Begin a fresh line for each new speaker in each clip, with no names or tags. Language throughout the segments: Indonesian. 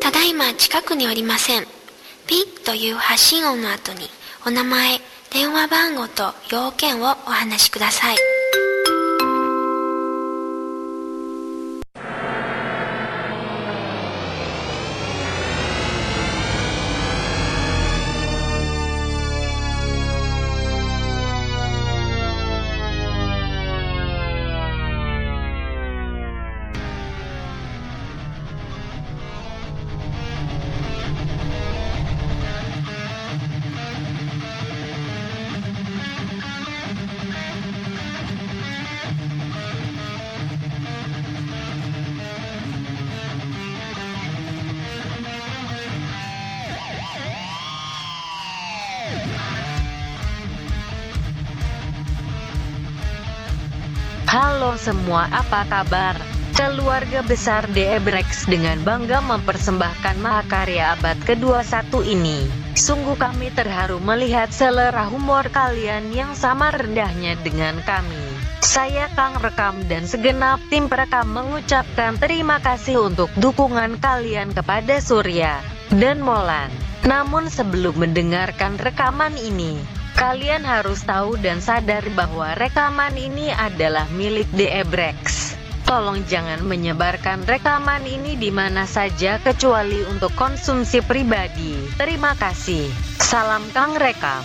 ただいま近くにおりませんピッという発信音の後にお名前電話番号と要件をお話しください
Halo semua, apa kabar? Keluarga besar The Ebrex dengan bangga mempersembahkan mahakarya abad ke-21 ini. Sungguh kami terharu melihat selera humor kalian yang sama rendahnya dengan kami. Saya Kang Rekam dan segenap tim perekam mengucapkan terima kasih untuk dukungan kalian kepada Surya dan Molan. Namun sebelum mendengarkan rekaman ini, Kalian harus tahu dan sadar bahwa rekaman ini adalah milik The Ebrex. Tolong jangan menyebarkan rekaman ini di mana saja kecuali untuk konsumsi pribadi. Terima kasih. Salam Kang Rekam.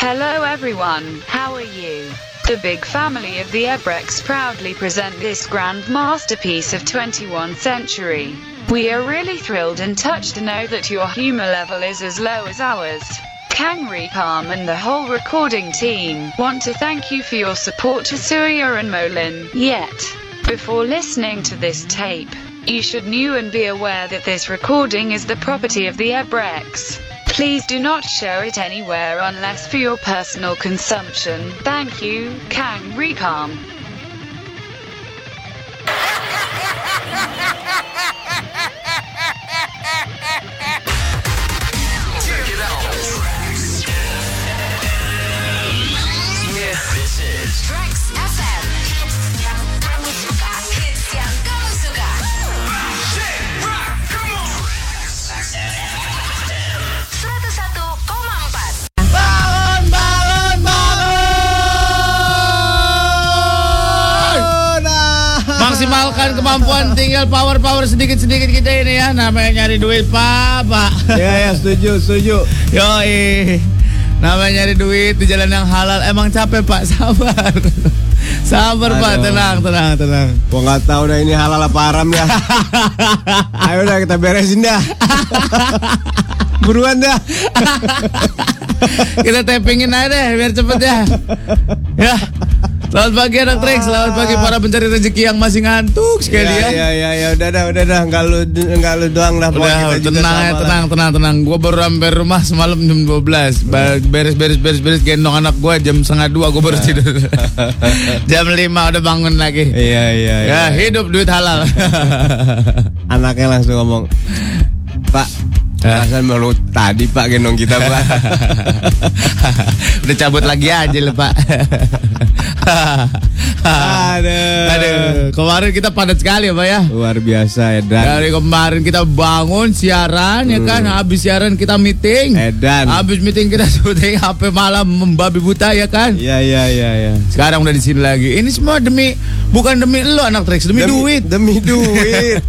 Hello everyone, how are you? The big family of the Ebrex proudly present this grand masterpiece of 21st century. We are really thrilled and touched to know that your humor level is as low as ours. Kangri Palm and the whole recording team want to thank you for your support to Surya and Molin. Yet, before listening to this tape, you should know and be aware that this recording is the property of the Ebrex. Please do not share it anywhere unless for your personal consumption. Thank you, Kang Recom.
Rex FM. Kamu suka hits yang kamu suka. Rex FM. 101,4.
Balon, balon, balon. Nah.
Maksimalkan kemampuan tinggal power-power sedikit-sedikit kita ini ya Namanya nyari duit pak pak
Ya, ya, setuju, setuju.
Yoi Namanya nyari duit di jalan yang halal Emang capek pak sabar Sabar pak
Aduh.
tenang tenang tenang
Gua nggak tahu dah ini halal apa haram ya. Ayo dah kita beresin dah. Buruan dah.
Kita tappingin aja deh biar cepet ya Ya Selamat pagi anak Trix Selamat pagi para pencari rezeki yang masih ngantuk
Ya,
sekali ya
ya, ya, ya, udah dah, udah dah. Enggak lu, enggak lu doang dah. Pokoknya kita
Udah,
juga
tenang ya,
sama lah.
tenang, tenang, tenang. Gue baru sampai rumah semalam jam 12 Ba- Beres, beres, beres, beres. Gendong anak gue jam setengah dua gue baru tidur. jam 5 udah bangun lagi.
Iya. Iya, iya, iya.
Ya hidup duit halal.
Anaknya langsung ngomong, Pak,
Ya.
perasaan baru tadi Pak gendong kita Pak.
udah cabut lagi aja lu pak.
Aduh.
Aduh, kemarin kita padat sekali ya pak ya.
Luar biasa Edan.
Dari kemarin kita bangun siaran ya kan, habis siaran kita meeting.
Hmm. Edan.
Habis meeting kita syuting HP malam membabi buta ya kan?
Iya, iya, iya, iya.
Sekarang udah di sini lagi. Ini semua demi bukan demi lo anak Trax, demi, duit.
demi duit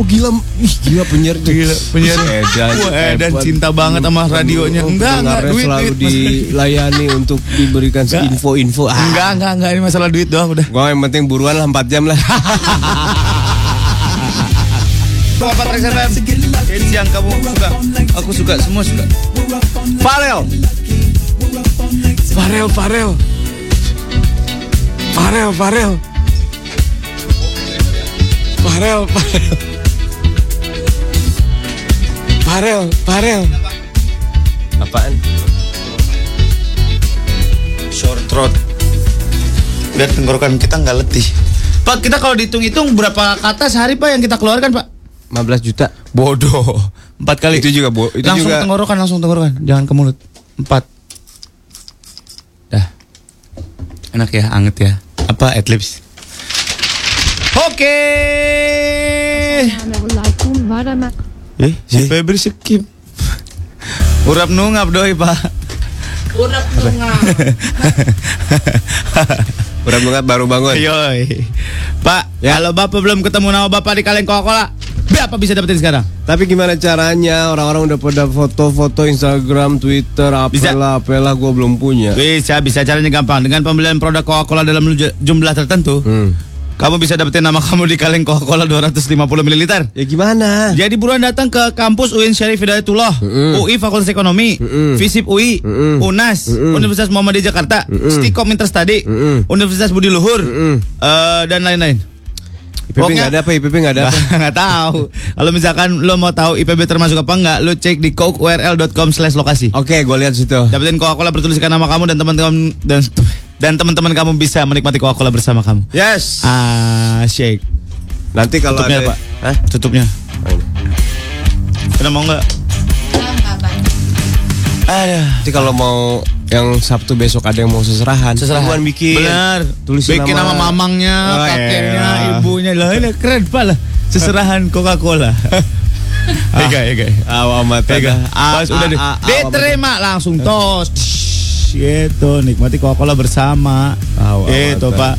oh gila ih gila penyiar
Gila, penyiar.
edan,
Wah, Edan cinta banget sama radionya. Enggak, enggak,
duit,
duit,
selalu
duit, Mas.
dilayani untuk diberikan info-info ah.
Enggak, enggak, enggak ini masalah duit doang udah.
Gua yang penting buruan lah 4 jam lah
Bapak Trax FM. Hits yang kamu suka. Aku suka semua suka.
Farel Farel Farel Farel Farel Farel Farel Farel Farel
Apaan? Short throat. Biar tenggorokan kita nggak letih.
Pak, kita kalau dihitung-hitung berapa kata sehari Pak yang kita keluarkan, Pak?
15 juta
Bodoh. Empat kali.
Itu juga, Bo. Itu
langsung
juga-
tenggorokan, langsung tenggorokan. Jangan ke mulut. Empat. Dah. Enak ya, anget ya. Apa adlibs? Oke.
Assalamualaikum warahmatullahi
Eh, si
Si Febri skip. Urap nungap doi pak.
Kurang banget baru bangun.
Iya.
Yoi. Ya. Pak, kalau bapak belum ketemu nama bapak di kaleng Coca-Cola, berapa bisa dapetin sekarang?
Tapi gimana caranya? Orang-orang udah pada foto-foto Instagram, Twitter,
Bisa.
apalah, apalah gue belum
Ya.
punya.
Bisa, bisa caranya gampang. Dengan pembelian produk Coca-Cola dalam ju- jumlah tertentu,
Hmm.
kamu bisa dapetin nama kamu di kaleng Coca-Cola 250 ml.
Ya gimana?
Jadi buruan datang ke kampus UIN Syarif Hidayatullah,
Mm-mm.
UI Fakultas Ekonomi,
Mm-mm.
FISIP UI,
Mm-mm.
UNAS,
Mm-mm.
Universitas Muhammadiyah Jakarta, Stikom Interstudy,
Mm-mm.
Universitas Budi Luhur,
Mm-mm.
eh, dan lain-lain.
IPB
Pokoknya-
nggak ada apa? IPB nggak ada apa?
nggak tahu. Kalau misalkan lo mau tahu IPB termasuk apa enggak, lo cek di cokeurl.com/lokasi.
Oke, gue lihat situ.
Dapetin Coca-Cola bertuliskan nama kamu dan teman-teman dan dan teman-teman kamu bisa menikmati Coca-Cola bersama kamu.
Yes.
Ah, shake.
Nanti kalau
Tutupnya,
ada,
Pak. Tutupnya.
Oh.
Kenapa mau enggak? Ada.
nanti kalau mau yang Sabtu besok ada yang mau seserahan. Buruan bikin.
Benar.
Tulisin
bikin
nama.
nama, mamangnya,
Oh,
kakeknya,
iya.
ibunya. Lah, ini keren pala. Seserahan Coca-Cola. Ega, ega.
Awam mata.
Ega. ah,
Pas udah deh.
Diterima langsung tos. Tsh, Gitu, nikmati Coca-Cola bersama.
Aw, aw,
Gitu,
aw.
Pak.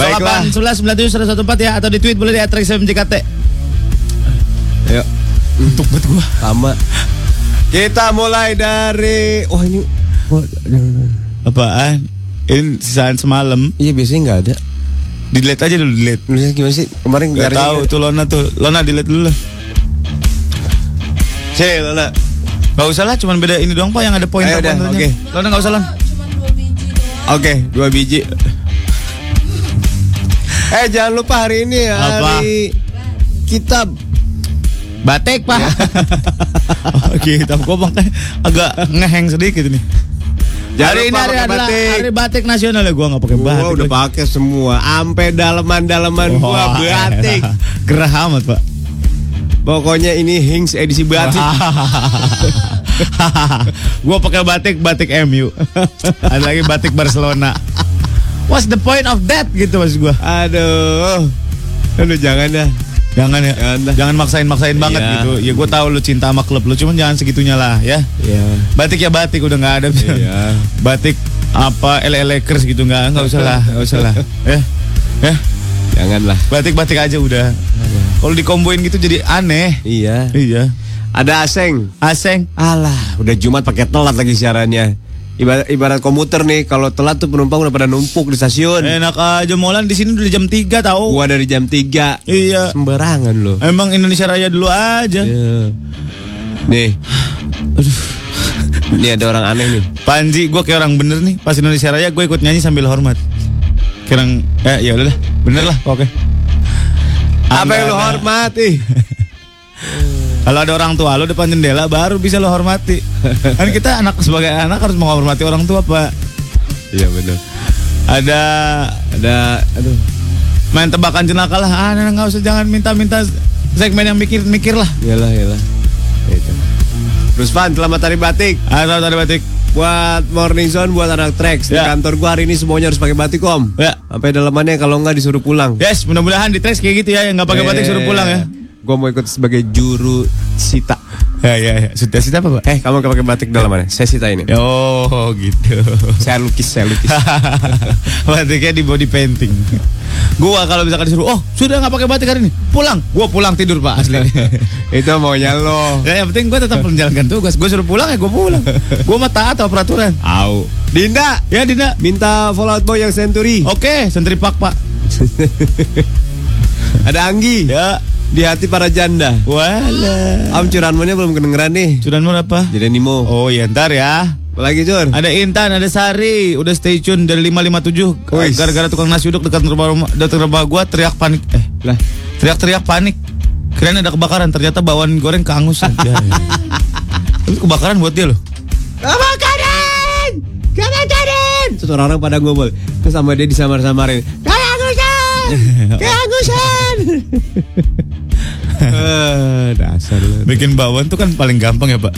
Baiklah.
08 11 97 114 ya atau di tweet boleh di @rexmjkt.
Ayo. Untuk buat gua. Sama. Kita mulai dari Wah ini Wah, jangan, jangan.
Apaan? Ini sisaan semalam.
Iya biasanya nggak ada.
Delete aja dulu, delete.
Nulisnya gimana sih? Kemarin
Gak
garisnya
tahu tuh Lona tuh. Lona delete dulu lah.
Cek, Lala.
Gak usah lah, cuman beda ini doang pak yang ada poin
Ayo udah, oke.
Lona gak usah lah.
Oke, dua biji. eh jangan lupa hari ini ya,
Apa?
hari kitab. Ya.
Batik pak. oke, tapi gue makanya agak ngeheng sedikit nih.
Jangan
hari ini
lupa
hari
pakai
adalah
batik.
hari batik nasional ya gue nggak pakai
Gua
batik.
udah
lagi.
pakai semua, ampe daleman-daleman gua
Wah,
batik.
elah. Gerah amat pak.
Pokoknya ini Hings edisi batik.
gue pakai batik batik MU. Ada lagi batik Barcelona. What's the point of that gitu maksud gue.
Aduh. Aduh jangan dah.
Jangan ya.
Jangan
Jangan,
dah.
maksain-maksain banget
Iya.
gitu. Ya gue tahu lu cinta sama klub lu, cuman jangan segitunya lah ya.
Iya.
Batik ya batik udah nggak ada.
Iya.
batik apa lelekers gitu nggak nggak usah lah nggak usah lah ya ya
Janganlah.
batik batik aja udah kalau dikomboin gitu jadi aneh
Iya.
iya
Ada aseng.
aseng
Alah, udah Jumat pakai telat lagi siarannya. Ibarat, ibarat komuter nih, kalau telat tuh penumpang udah pada numpuk di stasiun.
enak aja molan di sini udah jam 3 tahu
Gua dari jam 3.
iya Eh.
Sembarangan loh.
emang Indonesia Raya dulu
Iya.
aja
Nih. Aduh. Nih ada orang aneh nih.
Panji gue kayak orang bener nih pas Indonesia Raya gue ikut nyanyi sambil hormat kirang eh ya udah bener lah oke
Apa yang lu
Anda-
hormati?
Kalau ada orang tua lo depan jendela baru bisa lo hormati. Kan kita anak sebagai anak harus menghormati orang tua, Pak.
Iya benar.
Ada
Ada aduh.
main tebakan jenaka lah. Ah, nah, nggak usah jangan minta-minta segmen yang mikir-mikir lah.
Iyalah, iyalah. Itu. Rusvan, Gitu. selamat hari batik.
Ah, tahu tadi batik.
Buat Morning Zone, buat anak Trax Di
Ya.
kantor gua hari ini semuanya harus pakai batik, Om.
Ya.
Sampai dalamannya kalau nggak disuruh pulang. Eh,
Yes, mudah-mudahan di trace kayak gitu ya yang nggak pakai batik suruh pulang ya.
Gua mau ikut sebagai juru sita.
Ya ya ya. Sudah sih apa, Pak?
Eh, kamu nggak pakai batik dalamannya. Saya sita ini.
Oh, gitu.
Saya lukis, saya lukis.
Batiknya di body painting. Gua kalau misalkan disuruh, oh sudah nggak pakai batik hari ini, pulang. Gua pulang tidur pak asli.
Itu maunya lo.
Ya, yang penting gue tetap menjalankan tugas. Gue suruh pulang ya gue pulang. Gue mah taat sama peraturan.
Au. Dinda,
Ya Dina.
minta Fallout Boy yang Century.
Oke, sentri pak pak.
Ada Anggi.
Ya.
Di hati para janda.
Wala.
Om curanmonnya belum kedengeran nih.
Curan mau apa?
Jadi Nimo.
Oh ya ntar ya.
Lagi Cur.
Ada Intan, ada Sari, udah stay tune dari 557
Wis.
Gara-gara tukang nasi uduk dekat rumah rumah dekat rumah gua teriak panik. Eh,
Lah,
teriak-teriak panik. Kirain ada kebakaran, ternyata bawang goreng keangusan. Ya, ya. Tapi kebakaran buat dia loh.
Kebakaran! Kebakaran! Terus orang-orang pada ngobrol Terus sama dia disamar-samarin Kehangusan! Kehangusan! Eh, Dasar lu
Bikin bawang tuh kan paling gampang ya pak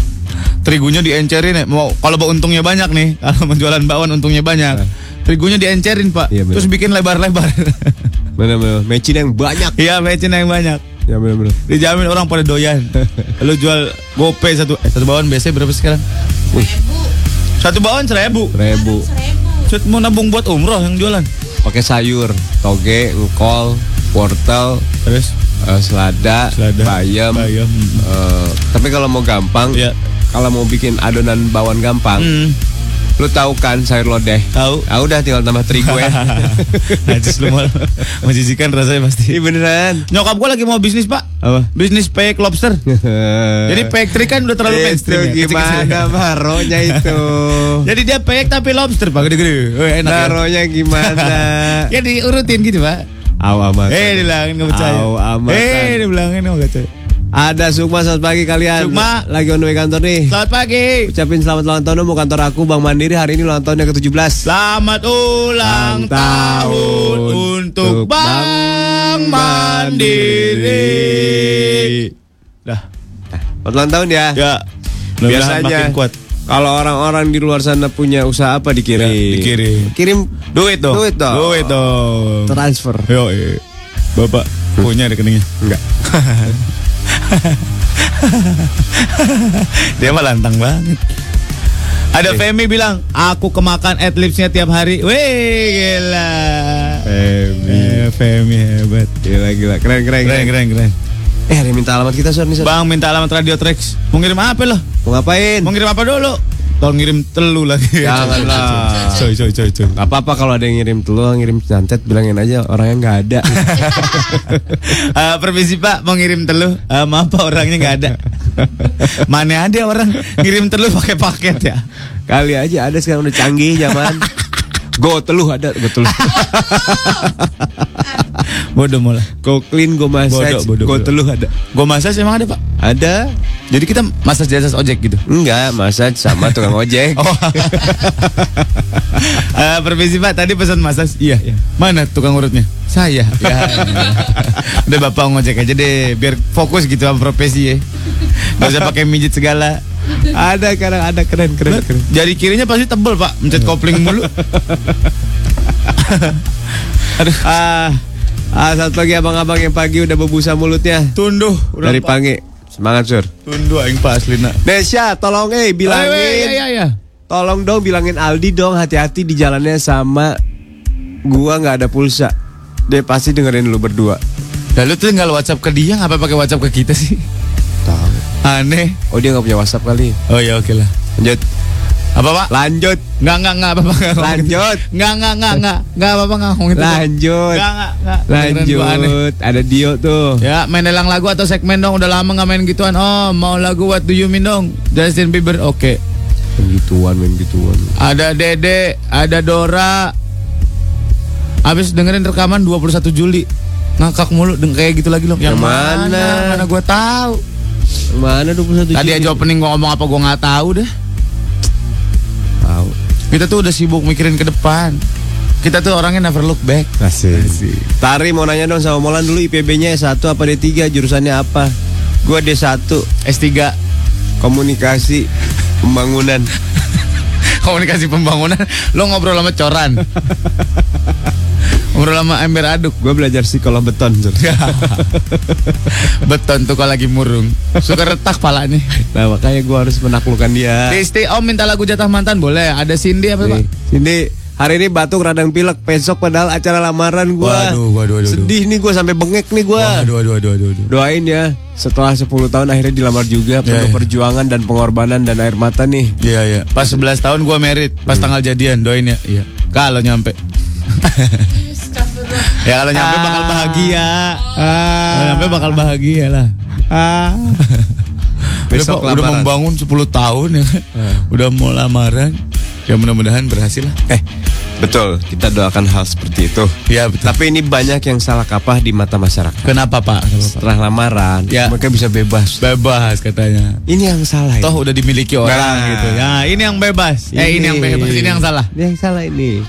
Terigunya diencerin ya Mau Kalau Pak, untungnya banyak nih Kalau menjualan bakwan untungnya banyak Terigunya diencerin pak
Eh. Iya, bener.
Terus bikin lebar-lebar
Mana-mana, mecin yang banyak
Iya mecin yang banyak
Ya benar-benar.
Dijamin orang pada doyan. Lu jual gope satu eh, satu bawon biasanya berapa sekarang? Satu bawon seribu.
Rebu.
Cut mau nabung buat umroh yang jualan.
Pakai sayur, toge, kol, wortel,
Terus
eh, selada,
Selada,
bayam.
bayam.
eh, tapi kalau mau gampang,
Iya.
kalau mau bikin adonan bawang gampang,
hmm,
lu tahu kan sayur lodeh?
tahu.
Ah udah tinggal tambah terigu ya.
Najis lu mal. Menjijikan rasanya
Ih
pasti.
beneran.
Nyokap gua lagi mau bisnis, Pak.
Apa?
Bisnis fake lobster. Jadi fake trik kan udah terlalu
itu
mainstream ya, kecil-kecil.
Gitu, gimana baronya itu?
Jadi dia fake tapi lobster, Pak. Gede-gede. Oh, enak. ya.
Baronya gimana?
Ya diurutin gitu, Pak.
Aw amat.
Eh, dibilangin nggak percaya.
Au amat.
Eh, dibilangin nggak percaya.
Ada Sukma selamat pagi kalian.
Sukma.
lagi on the way kantor nih.
Selamat pagi.
Ucapin selamat ulang tahun dong, mau kantor aku Bang Mandiri hari ini ulang tahunnya ke-17.
Selamat ulang
Ulang tahun
tahun untuk
untuk Bank
Bank Mandiri. Dah.
Selamat ulang tahun ya.
Ya. mudah-mudahan makin
Biasanya
kuat.
Kalau orang-orang di luar sana punya usaha apa dikirim?
Ya, dikirim.
Kirim
Duit dong.
Duit dong.
Duit dong.
transfer.
Yo, eh. Bapak punya rekeningnya?
Enggak.
Dia mah lantang banget. Ada
Eh.
Femi bilang, aku kemakan adlibsnya tiap hari. Wih, gila.
Femi.
Eh, Femi hebat.
Gila gila keren keren.
Keren,
keren.
keren, keren.
Eh, ada yang minta alamat kita Sor nih Sor.
Bang minta alamat Radio Trax. Mau ngirim apa lo?
Mau ngapain?
Mau ngirim apa dulu? Tolong ngirim telu lagi.
Janganlah.
Coy, coy, coy, coy.
Gak apa-apa kalau ada yang ngirim telur, ngirim santet, bilangin aja orangnya nggak ada.
Eh, permisi Pak, mau ngirim telu? Eh, maaf Pak, orangnya nggak ada. Mana ada orang ngirim telu pakai paket ya?
Kali aja ada sekarang udah canggih zaman. Go teluh ada, go teluh.
Bodoh mulai.
Go clean, go massage,
Bodoh, bodoh,
go
bodoh.
teluh ada.
Gue massage emang ada Pak?
Ada?
Jadi kita massage jasa ojek gitu.
Enggak, massage sama tukang ojek.
Oh. Eh, permisi Pak, tadi pesan massage. Iya. Mana tukang urutnya? Saya. Ya. Udah Bapak ngojek aja deh, biar fokus gitu sama profesi ya. Gak usah pakai mijit segala.
ada kadang ada keren keren keren.
Jari kirinya pasti tebel Pak, mencet kopling mulu. Aduh.
Ah, ah satu lagi abang-abang yang pagi udah berbusa mulutnya
Tunduh.
dari pagi. Semangat sur.
Tunduh aing Pak Aslina.
Nesya, tolong eh bilangin. Tolong dong bilangin Aldi dong hati-hati di jalannya sama gua nggak ada pulsa. Dia pasti dengerin lu berdua.
Lalu tuh nggak WhatsApp ke dia, ngapa pakai WhatsApp ke kita sih?
Tahu.
Aneh.
Oh dia nggak punya WhatsApp kali.
Oh ya oke lah.
Lanjut.
Apa Pak?
Lanjut.
Nggak nggak nggak apa-apa. nggak.
Lanjut.
Nggak nggak nggak nggak nggak apa-apa nggak ngomongin itu.
Lanjut.
Nggak nggak nggak. Beneran gua aneh.
Lanjut. Ada Dio tuh.
Ya main lelang lagu atau segmen dong udah lama nggak main gituan. Oh mau lagu What Do You Mean dong Justin Bieber oke.
Main gituan, main gituan.
Ada Dede, ada Dora. Abis dengerin rekaman 21 Juli ngakak mulu deng kayak gitu lagi loh.
Yang mana?
Mana gua tahu.
Mana 21
Tadi
Juni?
aja opening gua ngomong apa gua nggak tahu deh.
Tahu.
Kita tuh udah sibuk mikirin ke depan. Kita tuh orangnya never look back.
Asik. Tari mau nanya dong sama Molan dulu IPB-nya S1 apa D3 jurusannya apa? Gua D1
S3
komunikasi pembangunan.
komunikasi pembangunan lo ngobrol sama coran ngobrol sama ember aduk
Gua belajar psikolog beton. Sur.
beton tuh kalau lagi murung suka retak palanya
nah makanya gua harus menaklukkan dia.
Risti om minta lagu jatah mantan boleh ada Cindy apa
Nih,
pak
Cindy, hari ini batuk radang pilek, besok padahal acara lamaran gua.
Waduh, waduh, waduh,
Sedih nih gua sampai bengek nih gua.
aduh aduh aduh aduh
Doain ya, setelah 10 tahun akhirnya dilamar juga penuh
iya.
perjuangan dan pengorbanan dan air mata nih.
Iya iya. Pas 11 tahun gua merit, pas tanggal jadian doain ya. Iya. Kalau nyampe. ya kalau nyampe bakal bahagia. Kalau nyampe bakal bahagia lah.
Besok
Besok udah,
lamaran.
membangun 10 tahun ya. kan? Udah mau lamaran. Ya mudah-mudahan berhasil lah.
Eh, betul, kita doakan hal seperti itu.
Ya betul.
Tapi ini banyak yang salah kaprah di mata masyarakat.
Kenapa Pak? Kenapa, Pak?
Setelah lamaran,
Ya.
mereka bisa bebas.
Bebas katanya.
Ini yang salah. ya?
Toh udah dimiliki orang
Nah.
gitu. Ya, ini yang bebas.
ini.
Eh ini yang bebas, ini yang salah.
Ini yang salah ini.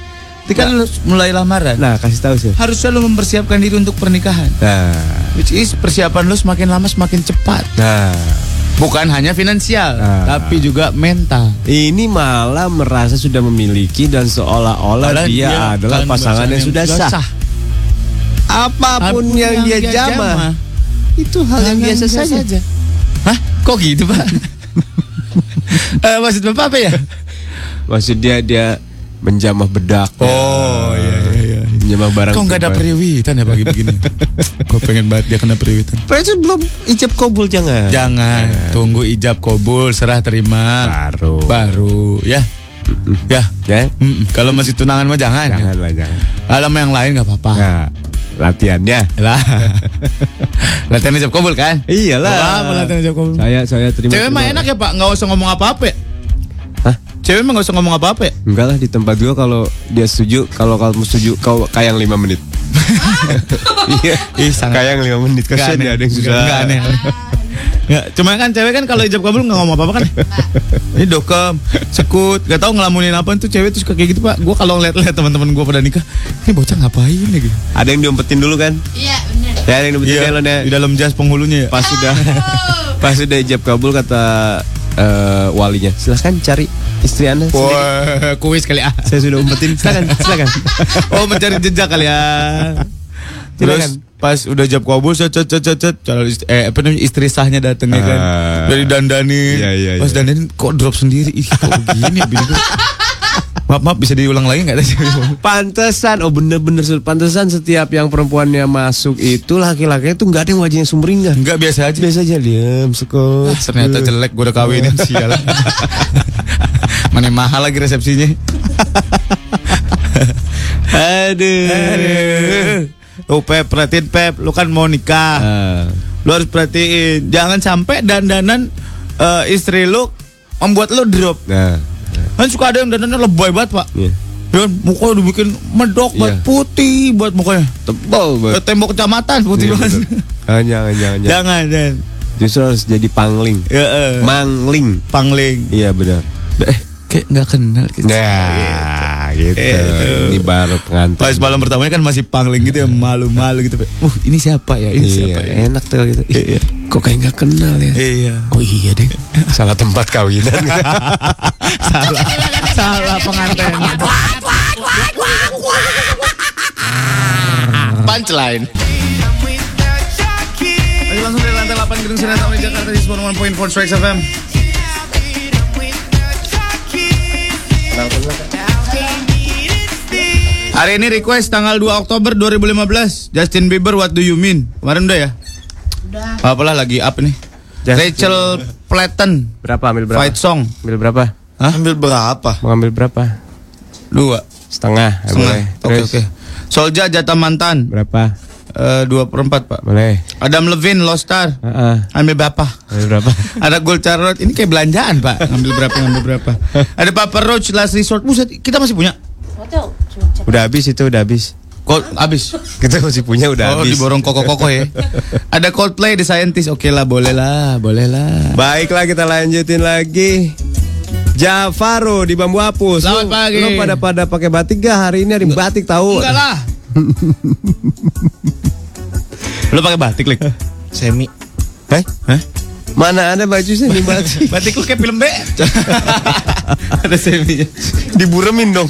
Ketika lu mulai lamaran,
Nah, kasih tahu sih.
harusnya lu mempersiapkan diri untuk pernikahan.
Nah,
Which is persiapan lu semakin lama semakin cepat. Nah.
nah,
Bukan hanya finansial,
Ah.
tapi juga mental.
ini malah merasa sudah memiliki dan seolah-olah
Padahal
dia, adalah
bukan
pasangannya
pasangan
sudah
yang
sah. Apapun yang, dia, jamah,
itu hal yang biasa, saja.
Hah? Kok gitu pak? Eh, maksud bapak apa ya?
Maksud dia dia menjamah bedak.
Oh iya iya iya.
Menjamah barang.
Kok nggak ada
pribadi.
periwitan ya pagi begini? Gue pengen banget dia kena periwitan. Eh.
Padahal itu belum ijab kabul jangan.
Jangan tunggu ijab kobul serah terima
Baru.
baru ya ya.
Ya.
Mm-mm. Kalau masih tunangan mah jangan. Ya.
Jangan lah jangan.
Alam yang lain nggak apa-apa.
Nah, latihannya.
Lah. Latihan ijab kobul kan?
Iyalah.
Wah, mau latihan ijab kobul.
Saya saya terima.
Cewek mah enak ya pak, nggak usah ngomong apa-apa. ya?
Hah?
Cewek mah nggak usah ngomong apa-apa. ya?
Enggak lah di tempat gua kalau dia setuju, kalau kamu setuju kau kayang 5 menit. Iya, ih
sangat-
kayang 5 menit kasihan
Nggak
ya ada yang susah.
Nggak aneh. Nggak, cuma kan cewek kan kalau ijab kabul nggak ngomong apa-apa kan. Ini dokem, sekut, gak tau ngelamunin apa tuh cewek tuh suka kayak gitu pak. Gue kalau ngeliat-liat teman-teman gue pada nikah, ini bocah ngapain ya gitu.
Ada yang diumpetin dulu kan?
Iya bener
Ya, ada yang diumpetin dulu Nek.
di dalam jas penghulunya ya.
Pas sudah pas sudah ijab kabul kata eh, walinya, silahkan cari istri Anda. sendiri."
Wah, kuis kali ah.
Saya sudah umpetin, silakan, silakan.
Oh mencari jejak kali ya. Terus pas udah jab kabul cet cet cet cet, cet calon istri, eh apa namanya istri sahnya datang ya kan.
Ah.
Dari dandani.
Iya, iya,
pas
iya.
dandanin kok drop sendiri. Ih kok begini bini gue. Maaf maaf bisa diulang lagi nggak tadi?
Pantesan, oh bener-bener Sul. pantesan setiap yang perempuannya masuk itu laki-lakinya tuh nggak ada yang wajahnya sumringah.
Enggak biasa aja.
Biasa aja diam, sekut.
Ah, ternyata jelek gue udah kawinin sial. Mana mahal lagi resepsinya.
Aduh.
Aduh. Lu Pep, perhatiin Pep, lu kan mau nikah.
Ah.
Lu harus perhatiin, jangan sampai dandanan eh, istri lu membuat lu drop.
Nah,
Kan suka ada yang dandannya lebay banget, Pak.
Iya.
Dan mukanya dibikin medok buat
Iya.
putih buat mukanya.
tebal
Ke
banget.
tembok kecamatan putih banget.
Ah, jangan, jangan, jangan.
jangan, jangan.
Justru harus jadi pangling.
Ya, eh.
Mangling.
Pangling.
Iya benar.
Eh, kayak nggak kenal gitu.
Nah, gitu.
Gitu.
Ini baru pengantin. Iya,
Pas malam pertamanya kan masih pangling gitu ya, malu-malu gitu. Pak. Uh, ini siapa ya? Ini
Iya,
siapa ya?
enak tuh gitu. Ih,
Iya.
Kok kayak nggak kenal ya?
Iya.
Oh iya deh. Salah tempat kawinan.
salah salah pengantin punchline Masih langsung dari lantai 8 Gedung Sinar Taman Jakarta di 91.4 Strikes FM Hari ini request tanggal 2 Oktober 2015 Justin Bieber What Do You Mean Kemarin udah ya? Udah Apalah lagi up nih
Justin.
Rachel Platten
berapa ambil berapa?
Fight Song
Ambil berapa?
Ambil berapa?
Mau ambil berapa?
Dua
Setengah.
Setengah.
Boleh.
Oke
Terus
oke. Solja jatah mantan
berapa?
eh, dua per empat pak.
Boleh.
Adam Levine Lost Star
Heeh.
ambil berapa?
Ambil berapa?
Ada Gold Charlotte ini kayak belanjaan pak. Ambil berapa? Ambil berapa? Ada Papa Roach Last Resort. Buset kita masih punya.
udah habis itu udah habis.
Kok habis?
Kita masih punya udah
oh
habis.
diborong koko-koko ya. Ada Coldplay The Scientist. Oke lah boleh lah boleh lah.
Baiklah kita lanjutin lagi. Jafaro di Bambu Apus.
Selamat
Lu-
pagi.
Lu pada pada pakai batik gak hari ini hari batik tahu?
Enggak lah. Lo pakai batik lik?
Semi.
Heh? Eh? Mana ada baju sih di batik?
Batik lu kayak film B. Ada seminya.
Diburemin dong.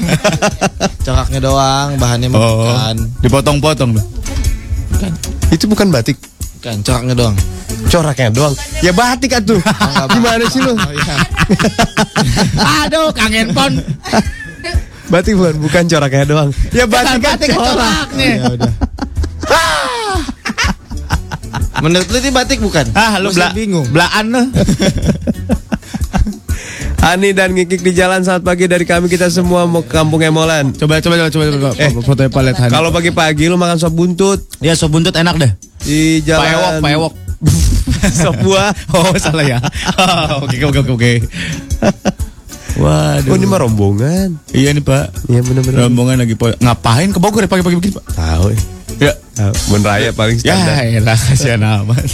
Cokaknya doang, bahannya mah
Oh.
bukan.
Dipotong-potong loh.
itu bukan batik.
Bukan, cokaknya doang.
Coraknya doang. Ya batik atuh. Gimana sih lu?
Aduh, Kang Enpon.
Batik bukan bukan coraknya doang. Ya batik kan
batik
corak.
Ya udah. Menurut lu ini batik bukan?
Ah, lu
Gua
bela
sih bingung.
Belaan lu.
Ani dan Ngikik di jalan saat pagi dari kami kita semua mau ke kampung Emolan.
Coba coba coba coba coba. Eh, fotonya palet Hani.
Kalau pagi-pagi lu makan sop buntut
ya sop buntut enak deh.
di
Paewok,
jalan.
paewok.
Sop buah.
Oh, salah ya. Oh, Oke, oke, oke, oke. Waduh.
Oh ini mah rombongan.
Iya nih, Pak.
Iya bener-bener.
Rombongan lagi po- ngapain ke Bogor ya pagi-pagi begini, Pak?
Tahu.
Ya.
Ah, Bon Raya paling
Ya,
standar.
elah kasihan amat.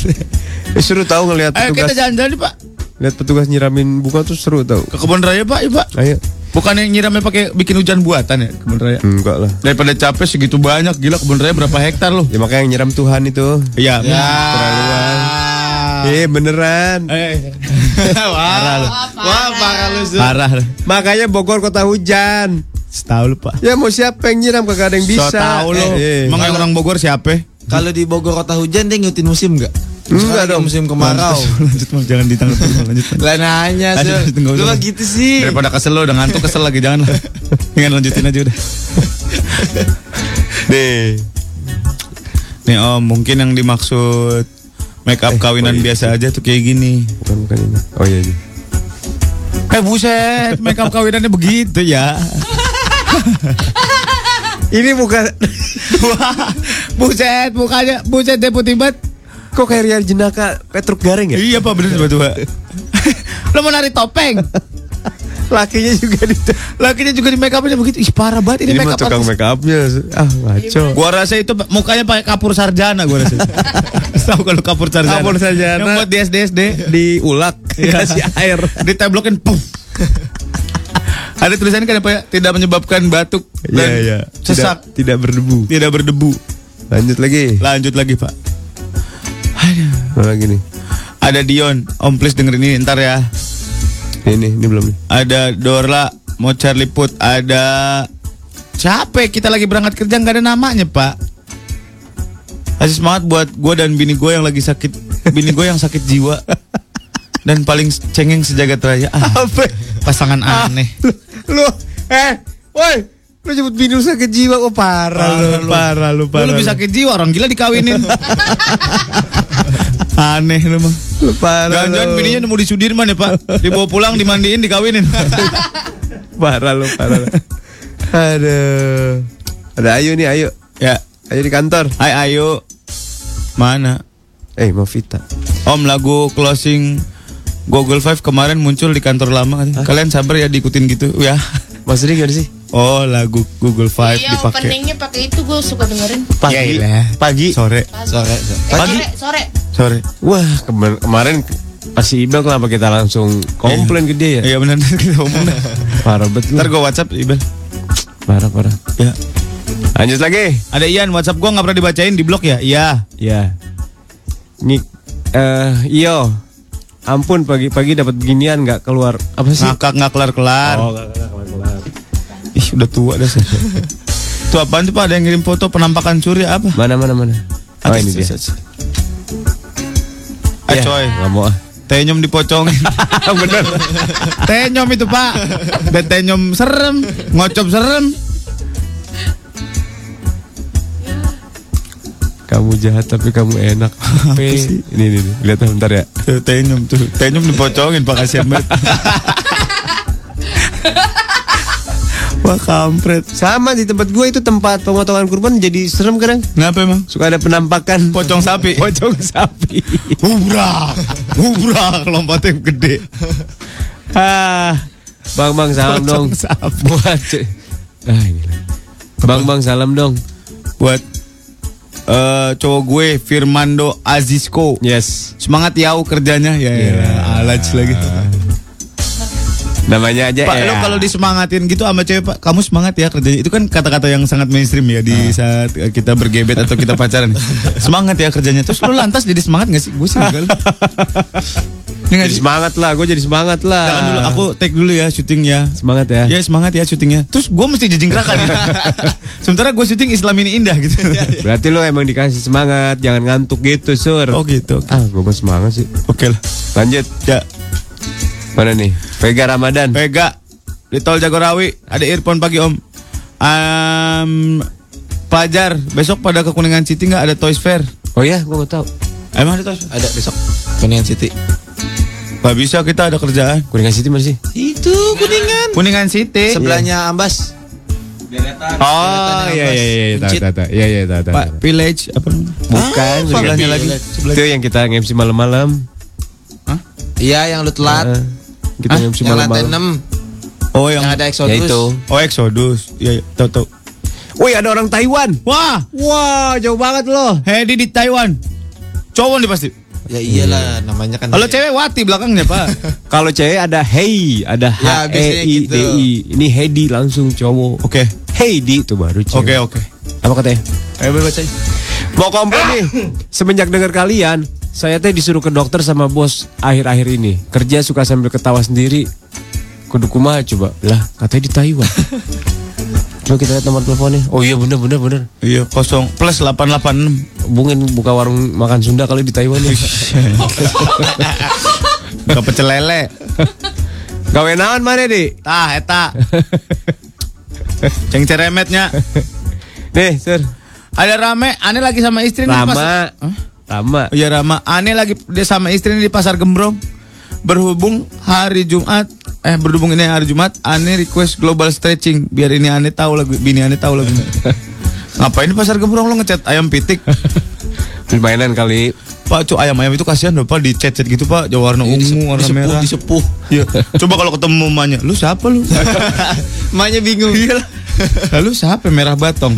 Eh, seru tahu ngelihat
Ayo kita
petugas
jalan-jalan nih, Pak.
lihat petugas nyiramin bunga tuh seru tahu.
Ke kebun raya, Pak. Ya, Pak.
Ayo.
Bukan yang nyiramnya pakai bikin hujan buatan ya kebun raya.
Enggak lah.
Daripada capek segitu banyak gila kebun raya berapa hektar loh.
Ya makanya yang nyiram Tuhan itu.
Iya. Ya.
Eh beneran.
Ah. Eh. Parah lu. Wah, parah lu. Parah lu.
Makanya Bogor kota hujan.
Setahu lu, Pak.
Ya mau siapa yang nyiram kagak ada yang bisa.
Setahu lu.
Eh, eh.
Emang yang orang Bogor siapa?
Kalau di Bogor kota hujan dia ngikutin musim nggak? Enggak dong musim kemarau.
Lanjut, lanjut Mang. jangan ditanggapi Mang. lanjut. Mang.
Lah nanya
Lanjut,
sih.
lanjut, nggak
Lu
usah.
mah gitu sih.
Daripada kesel lo udah ngantuk kesel lagi jangan lah. Dengan lanjutin aja udah.
Deh.
Nih Om, mungkin yang dimaksud make up kawinan biasa aja tuh kayak gini.
Bukan bukan ini. Oh iya. iya.
Eh buset, make up kawinannya begitu ya.
Ini bukan
Wah, buset mukanya, buset deh putih banget.
kok kayak Rian Jenaka Petruk Gareng ya?
Iya pak bener tiba-tiba. lo mau nari topeng?
Lakinya juga di
Lakinya juga di make upnya begitu. Ih parah banget ini, Iya,
Ini
make up.
mah tukang
artist.
make upnya ah ngaco.
Gua rasa itu mukanya pakai kapur sarjana gua rasa. Tahu kalau kapur sarjana.
Kapur sarjana.
Yang buat di SD SD
Diulak
Iya.
kasih air.
diteblokin puf. Ada tulisannya kan apa ya? Tidak menyebabkan batuk
Iya
dan
iya.
sesak, Iya.
Tidak, tidak berdebu.
tidak berdebu.
Lanjut lagi.
Lanjut lagi, Pak.
Mana lagi nih?
Ada Dion, Om please dengerin ini ntar ya.
Ini ini belum nih.
Ada Dora, mau Charlie Put, ada capek kita lagi berangkat kerja nggak ada namanya pak. Kasih semangat buat gue dan bini gue yang lagi sakit, bini gue yang sakit jiwa dan paling cengeng sejagat raya. Ah, pasangan aneh.
Lu eh woi lu nyebut bini lu sakit jiwa oh parah lu.
Ah, parah lu, parah. Lu lebih sakit jiwa orang gila dikawinin. aneh lu mah.
Lu parah.
Jangan-jangan
lu.
bininya nemu di Sudirman ya pak Dibawa pulang, dimandiin, dikawinin
parah lu parah lu. Aduh. Ada Ayu nih Ayu.
Ya,
Ayu di kantor.
hai Ayu Mana?
Eh mau Vita.
Om lagu closing Google Five kemarin muncul di kantor lama katanya. Kalian sabar ya diikutin gitu ya.
Maksudnya gimana sih?
Oh lagu Google Five
Iya,
dipakai.
openingnya pakai itu gue suka dengerin.
Ya
Pagi.
Yailah.
pagi.
Sore,
Sore, sore.
Eh,
Pagi?
sore, sore.
sore.
Wah kemar- kemarin masih Ibel kenapa kita langsung komplain gede ya?
Iya benar kita ngomong dah.
Parah betul.
Ntar gue WhatsApp Ibel.
Parah parah.
Ya.
Lanjut lagi.
Ada Ian WhatsApp gue nggak pernah dibacain di blog ya. Iya.
Ya. Nik eh iyo. Ampun pagi-pagi dapat beginian nggak keluar Ah, apa sih?
Ngakak nggak kelar kelar. Ih udah tua dah. saya. Tuh apaan tuh pak ada yang ngirim foto penampakan curi apa?
Mana mana mana. Oh ini dia.
Ah,
Ya,
coy.
nggak mau ah.
Tenyum dipocongin. Ah, Bener. tenyum itu pak. Dan tenyum serem, ngocop serem.
Kamu jahat tapi kamu enak.
Apa sih?
Ini ini, ini. lihat bentar ya.
Tuh, Eh, tenyum tuh, tenyum dipocongin pak kasihan banget. Wah kampret.
Sama di tempat gua itu tempat pemotongan kurban jadi serem kadang.
Kenapa emang?
Suka ada penampakan
Pocong sapi.
pocong sapi.
Hubrak, hubrak, lompatnya gede.
ah. Bang Bang salam dong.
Pocong sapi.
Buat Ah, gila. Bang Bang salam dong.
Buat eh cowok gue Firmando Azisco.
Yes.
Semangat yau kerjanya ya. Alaj lagi.
Namanya aja
Pak,
ya.
lo kalau disemangatin gitu sama cewek, Pak, kamu semangat ya kerjanya. Itu kan kata-kata yang sangat mainstream ya
Ah.
di saat kita bergebet atau kita pacaran. semangat ya kerjanya. Terus lo lantas jadi semangat gak sih? Gue sih enggak. lah. Ini nggak
jadi
sih?
semangat lah, gue jadi semangat lah.
Jangan dulu, aku take dulu ya syuting ya.
semangat ya.
Ya semangat ya syutingnya. Terus gue mesti jejengkrakan ya. Sementara gue syuting Islam ini indah gitu.
Berarti lo emang dikasih semangat, jangan ngantuk gitu, Sur.
oh gitu.
Ah, gue mau semangat sih.
Oke lah.
Lanjut,
Ya,
mana nih? Vega Ramadan.
Vega di Tol Jagorawi ada earphone pagi Om. Am, pelajar besok pada ke Kuningan City nggak ada Toys Fair?
Oh
iya,
ya, gue mau tahu.
Emang ada Toys Fair?
Ada besok. Kuningan City.
Gak bisa kita ada kerjaan.
Kuningan City mana sih?
Itu Kuningan.
Kuningan City.
Iya.
Sebelahnya Ambas.
Oh iya iya iya iya
Kuncit.
tahu, tahu, tahu. iya iya tahu, tahu,
Pak
tahu. Village apa namanya?
Bukan,
Ah,
Kuningan
sebelahnya
City.
lagi.
Itu yang kita nge-MC malam-malam.
Iya, yang lu
Ah,
telat.
kita nge-MC
Ah, yang lantai
malam-malam.
6
Oh yang,
yang ada Exodus.
Ya itu.
Oh Exodus. Iya iya, tahu tahu.
Woi, ada orang Taiwan.
Wah,
Wah, jauh banget loh.
Hedi di Taiwan. Cowok nih pasti.
Ya
Iya.
iyalah namanya kan.
Kalau cewek Wati belakangnya pak.
Kalau cewek ada Hey, ada
Ya,
H
biasanya
E I D I. Ini Hedi langsung cowok.
Oke
Heidi itu baru cewek.
oke oke.
Apa katanya?
Ayo baca.
Mau komplain
Ah.
nih Semenjak dengar kalian Saya teh disuruh ke dokter sama bos Akhir-akhir ini Kerja suka sambil ketawa sendiri Kudu kumaha coba Lah katanya di Taiwan Coba kita lihat nomor teleponnya Oh iya bener bener bener
Iya kosong plus 886
bungin buka warung makan Sunda kali di Taiwan ya.
Buka pecel lele.
Gawe naon mana di?
Tah, eta. Ceng ceremetnya.
Nih, Sir.
Ada rame, aneh lagi sama istri nih pas-
Rama.
Hah?
Rama.
Oh, Iya Rama, aneh lagi dia sama istri nih di pasar Gembrong. Berhubung hari Jumat, eh berhubung ini hari Jumat, aneh request global stretching biar ini aneh tahu lagu, bini aneh tahu lagu. Ngapain di pasar Gembrong lo ngecat ayam pitik?
Beli mainan kali.
Pak, cu ayam ayam itu kasihan dong, Pak, dicet-cet gitu, Pak. Jauh warna
Ini
ungu, warna
disepuh,
merah.
disepuh.
Iya. Coba kalau ketemu emaknya, lu siapa lu?
Emaknya bingung.
Iya lah. Lalu siapa merah batong?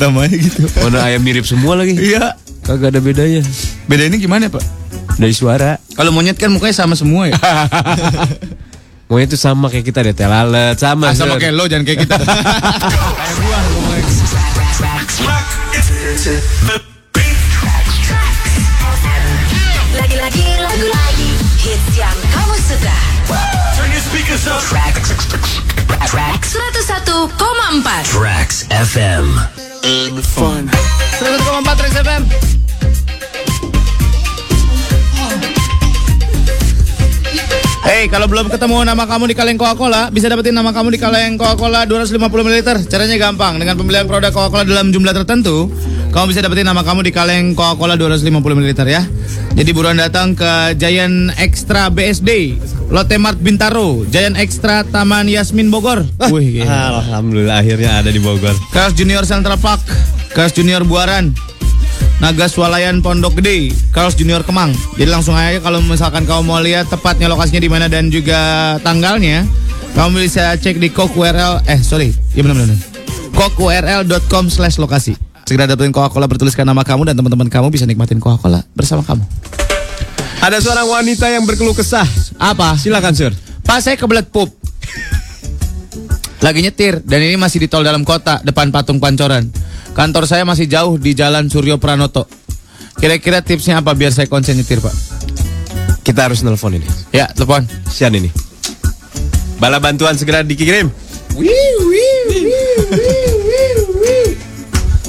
Namanya gitu.
Warna ayam mirip semua lagi.
Iya.
Kagak ada bedanya.
Beda ini gimana, Pak?
Dari suara.
Kalau monyet kan mukanya sama semua ya.
Mau itu sama kayak kita deh, teh lalat sama.
Ah, sama
Sir.
kayak lo jangan kayak kita.
Lagi-lagi lagu lagi hits yang kamu suka. Track 101,4.
Terus sama Patrick FM. Hey, kalau belum ketemu nama kamu di kaleng Coca-Cola, bisa dapetin nama kamu di kaleng Coca-Cola 250 ml. Caranya gampang, dengan pembelian produk Coca-Cola dalam jumlah tertentu, kamu bisa dapetin nama kamu di kaleng Coca-Cola 250 ml ya. Jadi buruan datang ke Giant Extra BSD, Lotte Mart Bintaro, Giant Extra Taman Yasmin Bogor. Wih,
Iya.
gila.
Ah,
Alhamdulillah akhirnya ada di Bogor.
Kelas Junior Central Park, Kelas Junior Buaran, Nagas Walayan Pondok Gede, Kelas Junior Kemang. Jadi langsung aja kalau misalkan kamu mau lihat tepatnya lokasinya di mana dan juga tanggalnya, kamu bisa cek di kokurl eh sorry, ya benar benar. kokurl.com slash lokasi. Segera dapetin Coca-Cola bertuliskan nama kamu dan teman-teman kamu bisa nikmatin Coca-Cola bersama kamu.
Ada seorang wanita yang berkeluh kesah.
Apa?
Silakan, Sir.
Pas saya kebelet pup. Lagi nyetir dan ini masih di tol dalam kota depan patung Pancoran. Kantor saya masih jauh di Jalan Suryo Pranoto. Kira-kira tipsnya apa biar saya konsen nyetir, Pak?
Kita harus nelpon ini.
Ya, telepon.
Sian ini. Bala bantuan segera dikirim.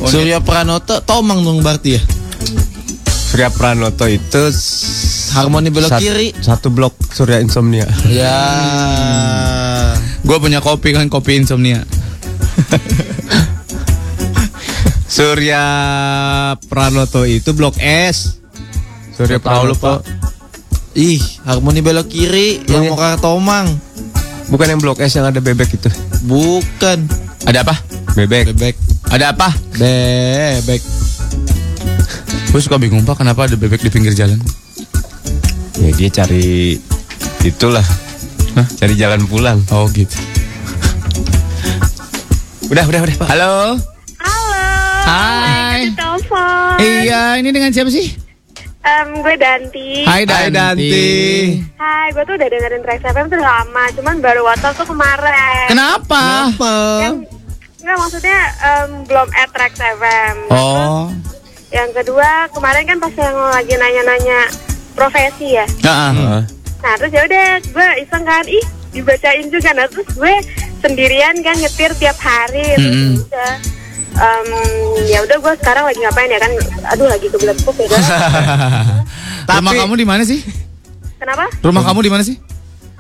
Surya Pranoto, Tomang dong berarti ya.
Surya Pranoto itu s-
Harmoni belok
sat-
kiri.
Satu blok Surya Insomnia.
Ya.
Gue punya kopi kan kopi insomnia.
Surya Pranoto itu blok S. Surya
Tahu lupa. Ih, Harmoni belok kiri yang
Iya.
mau ke arah Tomang.
Bukan yang blok S yang ada bebek itu.
Bukan.
Ada apa?
Bebek.
Bebek.
Ada apa?
Bebek.
Gue suka bingung, Pak, kenapa ada bebek di pinggir jalan?
Ya dia cari itulah. Cari jalan pulang.
Oh, gitu.
Udah, udah, udah, Pak.
Halo. Halo. Hai.
telepon.
Iya, ini dengan siapa sih?
Em, gue Danti.
Hai Danti.
Hai, Danti.
Hai, gue tuh udah dengerin Trax FM tuh udah lama, cuman baru WhatsApp tuh kemarin.
Kenapa?
Yang, enggak maksudnya em, belum at Trax FM.
Oh.
Yang kedua kemarin kan pas yang lagi nanya-nanya profesi ya.
Heeh.
Nah terus ya udah gue iseng kan, ih dibacain juga. Nah terus gue sendirian kan nyetir tiap hari. Terus ya
Mm-mm.
udah, em, ya udah gue sekarang lagi ngapain ya kan? Aduh lagi kebelet pup ya. guys.
Rumah kamu di mana sih?
Kenapa?
Rumah kamu di mana sih?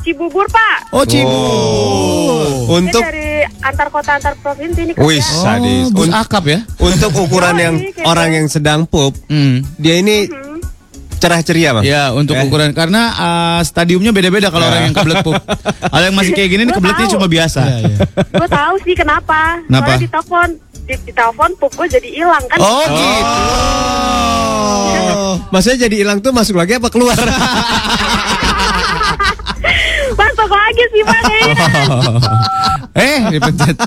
Cibubur pak.
Oh, Cibu.
Saya
Untuk
dari antar kota antar provinsi ini kerja.
Wih, sadis.
Oh, bus
Un-
akap ya?
untuk ukuran
Oh,
yang
ini kayak-
orang yang sedang pup,
Hmm.
dia ini
Mm-hmm.
cerah ceria, Bang.
Ya, untuk
Eh.
ukuran karena ah, stadiumnya beda-beda kalau orang yang kebelet pup. Ada yang masih kayak gini
Gua
kebeletnya
tahu.
cuma biasa.
gue Ya, tahu sih kenapa.
Kenapa?
Soalnya ditelepon, di, ditelepon pup gue jadi hilang kan.
Oh, gitu.
Oh, maksudnya jadi hilang tuh masuk lagi apa keluar?
Masuk lagi sih pak kayaknya.
Eh, dipencet.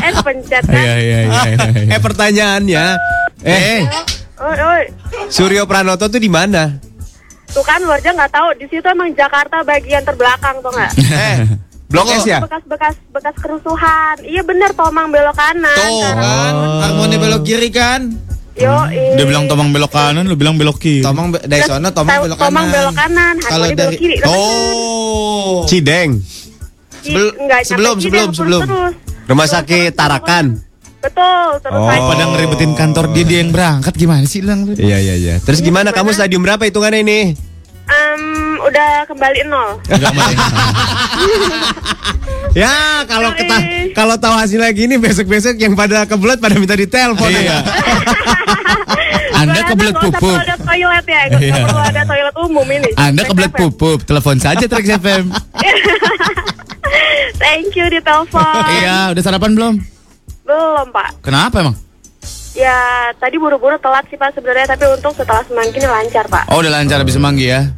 eh kepencet kan.
Iya, iya, iya. iya.
eh pertanyaannya, eh
Oi, oi.
Suryo Pranoto tuh di mana?
Tuh kan lu aja nggak tahu. Di situ emang Jakarta bagian terbelakang tuh nggak.
Eh, Blok S ya?
Bekas-bekas bekas kerusuhan. Iya bener Tomang belok kanan.
Tuh kan,
Oh.
Harmoni belok kiri kan.
Yo,
Dia bilang tomang belok kanan, lu bilang belok kiri.
Tomang be- dari sana Tomang belok kanan.
Tomang belok kanan,
Kalau
Harmoni belok
dari
kiri.
Oh.
Cideng,
Ih, nggak nyampe
sebelum-
sini,
sebelum-
lurus
sebelum.
terus.
Rumah Sakit Tarakan.
Betul, terus
Oh,
lagi.
pada ngeribetin kantor dia dia yang berangkat gimana sih Lang?
Iya iya iya. Terus gimana kamu stadium berapa hitungannya ini?
Em, udah kembali nol.
Ya kalau kita kalau tahu hasilnya gini besok-besok yang pada kebelet pada minta ditelepon.
Iya.
Anda kebelet pupuk. Gak usah perlu ada toilet ya, gak usah
Iya.
perlu ada toilet umum ini.
Anda
Trax
kebelet
FM.
pupup, telepon saja Trax FM.
Thank you di telepon.
Iya, udah sarapan belum?
Belum pak.
Kenapa emang?
Ya tadi buru-buru telat sih pak sebenarnya, tapi untung setelah semangkin lancar pak.
Oh, udah lancar habis semanggi ya.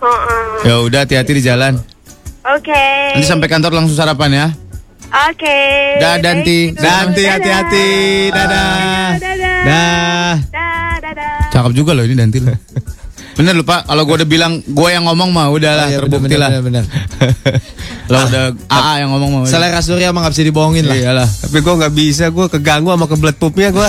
Heeh.
Ya udah hati-hati di jalan.
Oke.
Nanti sampai kantor langsung sarapan ya.
Oke.
Dah Danti, Danti hati-hati. Dadah.
Dadah.
Dah.
Dadah. Dadah.
Cakep juga loh ini Danti loh. Bener lupa kalau gue udah bilang gue yang ngomong mah udahlah
Oh, iya,
terbukti
bener,
lah.
bener, bener.
Lo udah AA yang ngomong mah. udah.
Selera Surya emang gak bisa dibohongin lah.
Iyalah.
Tapi gue nggak bisa, gue keganggu sama kebelet pupnya gue.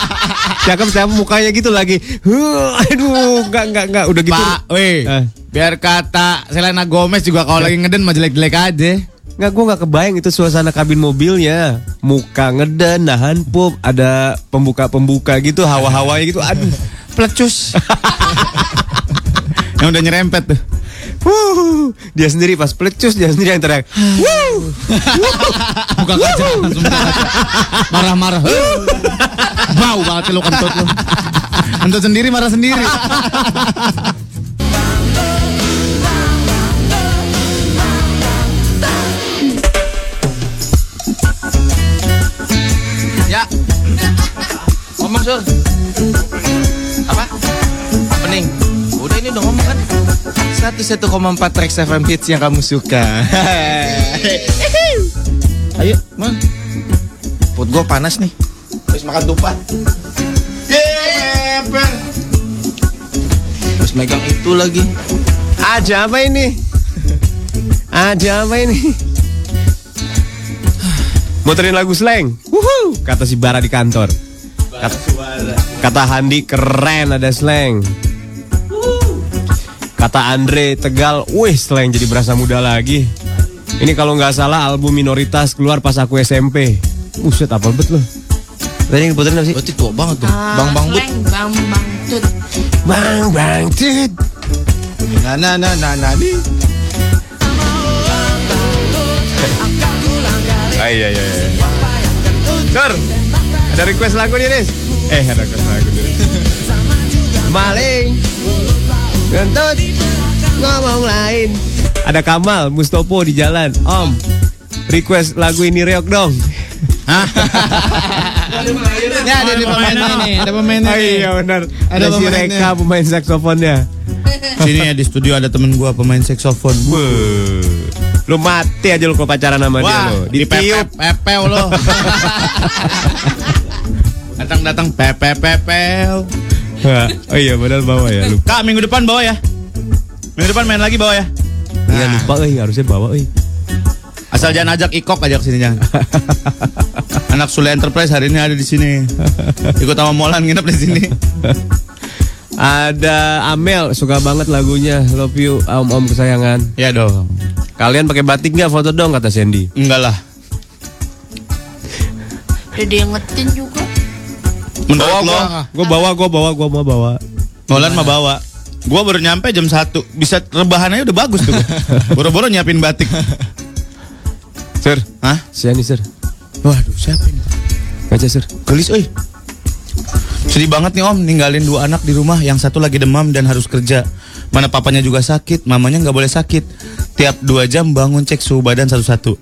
Cakep sama mukanya gitu lagi. Huh, aduh, nggak nggak nggak. Udah gitu.
Pak, weh.
Eh.
Biar kata Selena Gomez juga kalau lagi ngeden mah jelek-jelek aja.
Nggak, gue nggak kebayang itu suasana kabin mobilnya. Muka ngeden, nahan pup, ada pembuka-pembuka gitu, hawa-hawanya gitu. Aduh,
Plecus. yang udah nyerempet tuh.
Wuh, dia sendiri pas pelecus dia sendiri yang teriak. Wuh,
Buka kaca langsung buka kaca. Marah-marah. Huh. Bau banget lu kentut lu. Kentut sendiri marah sendiri.
Ya. Ngomong Sur. Apa? Pening. Udah ini udah ngomong kan? 11,4 Trax FM Hits yang kamu suka. Ayo, man. Perut gua panas nih. Harus makan tupat. Yeper. Terus megang itu lagi.
ada apa ini? Ada apa ini? Muterin lagu slang. Wuhu, kata si Bara di kantor. Kata, kata Handi keren ada slang. Kata Andre Tegal, wih slang jadi berasa muda lagi. Ini kalau nggak salah album minoritas keluar pas aku SMP. Buset apa bet lo? Tadi yang puterin apa sih?
Berarti tua banget tuh. Bang Bang But.
Bang bang tit.
Nah, nah, nah, nah, nah, nih.
Iya iya iya. Sur, ada request lagu nih, Riz. Eh, ada request lagu nih. Riz. Maling. Gentut. Ngomong lain. Ada Kamal, Mustopo di jalan. Om, request lagu ini reok dong.
Ya ada di pemainnya nih, ada pemainnya.
Oh,
nih.
iya benar. Ada,
Ada
si
pemainnya.
Reka pemain saksofonnya.
Sini ya di studio ada temen gua pemain saksofon.
Wuh. Lu mati aja lu kalau pacaran sama dia
Wah,
lu.
di pepep pepel lo. datang datang pepep pepel.
Wah, Oh iya benar bawa ya lupa.
Kak minggu depan bawa ya. Minggu depan main lagi bawa ya.
Iya lupa euy, harusnya bawa eh. euy.
Asal jangan ajak Ikok ajak sini jangan. Anak Sule Enterprise hari ini ada di sini. Ikut sama Molan nginep di sini.
Ada Amel, suka banget lagunya Love You Om Om Kesayangan.
Ya dong.
Kalian pakai batik nggak foto dong kata Sandy.
Enggak lah.
Udah diingetin juga
Menurut lo,
Gue Ah, bawa, gue bawa, gue mau bawa.
Molan mah bawa. Gua baru nyampe jam 1 Bisa rebahan aja udah bagus tuh gua. Boro-boro nyiapin batik
Sir,
Hah?
Sandy sir,
Waduh siapa ini
baca sir.
Gelis oi Sedih banget nih om Ninggalin dua anak di rumah Yang satu lagi demam dan harus kerja Mana papanya juga sakit Mamanya nggak boleh sakit Tiap dua jam bangun cek suhu badan satu-satu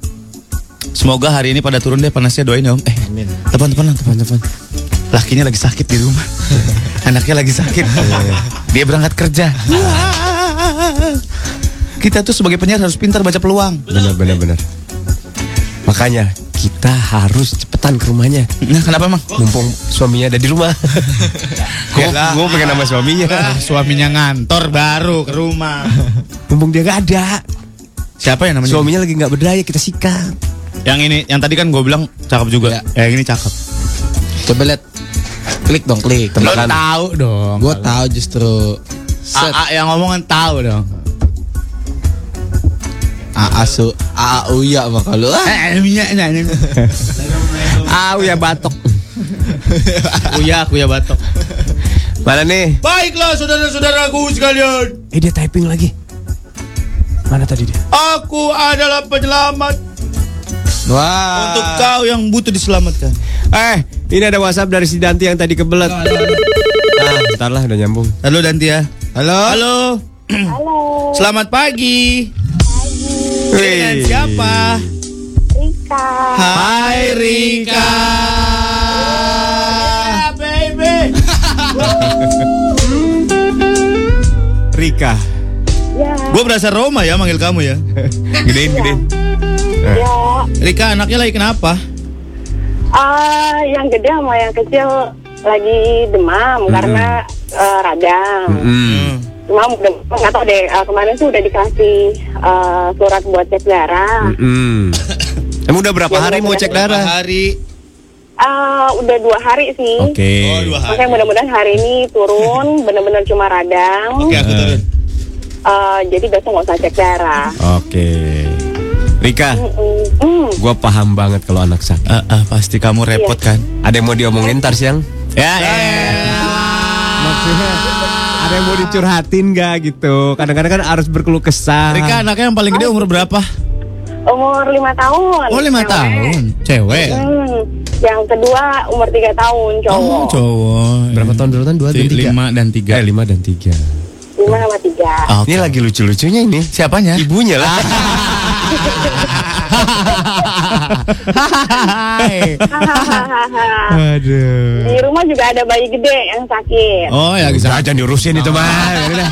Semoga hari ini pada turun deh panasnya doain ya om Eh teman-teman lah teman-teman Lakinya lagi sakit di rumah Anaknya lagi sakit Dia berangkat kerja Kita tuh sebagai penyiar harus pintar baca peluang
Benar, benar, benar. Makanya kita harus cepetan ke rumahnya,
Nah kenapa emang?
mumpung suaminya ada di rumah.
Yalah.
Gue pengen nama suaminya,
Ah, Ya. suaminya ngantor baru ke rumah.
mumpung dia nggak ada.
Siapa yang namanya?
Suaminya lagi nggak berdaya, kita sikat.
Yang ini, yang tadi kan gue bilang cakep juga. Yang ini cakep.
Coba lihat. Klik dong, klik.
Lo tahu Ah, dong.
Gue tahu justru. Set.
AA yang ngomongan tahu dong.
AA su AA uya bakal lu. Ah.
Eh, minyak nyanyi.
Ah, Uya Batok.
Uya, Uya Batok.
Mana nih?
Baiklah saudara-saudaraku sekalian.
Eh dia typing lagi. Mana tadi dia?
Aku adalah penyelamat
Wah.
untuk kau yang butuh diselamatkan.
Eh, ini ada WhatsApp dari si Danti yang tadi kebelet. Ah, bentar lah udah nyambung.
Halo Danti ya.
Halo.
Halo.
Halo.
Selamat pagi. Dengan
Wih.
siapa?
Rika.
Hai Rika. Baby.
Rika.
Ya.
Gue berasa Roma ya manggil kamu ya.
Gedein, gedein.
Ya.
Rika anaknya lagi kenapa?
Ah, yang gede sama yang kecil lagi demam karena eh, radang.
Hmm.
Cuma dem- nggak tahu deh eh, kemarin tuh udah dikasih eh, surat buat cek darah.
Mm.
Hmm. Emang udah berapa hari mau cek
Berapa
darah?
hari?
Ah, udah dua hari sih.
Oke.
Oh dua hari.
Makanya mudah-mudahan hari ini turun benar-benar cuma radang.
Oke aku turun.
Eh, jadi besok nggak usah cek darah.
Oke. Rika,
Mm, mm.
gua paham banget kalau anak sakit.
Ah, ah, pasti kamu repot kan?
Ada yang mau diomongin ntar siang? Ya, Maksudnya ada yang mau dicurhatin gak gitu? Kadang-kadang kan harus berkeluh kesah.
Rika anaknya yang paling gede umur berapa?
Umur lima tahun.
Oh lima
Cewek.
tahun. Cewek.
Hmm. Yang kedua umur tiga tahun cowok.
Oh, cowok.
berapa tahun dulu kan? Dua dan
Ti-
tiga.
Lima dan tiga.
Eh, lima dan tiga.
Lima sama tiga.
Ah,
Ini
oke.
lagi lucu-lucunya ini.
Siapanya?
Ibunya lah.
Hahaha.
Aduh.
Di rumah juga ada bayi gede yang sakit.
Oh ya bisa.
Udah, jangan diurusin itu mah. Ya udah.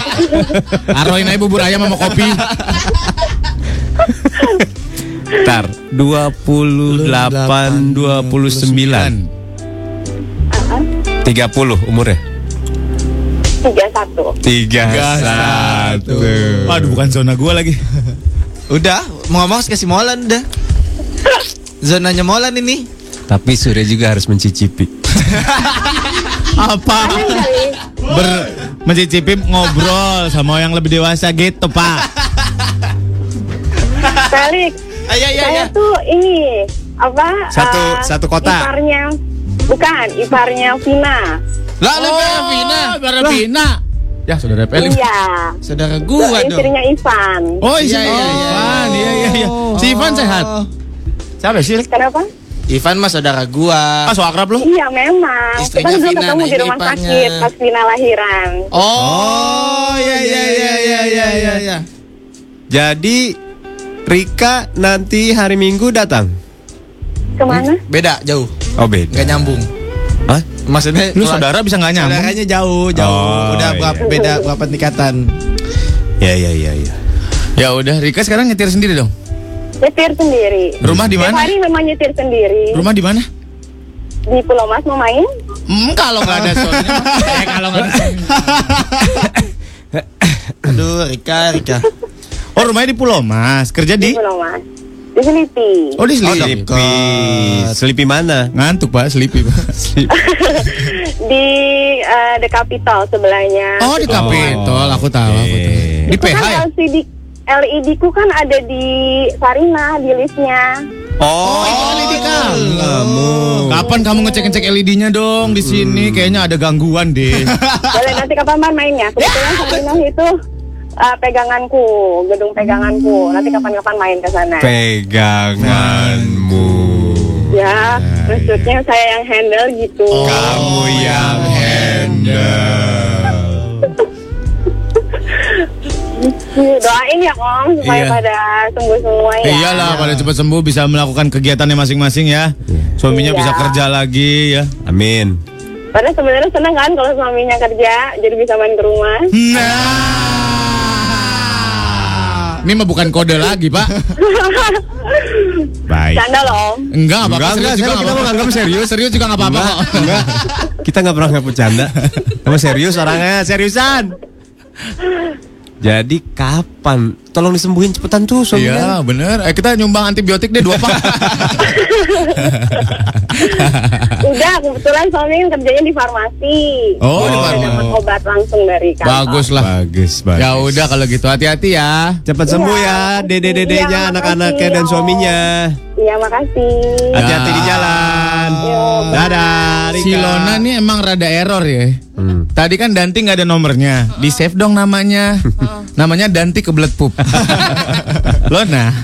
Taruhin aja bubur ayam sama kopi.
Bentar, 28, 29,
Ah,
30 umurnya.
Tiga satu.
31.
Waduh bukan zona gua lagi.
Udah, mau ngomong kasih molan udah. Zonanya molan ini.
Tapi Surya juga harus mencicipi.
Apa? Ber mencicipi ngobrol sama yang lebih dewasa gitu pak.
Felix.
Ayo,
Iya,
ayo,
saya
ayo.
tuh ini apa? eh,
Satu- satu kota.
Iparnya bukan iparnya Vina.
Lah, lu
Oh,
Vina.
Barabina. Ya saudara Pelin.
Iya.
Saudara
Tuh,
gua dong.
istrinya Ivan.
Oh iya,
Iya, iya,
iya,
iya.
Ivan, iya, iya, iya. Si Ivan sehat. Siapa sih?
Kenapa?
Ivan mah saudara gua.
Ah, so akrab lu.
Iya memang.
Istrinya
Kita dulu
Vina,
ketemu
nah
di
ini
rumah
iparnya.
sakit pas Vina lahiran.
Oh, iya iya iya iya iya iya. iya.
Jadi Rika nanti hari Minggu datang.
Kemana?
Beda jauh,
Oh beda.
nggak nyambung.
Hah?
Maksudnya
Lu
keluar-
saudara bisa nggak nyambung?
Saudaranya jauh, jauh.
Oh,
Udah
iya.
berapa, beda berapa tingkatan?
Ya ya ya ya.
Ya udah, Rika sekarang nyetir sendiri dong.
Nyetir sendiri.
Rumah di
Tiap
mana?
hari memang nyetir sendiri.
Rumah di mana?
Di Pulau Mas mau main?
Hmm, kalau nggak ada soalnya. eh, kalau nggak ada.
Aduh, Rika, Rika.
Oh, rumahnya di Pulau Mas. Kerja
Di
di
Pulau Mas. Di Selipi.
Oh, di
Oh,
Selipi.
Selipi. Selipi mana?
Ngantuk, Pak, Selipi, Pak.
Di eh, The Capital sebelahnya.
Oh, di Kapitol, aku tahu, aku tahu.
Eh.
Oke.
Di
Itu
PH ya?
kan LCD LED ku kan ada di Sarina di listnya.
Oh,
LED kamu. Kapan kamu ngecek-ngecek LED-nya dong di sini? Kayaknya ada gangguan deh.
Boleh nanti kapan man mainnya? Kebetulan Sarina itu eh, peganganku, gedung peganganku. Nanti kapan-kapan main ke sana.
peganganmu.
Ah,
ya,
iya.
maksudnya saya yang handle gitu.
Oh.
Kamu
Oh,
yang handle.
Doain ya Om supaya
Iya.
pada sembuh semua ya.
Iyalah, pada cepat sembuh bisa melakukan kegiatannya masing-masing ya. Suaminya
Iya.
bisa kerja lagi ya.
Amin.
Padahal sebenarnya senang kan kalau suaminya kerja, jadi bisa main ke rumah.
Nah. Ini mah bukan kode lagi, Pak.
Baik.
Canda loh Om.
Enggak, apa-apa.
Enggak, enggak,
Serius juga enggak
serius, kita
apa-apa.
menganggap serius.
Serius juga enggak apa-apa. kok.
Kita nggak pernah nggak bercanda. Kamu serius orangnya, seriusan. Jadi kapan? Tolong disembuhin cepetan tuh
Iya,
suaminya.
bener. Eh, kita nyumbang antibiotik deh dua pak.
Udah, kebetulan suami kan kerjanya di farmasi.
Oh, di
Jadi udah
farmasi.
dapat obat langsung dari kantor.
Bagus lah.
Bagus, bagus.
Ya udah kalau gitu hati-hati ya.
Cepat sembuh ya, dede-dedenya,
Iya,
anak-anaknya dan
makasih,
suaminya.
Om. Iya, makasih.
Hati-hati
Ya.
di jalan.
Iya.
Dadah. Rika. Hmm.
Si Lona nih emang rada error ya. Tadi kan Danti nggak ada nomornya. Di save dong namanya. namanya Danti kebelet pup. Lona.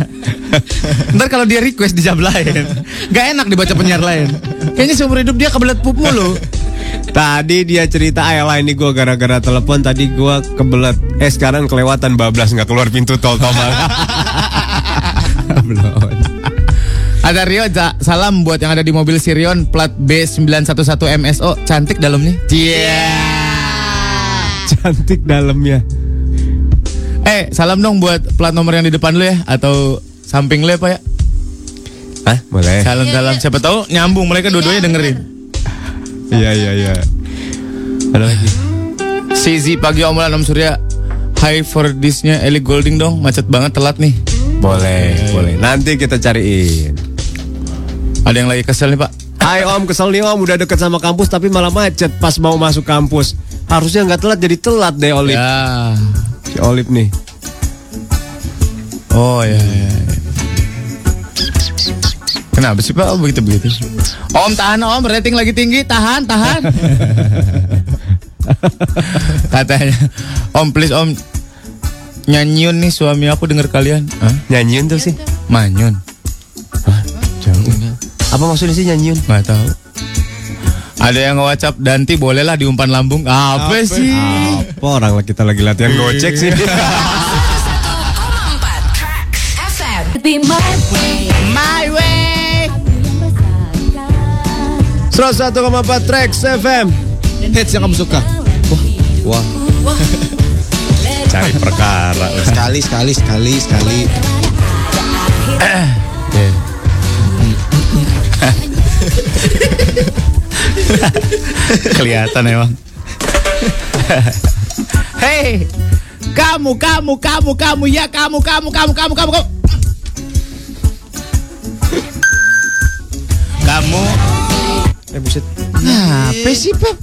Ntar kalau dia request di jam lain, nggak enak dibaca penyiar lain. Kayaknya seumur hidup dia kebelet pup mulu.
Tadi dia cerita Ayla ini gue gara-gara telepon tadi gue kebelet. Eh sekarang kelewatan bablas nggak keluar pintu tol Tomal.
Ada Rio, Za. salam buat yang ada di mobil Sirion plat B911 MSO. Cantik dalamnya. Cie.
Cantik dalamnya.
Eh, salam dong buat plat nomor yang di depan lu ya atau samping lu ya, Pak ya.
Hah? Boleh.
Salam-salam siapa tahu nyambung mereka dua-duanya dengerin.
Iya iya iya. Ada lagi.
Sizi pagi omelan Om Surya. Hi for this-nya Ellie Golding dong, macet banget telat nih.
Boleh, boleh. Nanti kita cariin.
Ada yang lagi kesel nih, Pak.
Hai Om, kesel nih Om, udah deket sama kampus tapi malah macet pas mau masuk kampus. Harusnya nggak telat jadi telat deh Olip.
Ya.
Iya. Si Olip nih.
Oh ya. ya, ya. Kenapa sih Pak begitu begitu? Om tahan Om, rating lagi tinggi, tahan tahan. Katanya, Om please Om nyanyiun nih suami aku denger kalian. Hah?
Nyanyiin tuh
Iya,
sih.
Manyun,
Apa maksudnya sih nyanyiin?
nggak tahu. Ada yang nge-whatsapp Danti bolehlah diumpan lambung. Apa, sih?
Apa orang lagi- kita lagi latihan gocek sih.
My way.
101,4 Trax FM.
Hits yang kamu suka.
Wah. Cari perkara.
Sekali, sekali, sekali, sekali.
Kelihatan emang. Hei, kamu, kamu, kamu, kamu, ya kamu, kamu, kamu, kamu, kamu, kamu. Kamu,
Eh buset.
apa sih Pep?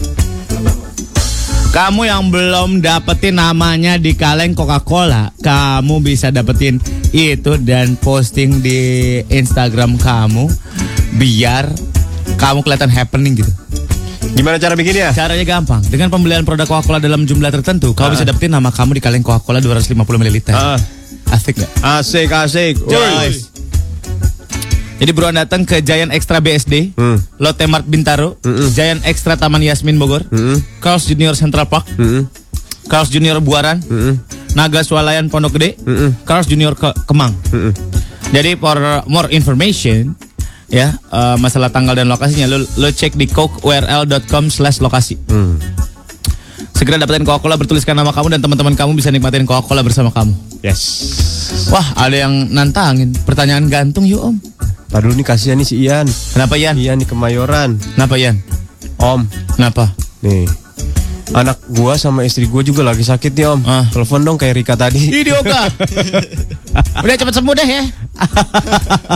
Kamu yang belum dapetin namanya di kaleng Coca-Cola, kamu bisa dapetin itu dan posting di Instagram kamu biar kamu kelihatan happening gitu.
Gimana cara bikinnya?
Caranya gampang. Dengan pembelian produk Coca-Cola dalam jumlah tertentu, kamu bisa dapetin nama kamu di kaleng Coca-Cola 250 ml.
Ah,
Asik nggak?
asik asik. Woi.
Nice. Jadi buruan datang ke Giant Extra BSD,
Hmm.
Lotte Mart Bintaro, Giant Extra Taman Yasmin Bogor, Carl's Junior Central Park, Carl's Junior Buaran, Naga Swalayan Pondok Gede, Carl's Junior Ke- Kemang. Jadi for more information ya eh, masalah tanggal dan lokasinya lo lo cek di cokeurl.com slash lokasi. Segera dapetin Coca-Cola bertuliskan nama kamu dan teman-teman kamu bisa nikmatin Coca-Cola bersama kamu.
Yes.
Wah, ada yang nantangin. Pertanyaan gantung yuk, Om.
Tadi dulu nih kasihan nih si Ian.
Kenapa, Yan?
Ian di Kemayoran.
Kenapa, Yan?
Om,
Kenapa?
nih. Anak gua sama istri gua juga lagi sakit nih om.
Ah.
Telepon dong kayak Rika tadi.
Idioka. Udah cepet sembuh deh ya.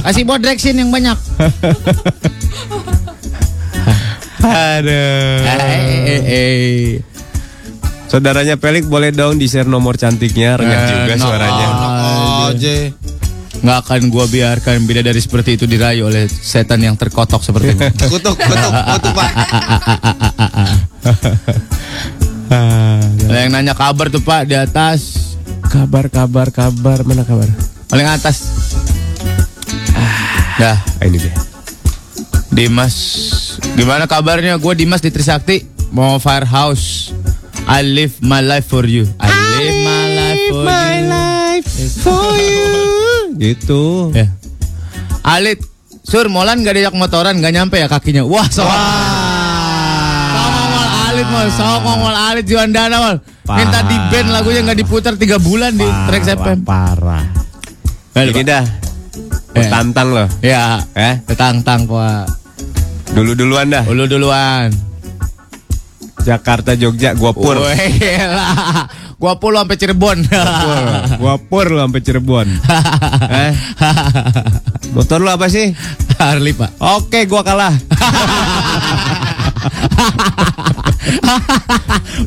Kasih bodrexin yang banyak.
Aduh.
Eh, eh.
Saudaranya Pelik boleh dong di share nomor cantiknya. Renyah
Eh,
juga
no.
suaranya.
Oje.
Nggak akan gua biarkan bila dari seperti itu dirayu oleh setan yang terkotok seperti ini.
Iya.
Eh.
Kutuk, kutuk, kutuk pak.
Ada yang nanya kabar tuh Pak di atas.
Kabar kabar kabar mana kabar?
Paling atas. Dah,
Ah, ini dia.
Dimas, gimana kabarnya? Gue Dimas di Trisakti, mau Firehouse. I live my life for you. I, live my life for you.
Gitu.
Ya. Alit, Sur, Molan gak diajak motoran, gak nyampe ya kakinya. Wah, sok. Sokong Mol Alit, Mol. Sokong Mol Alit, Juandana, Mol. Minta di band lagunya gak diputar 3 bulan di Trax FM.
Parah. Ini dah.
Eh.
Tantang loh.
Ya,
Eh,
tang-tang, Pak.
dulu duluan dah.
Ulu duluan.
Jakarta Jogja gua pur.
Weh, gila. Gua puluh sampai Cirebon.
Pur. Gua pur lu sampai Cirebon. eh, motor lu apa sih?
Harley, Pak.
Oke, gua kalah.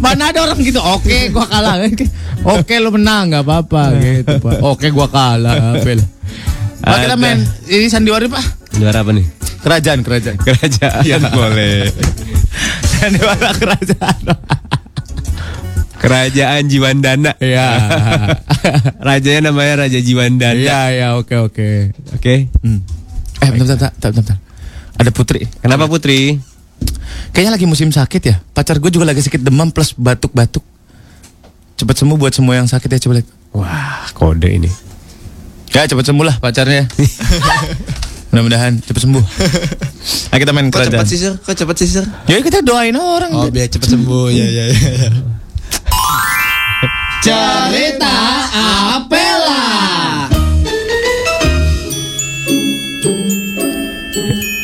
Mana ada orang gitu, oke gua kalah. Oke lu menang nggak apa-apa gitu, Pak. Oke gua kalah, Bel. Pak kita main ini sandiwara Pak.
Juara apa nih?
Kerajaan, kerajaan. Kerajaan.
Iya.
boleh. sandiwara kerajaan.
Kerajaan Jiwandana.
Iya.
Rajanya namanya Raja Jiwandana.
Iya, iya, oke, oke.
Oke.
Hmm. Eh, bentar, bentar, bentar, bentar, bentar. Ada Putri.
Kenapa Putri?
Kayaknya lagi musim sakit ya. Pacar gue juga lagi sakit demam plus batuk-batuk. Cepat sembuh buat semua yang sakit ya coba lihat.
Wah, kode ini.
Ya cepat sembuh lah pacarnya. Mudah-mudahan cepat sembuh. Nah, kita main
Kok cepat
kerajaan.
sih, Sir? Kok cepat sih, Sir?
Ya kita doain orang.
Oh, biar cepet sembuh. Ya, ya, ya. ya.
Cerita Apela.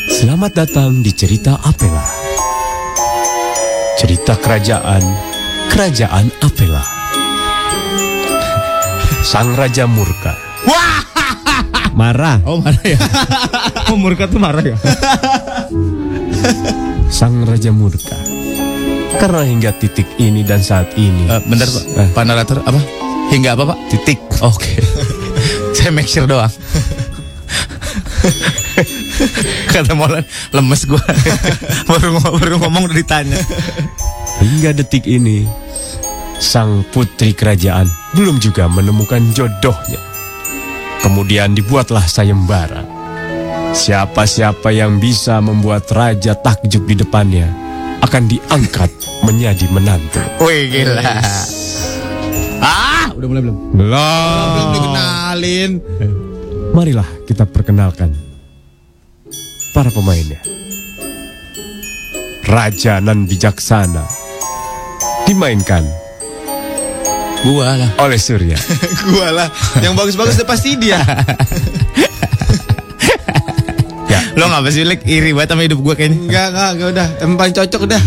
Selamat datang di cerita Apela. Cerita kerajaan, kerajaan Apela. Sang Raja Murka. Marah.
Oh marah ya. oh murka tuh marah ya.
Sang Raja Murka. Karena hingga titik ini dan saat ini.
Eh, bentar pak. Pak narator apa? Hingga apa pak? Titik. Oke. Saya make sure doang. Kata Molan lemes gua. baru, ngo- baru ngomong udah ditanya.
Hingga detik ini, sang putri kerajaan belum juga menemukan jodohnya. Kemudian dibuatlah sayembara. Siapa-siapa yang bisa membuat raja takjub di depannya akan diangkat menjadi menantu.
Wih gila. Ah, udah mulai belum?
Belum.
Belum dikenalin.
Marilah kita perkenalkan para pemainnya. Raja nan bijaksana dimainkan
gua lah
oleh Surya.
Gua lah. Yang bagus-bagus udah pasti dia.
Ya.
Lo ngapa sih Lek? iri banget sama hidup gua kayaknya?
Enggak, enggak, enggak udah. Yang paling cocok udah.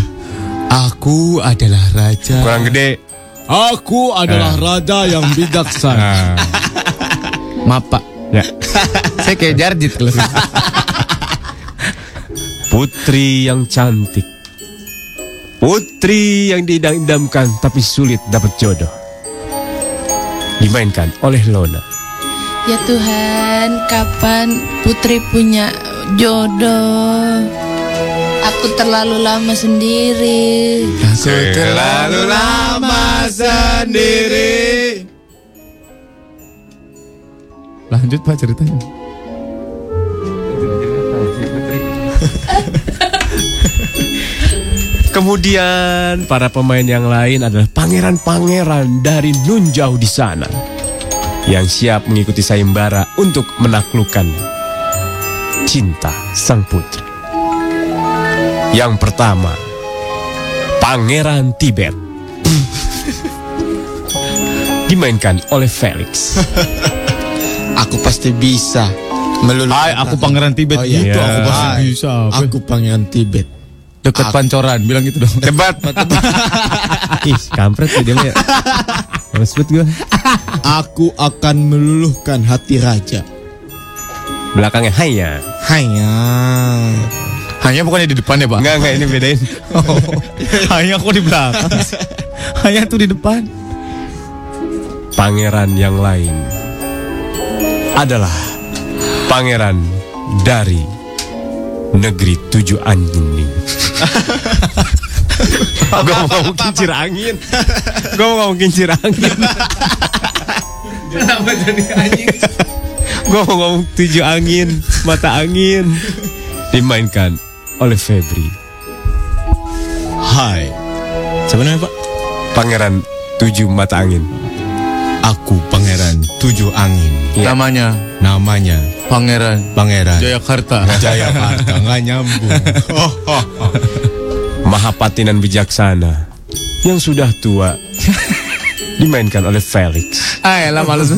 Aku adalah raja.
Kurang gede.
Aku
Eh.
adalah raja yang bijaksana.
Ah,
Maaf pak.
ya.
Saya kayak jarjit kalau
Putri yang cantik. Putri yang diidam-idamkan tapi sulit dapat jodoh. Dimainkan oleh Lona.
Ya Tuhan, kapan putri punya jodoh? Aku terlalu lama sendiri.
Terlalu lama sendiri.
Lanjut pak ceritanya.
Kemudian para pemain yang lain adalah pangeran-pangeran dari nun jauh di sana yang siap mengikuti sayembara untuk menaklukkan cinta sang putri. Yang pertama, Pangeran Tibet. Dimainkan oleh Felix.
Aku pasti bisa meluluh.
Hai, aku pangeran Tibet
Oh, iya.
gitu. Aku
Iya.
pasti
Hai.
bisa. Aku
Aku pangeran Tibet.
dekat
Aku-
pancoran, bilang gitu dong.
Debat.
Ih, kampret ya dia. Males banget gue.
Aku akan meluluhkan hati raja.
Belakangnya ya. Haya.
Hanya.
Hanya bukannya di depan ya pak?
Enggak, enggak ini bedain.
Oh. Hanya aku di belakang. sih. Hanya tuh di depan.
Pangeran yang lain adalah pangeran dari negeri tujuh anjing. Gue mau ngomong kincir angin. Gue mau ngomong kincir angin. Gue mau ngomong tujuh angin, mata angin. Dimainkan oleh Febri.
Hai. Sebenarnya Pak,
Pangeran tujuh mata angin.
aku pangeran tujuh angin.
Iya.
Iya. Namanya
Namanya
Pangeran
Pangeran
Jayakarta.
Jayakarta. Nggak nyambung. Oh, oh, oh.
Mahapati dan bijaksana yang sudah tua dimainkan oleh Felix.
Ah, elah males.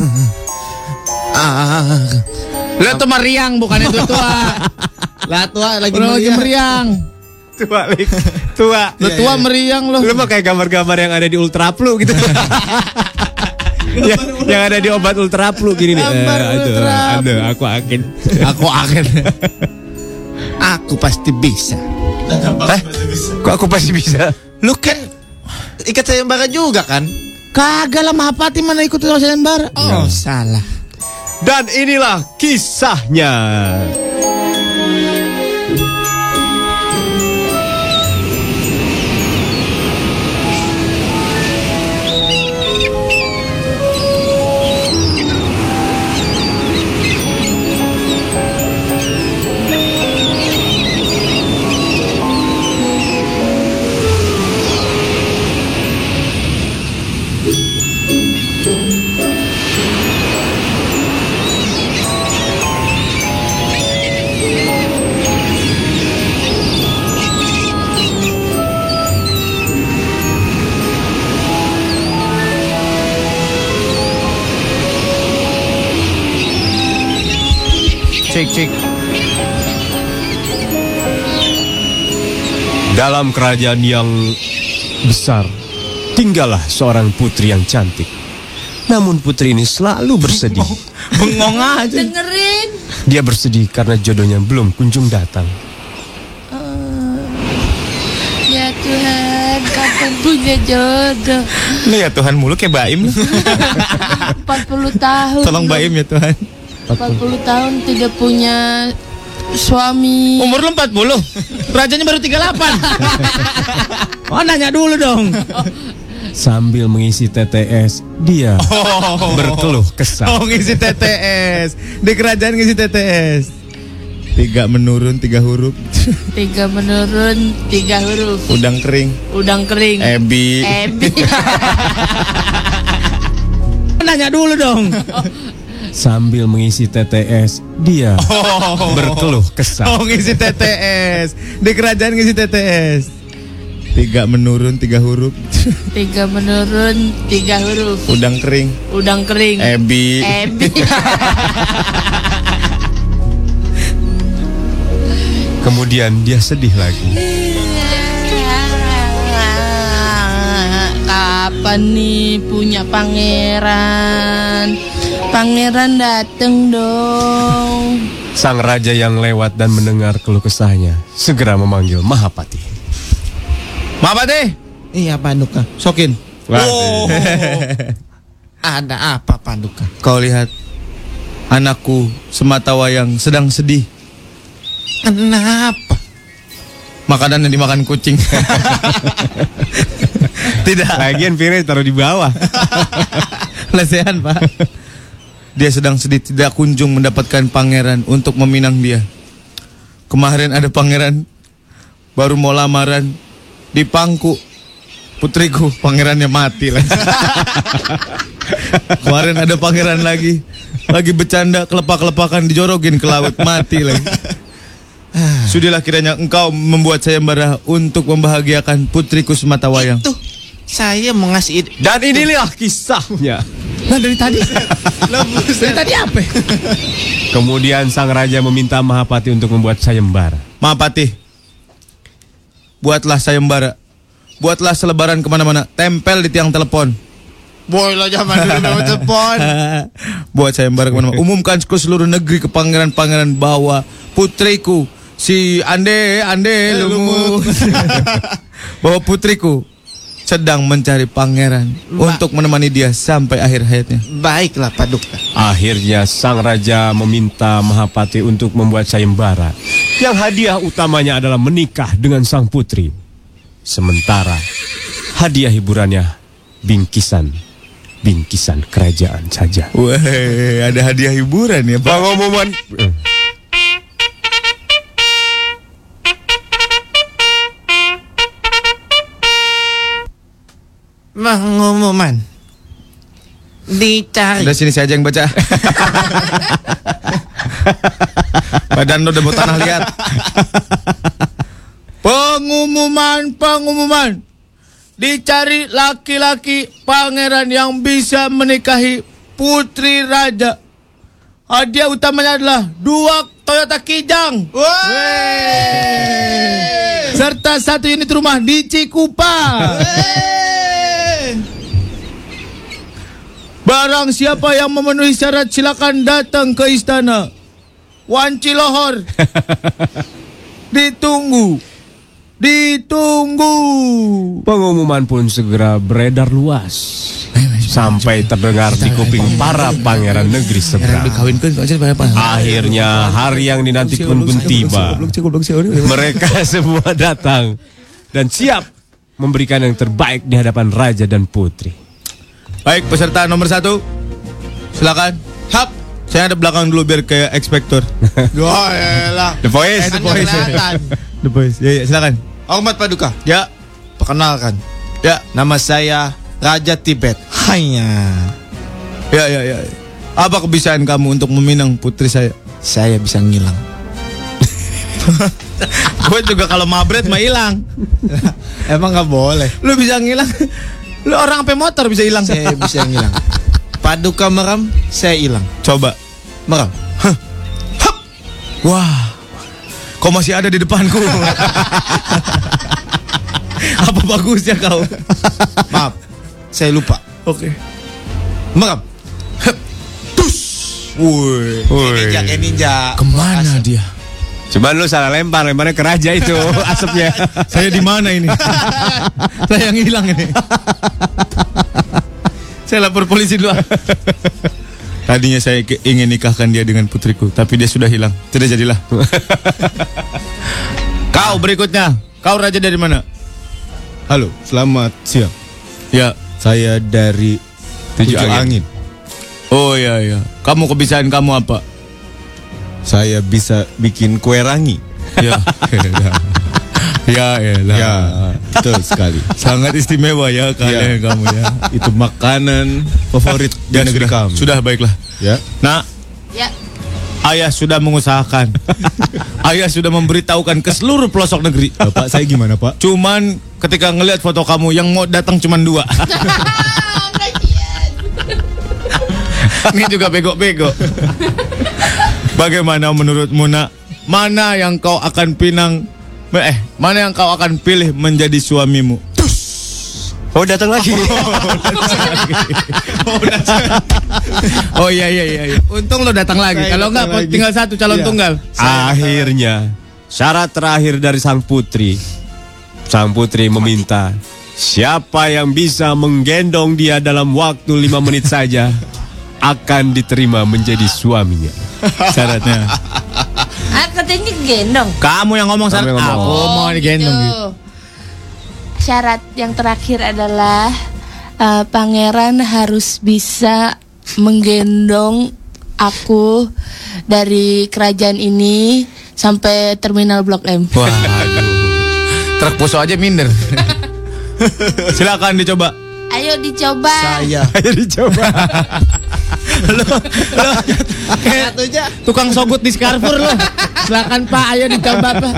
Ah,
Lo tuh meriang bukannya tuh tua.
lah tua lagi
Lo
meriah.
lagi meriang. Iya,
Tua, Lik. Tua.
Lo
Iya,
tua meriang lo.
Lu mah kayak gambar-gambar yang ada di Ultra Plus gitu. yang, yang ada di obat Ultra Plus gini nih. Eh,
Gambar
aduh,
Ultra
aduh, aku akin.
Aku akan.
Aku pasti bisa.
Kok aku pasti bisa?
Lu kan ikat sayembara juga kan?
Kagak lah Mahapati mana ikut sayembara.
Oh, salah.
Dan inilah kisahnya.
Cek cek.
Dalam kerajaan yang besar, tinggallah seorang putri yang cantik. Namun putri ini selalu bersedih.
Oh,
Bengong aja.
Dengerin.
Dia bersedih karena jodohnya belum kunjung datang.
Ya Tuhan, kapan punya jodoh?
Lu ya Tuhan mulu kayak Baim.
40 tahun.
Tolong Baim ya Tuhan.
40 tahun tidak punya suami.
Umur lu 40. Rajanya baru 38. oh nanya dulu dong.
Sambil mengisi TTS, dia
Oh.
berkeluh kesah.
Oh ngisi TTS. Di kerajaan ngisi TTS. Tiga menurun tiga huruf.
Tiga menurun, tiga huruf.
Udang kering.
Udang kering.
Ebi.
Ebi.
Oh, Nanya dulu dong.
Sambil mengisi TTS, dia
Oh.
berkeluh kesah.
Oh ngisi TTS. Di kerajaan ngisi TTS. Tiga menurun tiga huruf.
Tiga menurun, tiga huruf.
Udang kering.
Udang kering. Eh,
Eh, Ebi.
Ebi.
Kemudian dia sedih lagi.
Kapan nih punya pangeran? Pangeran dateng dong.
Sang raja yang lewat dan mendengar keluh kesahnya segera memanggil Mahapati.
Mahapati?
Iya Panduka. Sokin.
Oh.
Wow.
Ada apa Panduka?
Kau lihat anakku semata wayang sedang sedih.
Kenapa?
Makanan yang dimakan kucing. Tidak.
Lagian piring taruh di bawah.
Lesehan, Pak. Dia sedang sedih tidak kunjung mendapatkan pangeran untuk meminang dia. Kemarin ada pangeran baru mau lamaran di pangku putriku pangerannya mati lah. Kemarin ada pangeran lagi lagi bercanda kelepak-kelepakan dijorokin ke laut mati lagi. Sudahlah kiranya engkau membuat sayembara untuk membahagiakan putriku semata wayang.
Tuh, saya mau ngasih ide.
Dan inilah
Ya.
kisahnya.
Lah dari tadi. dari tadi apa?
Kemudian sang raja meminta Mahapati untuk membuat sayembara.
Mahapati Buatlah sayembara Buatlah selebaran kemana-mana Tempel di tiang telepon
Boy lo zaman dulu memang telepon.
Buat sayembara kemana-mana Umumkan ke seluruh negeri ke pangeran-pangeran bahwa Putriku Si Ande Ande Lumu Bahwa putriku Sedang mencari pangeran Untuk menemani dia sampai akhir hayatnya
Baiklah Panduka.
Akhirnya sang raja meminta Mahapati untuk membuat sayembara yang hadiah utamanya adalah menikah dengan sang putri. Sementara hadiah hiburannya bingkisan, bingkisan kerajaan saja.
Weh, ada hadiah hiburan ya Pak
Pengumuman
Pengumuman. Dicari.
Udah sini saya aja yang baca Badan lo udah mau tanah liat Pengumuman, pengumuman Dicari laki-laki pangeran yang bisa menikahi putri raja Hadiah utamanya adalah dua Toyota Kijang Wey. Serta satu unit rumah di Cikupa Barang siapa yang memenuhi syarat silakan datang ke istana. Wan Cilohor. Ditunggu. Ditunggu.
Pengumuman pun segera beredar luas. sampai terdengar di kuping para pangeran negeri seberang. Akhirnya hari yang dinantikan pun tiba. Mereka semua datang dan siap memberikan yang terbaik di hadapan raja dan putri.
Baik, peserta nomor satu. Silakan. Hap. ya, Saya ada belakang dulu biar kayak ekspektor.
Wah, elah.
The Voice.
Eh, The Voice. Kelihatan.
The Voice. Ya, ya, silakan.
Hormat Paduka. Ya. Perkenalkan. Ya. Nama saya Raja Tibet. Hanya.
Ya, ya, ya. Apa kebiasaan kamu untuk meminang putri saya?
Saya bisa ngilang.
Gue juga kalau mabret mah hilang.
Emang nggak boleh.
Lu bisa ngilang. Lu orang apa motor bisa hilang?
Saya bisa ngilang. Paduka meram, saya hilang.
Coba.
Meram. Hah. Hap.
Wah. Kau masih ada di depanku. apa bagusnya kau?
Maaf. Saya lupa.
Oke.
Meram. Hap. Tus. Woi.
Woi.
Ninja, kayak ninja.
Ah, Kemana dia?
Cuman lu salah lempar, lemparnya ke raja itu asapnya.
Saya di mana ini? saya yang hilang ini. saya lapor polisi dulu. ah. Tadinya saya ke- ingin nikahkan dia dengan putriku, tapi dia sudah hilang. Tidak jadilah. Kau berikutnya. Kau raja dari mana?
Halo, selamat siang.
Ya,
Saya dari
Tujuh
Tujuh Angin.
Oh ya ya. Kamu kebiasaan kamu apa?
Saya bisa bikin kue rangi.
Ya. ya ya.
Ya, betul sekali.
Sangat istimewa ya kalian
Ya.
kamu ya.
Itu makanan favorit di
Ya,
negeri
sudah,
kami.
sudah baiklah.
Ya.
Nah,
Ya.
Ayah sudah mengusahakan. Ayah sudah memberitahukan ke seluruh pelosok negeri.
Eh, Pak, saya gimana, Pak?
Cuman ketika ngelihat foto kamu yang mau datang cuman dua. Ini juga bego-bego. Bagaimana menurutmu nak? Mana yang kau akan pinang? Eh, mana yang kau akan pilih menjadi suamimu?
Oh datang lagi.
Oh iya iya iya. iya. Untung lo datang lagi.
Saya
Kalau
datang
enggak
lagi.
tinggal satu calon
Iya.
tunggal.
Akhirnya syarat terakhir dari sang putri. Sang putri meminta siapa yang bisa menggendong dia dalam waktu lima menit saja akan diterima menjadi suaminya.
Syaratnya.
Ah, katanya gendong.
Kamu yang ngomong
Kamu
syarat.
yang ngomong.
Aku mau digendong
gitu.
Oh, gitu.
Syarat yang terakhir adalah eh, pangeran harus bisa menggendong aku dari kerajaan ini sampai terminal Blok M.
Wah, aduh. Truk poso aja minder. Silakan dicoba.
Ayo dicoba.
Iya.
Saya.
Ayo dicoba.
Satunya
Tukang sogut di Scarfur lo. Silakan Pak, ayo dicoba Pak.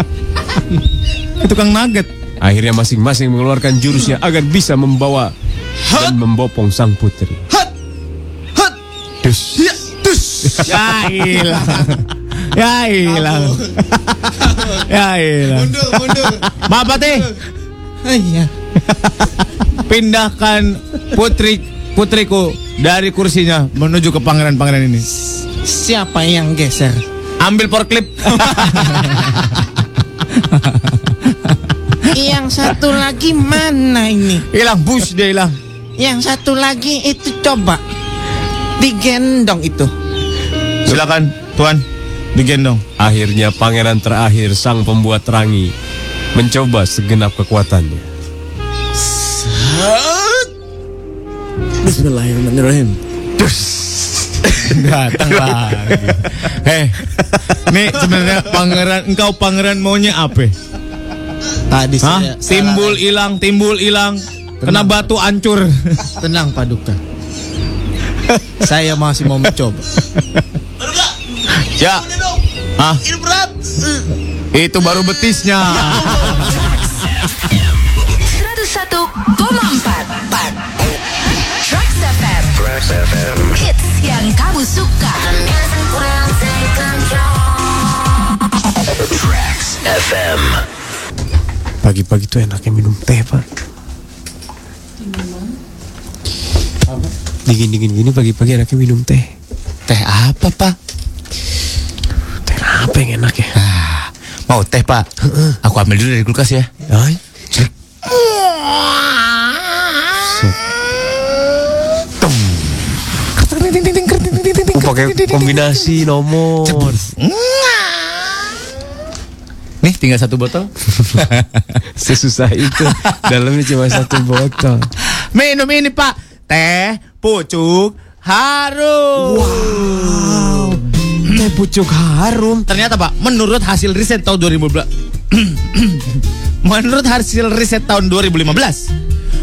Tukang nugget.
Akhirnya masing-masing mengeluarkan jurusnya agar bisa membawa dan membopong sang putri. Dus.
Ya hilang. Ya hilang. Ya hilang.
mundur, mundur.
Maaf Pak Teh,
Ah,
Iya.
pindahkan putri putriku dari kursinya menuju ke pangeran-pangeran ini.
Siapa yang geser?
Ambil porklip.
Yang satu lagi mana ini?
Hilang bus dia hilang.
Yang satu lagi itu coba digendong itu.
Silakan Tuan digendong.
Akhirnya pangeran terakhir sang pembuat rangi mencoba segenap kekuatannya.
Bismillahirrahmanirrahim.
Datang lagi. Heh, Eh, nih sebenarnya pangeran, engkau pangeran maunya apa?
Tadi saya
Hah? Timbul hilang, timbul hilang, kena batu hancur.
Tenang Paduka. saya masih mau mencoba.
Ya. Hah? Itu baru betisnya.
101,4 Tracks FM Hits yang kamu suka
Pagi-pagi tuh enaknya minum teh, Pak. Dingin-dingin gini pagi-pagi enaknya minum teh.
Teh apa, Pak?
Teh apa yang enak ya?
Ah, Mau teh, Pak? Aku ambil dulu dari kulkas ya.
Ay. Tuh. Oh,
pakai kombinasi nomor.
Nih tinggal satu botol.
Sesusah itu. Dalamnya cuma satu botol.
Minum ini pak. Teh pucuk harum. Wow. Teh pucuk harum. Ternyata pak, menurut hasil riset tahun 2015. menurut hasil riset tahun 2015,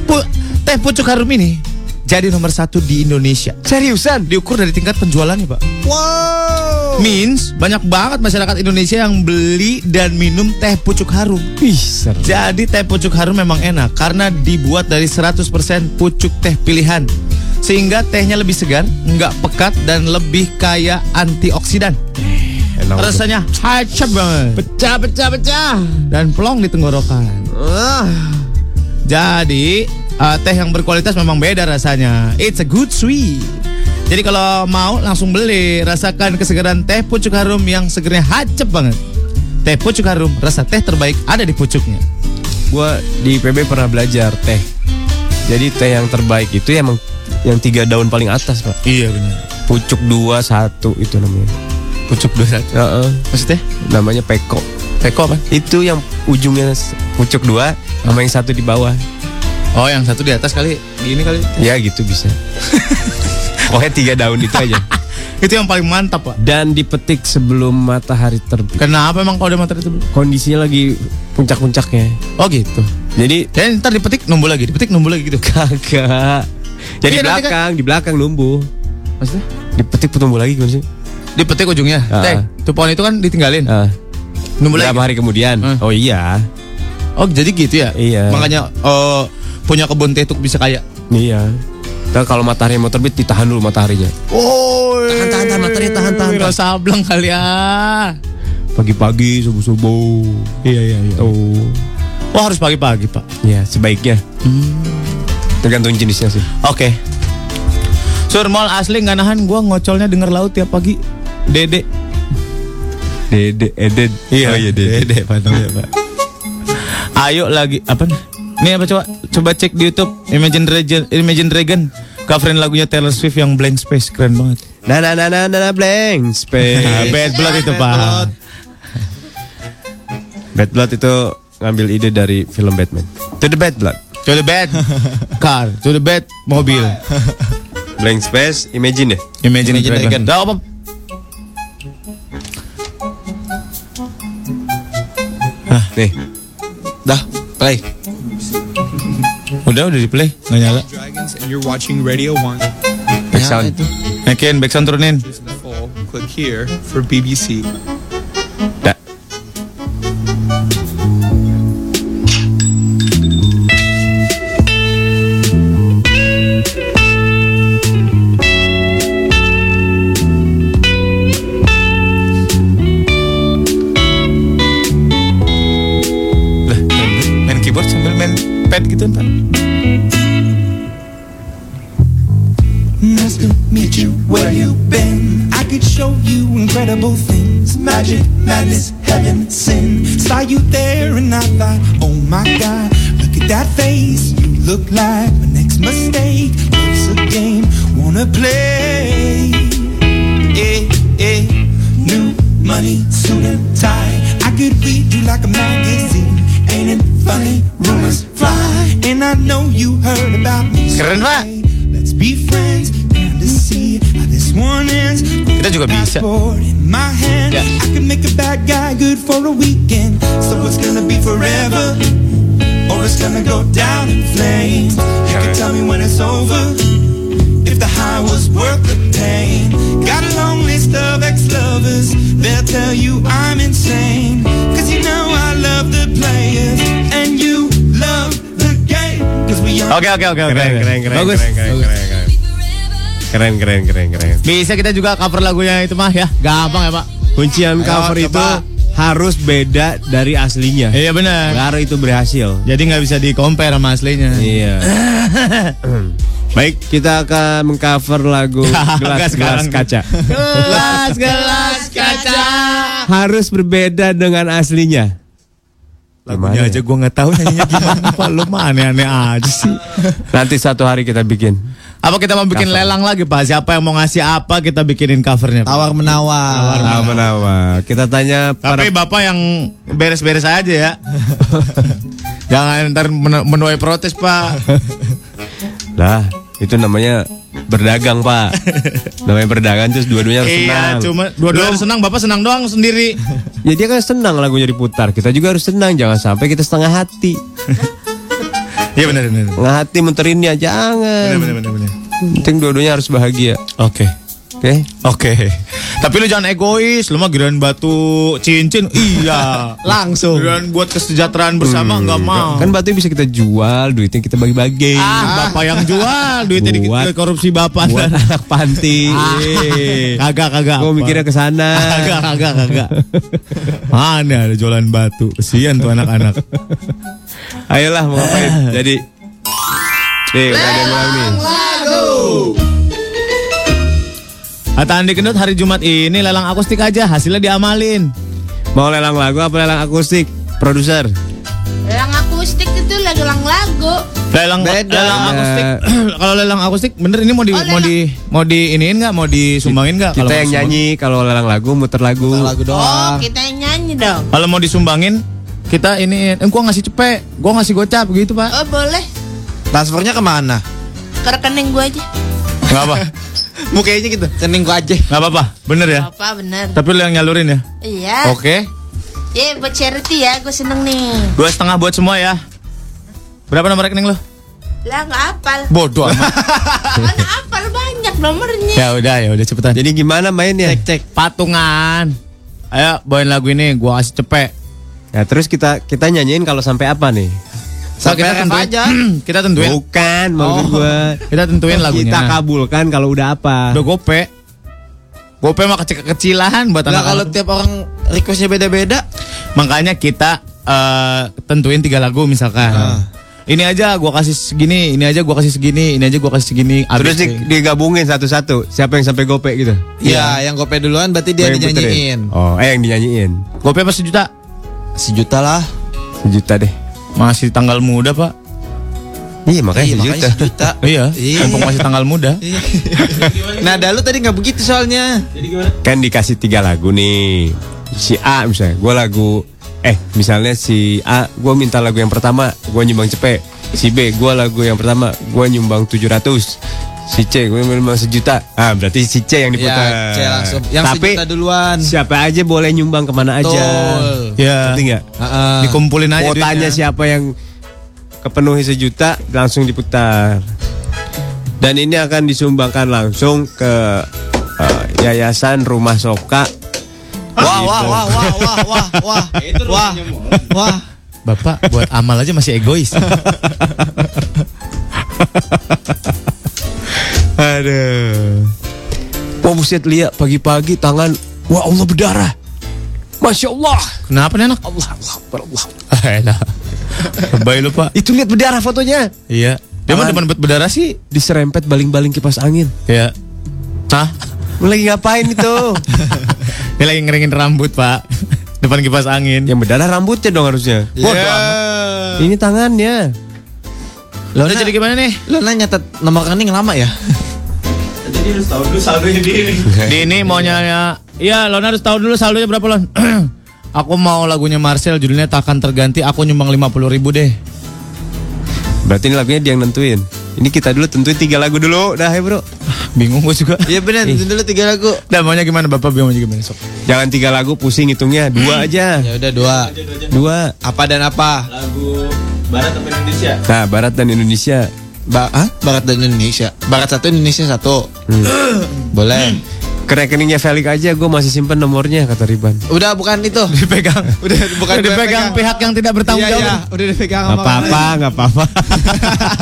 pu- teh pucuk harum ini jadi nomor satu di Indonesia. Seriusan? Diukur dari tingkat penjualannya pak. Wow. Means banyak banget masyarakat Indonesia yang beli dan minum teh pucuk harum. Ih, Jadi teh pucuk harum memang enak karena dibuat dari 100% pucuk teh pilihan. Sehingga tehnya lebih segar, nggak pekat dan lebih kaya antioksidan.
Enak
Rasanya hacep banget. Pecah, pecah, pecah. Dan plong di tenggorokan. Jadi eh, teh yang berkualitas memang beda rasanya. It's a good sweet. Jadi kalau mau langsung beli, rasakan kesegaran teh pucuk harum yang segernya hacep banget. Teh pucuk harum, rasa teh terbaik ada di pucuknya.
Gua di PB pernah belajar teh. Jadi teh yang terbaik itu emang yang tiga daun paling atas pak.
Iya benar.
Pucuk dua satu itu namanya.
Pucuk dua satu. Maksudnya?
Namanya peko.
Peko apa?
Itu yang ujungnya s- pucuk dua sama yang satu di bawah.
Oh yang satu di atas kali, ini kali.
Ya gitu bisa. Pokoknya tiga daun itu aja.
itu yang paling mantap pak.
Dan dipetik sebelum matahari terbit.
Kenapa emang kalau udah matahari terbit?
Kondisinya lagi puncak-puncaknya.
Oh gitu.
Jadi
dan ntar dipetik numbuh lagi, dipetik numbuh lagi gitu.
Kagak. Jadi
Iya, nanti kan-
belakang, di belakang numbuh.
Maksudnya?
Dipetik tumbuh lagi gimana sih?
Dipetik ujungnya.
Ah.
Teh, tuh pohon itu kan ditinggalin. Numbuh
Berapa hari kemudian? Oh iya.
Oh jadi gitu ya?
Iya.
Makanya eh, punya kebun teh tuh bisa kaya.
Iya. Nah, kalau matahari mau terbit ditahan dulu mataharinya.
Oh, tahan tahan tahan materi tahan tahan. tahan. sableng kali ah.
Pagi-pagi subuh-subuh. Iya iya iya. Oh.
Wah harus pagi-pagi pak.
Iya sebaiknya.
Hmm.
Tergantung jenisnya sih.
Oke. Surmol asli nggak nahan gua ngocolnya denger laut tiap pagi. Dede.
Dede Eden. Iya iya Dede.
Dede panggilnya, pak. Ayo lagi apa nih? Nih apa coba coba cek di YouTube Imagine Dragon Imagine Dragon coverin lagunya Taylor Swift yang Blank Space keren banget.
Nah
Ah,
nah nah nah nah, nah blank space.
Bad blood itu pak.
Bad Blood itu ngambil ide dari film Batman. To the Bad Blood.
To the bed car, to the bed mobil.
Blank space, imagine ya.
Imagine,
Imagine
Dragon.
Dragon.
Dah, apa?
Nih.
Dah, play. Udah udah di play, nggak nyala.
Dragons and you're watching Radio 1.
Back sound.
Naikin, back sound turunin.
Choose the full. Click here for BBC.
Main keyboard sambil main pad gitu ntar.
Nice to meet you. Where you been? I could show you incredible things. Magic, madness, heaven, sin. Saw you there and I thought, oh my god, look at that face. You look like my next mistake. Love's a game, wanna play. Eh, eh. New money, suit and tie. I could read you like a magazine. Ain't it funny? Rumors fly. And I know you heard about me. so
Keren, Pak.
hey, Let's be friends and to see how this one ends.
Kita juga bisa.
Passport in my hand. I can make a bad guy good for a weekend. So it's gonna be forever, or it's gonna go down in flames. You can tell me when it's over, if the high was worth the pain. Got a long list of ex-lovers, they'll tell you I'm insane. Cause you know I love the players, and you love the game. Cause we are
Oke oke oke. oke.
Keren, keren, keren,
Bagus.
keren, keren,
Bagus.
Keren keren keren keren.
Bisa kita juga cover lagunya itu mah ya. Gampang ya pak.
Kuncian
Ayo,
cover itu
coba.
harus beda dari aslinya.
Iya benar.
Baru itu berhasil.
Jadi nggak bisa di compare sama aslinya.
Iya. Baik, kita akan mengcover lagu
Nggak
gelas gelas
sekarang.
kaca.
gelas gelas kaca.
Harus berbeda dengan aslinya.
Lagunya
ya?
aja gua nggak tahu nyanyinya gimana. Pak lu mah aneh-aneh aja sih.
Nanti satu hari kita bikin.
Apa kita mau bikin
Cover.
lelang lagi Pak? Siapa yang mau ngasih apa kita bikinin covernya? Pak. Tawar
Nah,
menawar.
Tawar menawar. Kita tanya
Tapi bapak yang beres-beres aja ya. Jangan ntar men- menuai protes Pak.
Lah, itu namanya berdagang, Pak. namanya berdagang terus dua-duanya harus
iya,
senang.
cuma dua-dua harus senang. Bapak senang doang sendiri.
Ya dia kan senang lagunya diputar. Kita juga harus senang, jangan sampai kita setengah hati.
Iya benar benar.
Setengah hati menterinnya jangan.
Benar benar benar.
Penting dua-duanya harus bahagia.
Oke.
Oke.
Oke. Tapi lu jangan egois, lu mah giliran batu cincin. Iya. Langsung. Giliran buat kesejahteraan bersama Hmm, nggak mau.
Kan batu bisa kita jual, duitnya kita bagi-bagi.
Oh. Ah, bapak yang jual duitnya di ke
Buat-
korupsi bapak.
buat anak panti.
Ah, kagak kagak.
Gua
apa.
mikirnya ke sana.
Kagak kagak kagak. Mana ada jualan batu? Kesian tuh anak-anak.
Ayolah mau ngapain?
Ah.
Jadi Nih, udah ada yang mulai nih.
Kata Andi Kendut hari Jumat ini lelang akustik aja, hasilnya diamalin.
Mau lelang lagu apa lelang akustik? Produser.
Lelang akustik itu lelang lagu.
Lelang lelang akustik. Kalau lelang akustik bener ini mau di mau di mau di iniin nggak? Mau disumbangin nggak?
Kita
Kalau
yang
mau disumbangin.
nyanyi, kalau lelang lagu muter lagu. lagu
Oh, kita yang nyanyi dong.
Kalau mau disumbangin kita iniin. Eh, gua ngasih cepet, gua ngasih gocap gitu pak.
Oh, boleh.
Transfernya kemana?
Ke rekening gua aja.
Nggak apa.
Mukanya gitu. Kening gua aja.
Nggak apa-apa, bener ya.
Apa bener?
Tapi lu yang nyalurin ya.
Iya.
Oke.
Ya, buat charity ya, gue seneng nih.
Dua setengah buat semua ya. Berapa nomor rekening lu?
Lah nggak apal.
Bodoh amat.
Mana apal banyak nomornya.
ya udah ya udah cepetan.
Jadi gimana mainnya?
Cek cek patungan. Ayo bawain lagu ini, gua kasih cepet.
Ya terus kita kita nyanyiin kalau sampai apa nih?
Sampai kita tentuin, aja. kita tentuin.
Bukan, maksud
Oh.
gua.
Kita tentuin lagunya.
Kita kabulkan kalau udah apa.
Udah gope. Gope mah kecil-kecilan buat
Nah,
anak
kalau tiap orang requestnya beda-beda,
Makanya kita eh, tentuin tiga lagu misalkan. Ini aja gua kasih segini, ini aja gua kasih segini, ini aja gua kasih segini.
Terus
ABC.
di- digabungin satu-satu. Siapa yang sampai gope gitu?
Iya.
ya yang gope duluan berarti dia
Gua yang
yang dinyanyiin.
puterin. Oh, eh yang dinyanyiin.
gope apa sejuta?
Sejuta lah.
Sejuta deh.
Masih tanggal muda, Pak.
Iya, makanya
Iya, makanya
sejuta.
sejuta.
Iya,
Iya.
mumpung masih tanggal muda.
Nah, dalu tadi nggak begitu soalnya.
kan dikasih tiga lagu nih si A misalnya gue lagu eh misalnya si A gue minta lagu yang pertama gue nyumbang cepet si B gue lagu yang pertama gue nyumbang 700 si C gue nyumbang sejuta ah berarti si C yang diputar
Ya, C langsung. Yang
tapi
sejuta duluan.
siapa aja boleh nyumbang kemana aja
Betul.
Ya.
ngerti nggak
Heeh.
Dikumpulin aja
Ah, kuotanya
duitnya.
siapa yang kepenuhi sejuta langsung diputar dan ini akan disumbangkan langsung ke eh, yayasan rumah soka
Wah, wah, wah, wah, wah, wah, wah, wah, wah.
Bapak buat amal aja masih egois.
Aduh. Wah Oh, buset lihat pagi-pagi tangan Wah Allah berdarah Masya Allah
Kenapa nih anak? Ah,
Allah Allah Akbar, Allah
Enak. Baik lu, Pak.
Itu lihat berdarah fotonya
Iya. Dia mah depan berdarah sih.
Diserempet baling-baling kipas angin
Ya. Hah?
Lu Lagi ngapain itu
Dia lagi ngeringin rambut, Pak. Depan kipas angin. Ya.
Yang berdarah rambutnya dong harusnya Iya.
Bodoh Ya, amat.
Ini tangannya
Lo jadi gimana nih?
Lo nanya tet- nomor rekening lama ya?
Dini mau nyanyi. Iya, Lon harus tahu dulu saldonya berapa, Lon. aku mau lagunya Marcel judulnya takkan terganti. Aku nyumbang 50 ribu deh.
Berarti ini lagunya dia yang nentuin Ini kita dulu tentuin tiga lagu dulu Dah ya bro
Bingung gue juga.
Iya benar, itu dulu tiga lagu.
Dan maunya gimana Bapak Bingung maunya gimana sok.
Jangan tiga lagu pusing hitungnya Dua aja
Ya udah dua.
Dua
Apa dan apa?
Nah Barat dan Indonesia
Ba Hah? Barat dan Indonesia. Barat satu, Indonesia satu.
Hmm.
Boleh.
Ke rekeningnya Felix aja Gue masih simpen nomornya kata Riban
Udah bukan itu.
Dipegang.
Udah bukan gue yang
dipegang
pegang.
pihak yang tidak bertanggung
Iya,
jawab.
iya, udah dipegang
Gak
sama
apa-apa, gak apa-apa.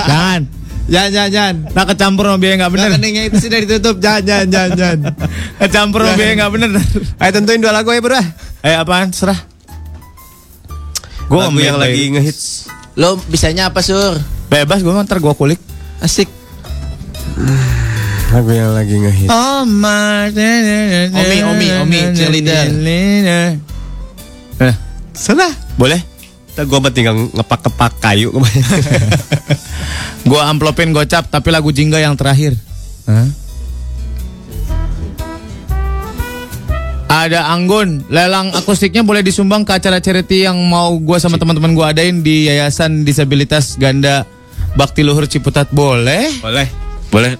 Jangan.
Jangan, jangan, jangan.
Tak kecampur sama biaya nggak bener.
Rekeningnya itu sudah ditutup. Jangan, jangan, jangan, jangan.
kecampur sama biaya nggak bener.
Ayo tentuin dua lagu ya
Eh
bro.
apaan? Serah.
Gue
Gua
lagu yang
ambil-
lagi ngehits.
Lo bisanya apa, Sur?
Bebas gue ntar gue kulik.
Asik.
Lagu yang lagi ngehits.
Oh my Omi,
Omi, Omi, cheerleader.
Eh,
Salah.
boleh? Gue mah tinggal ngepak-kepak kayu kemarin.
Gue amplopin gocap tapi lagu jingga yang terakhir. Hah? Ada Anggun, lelang akustiknya boleh disumbang ke acara charity yang mau gua sama teman-teman gua adain di Yayasan Disabilitas Ganda Bakti Luhur Ciputat boleh?
Boleh. Boleh.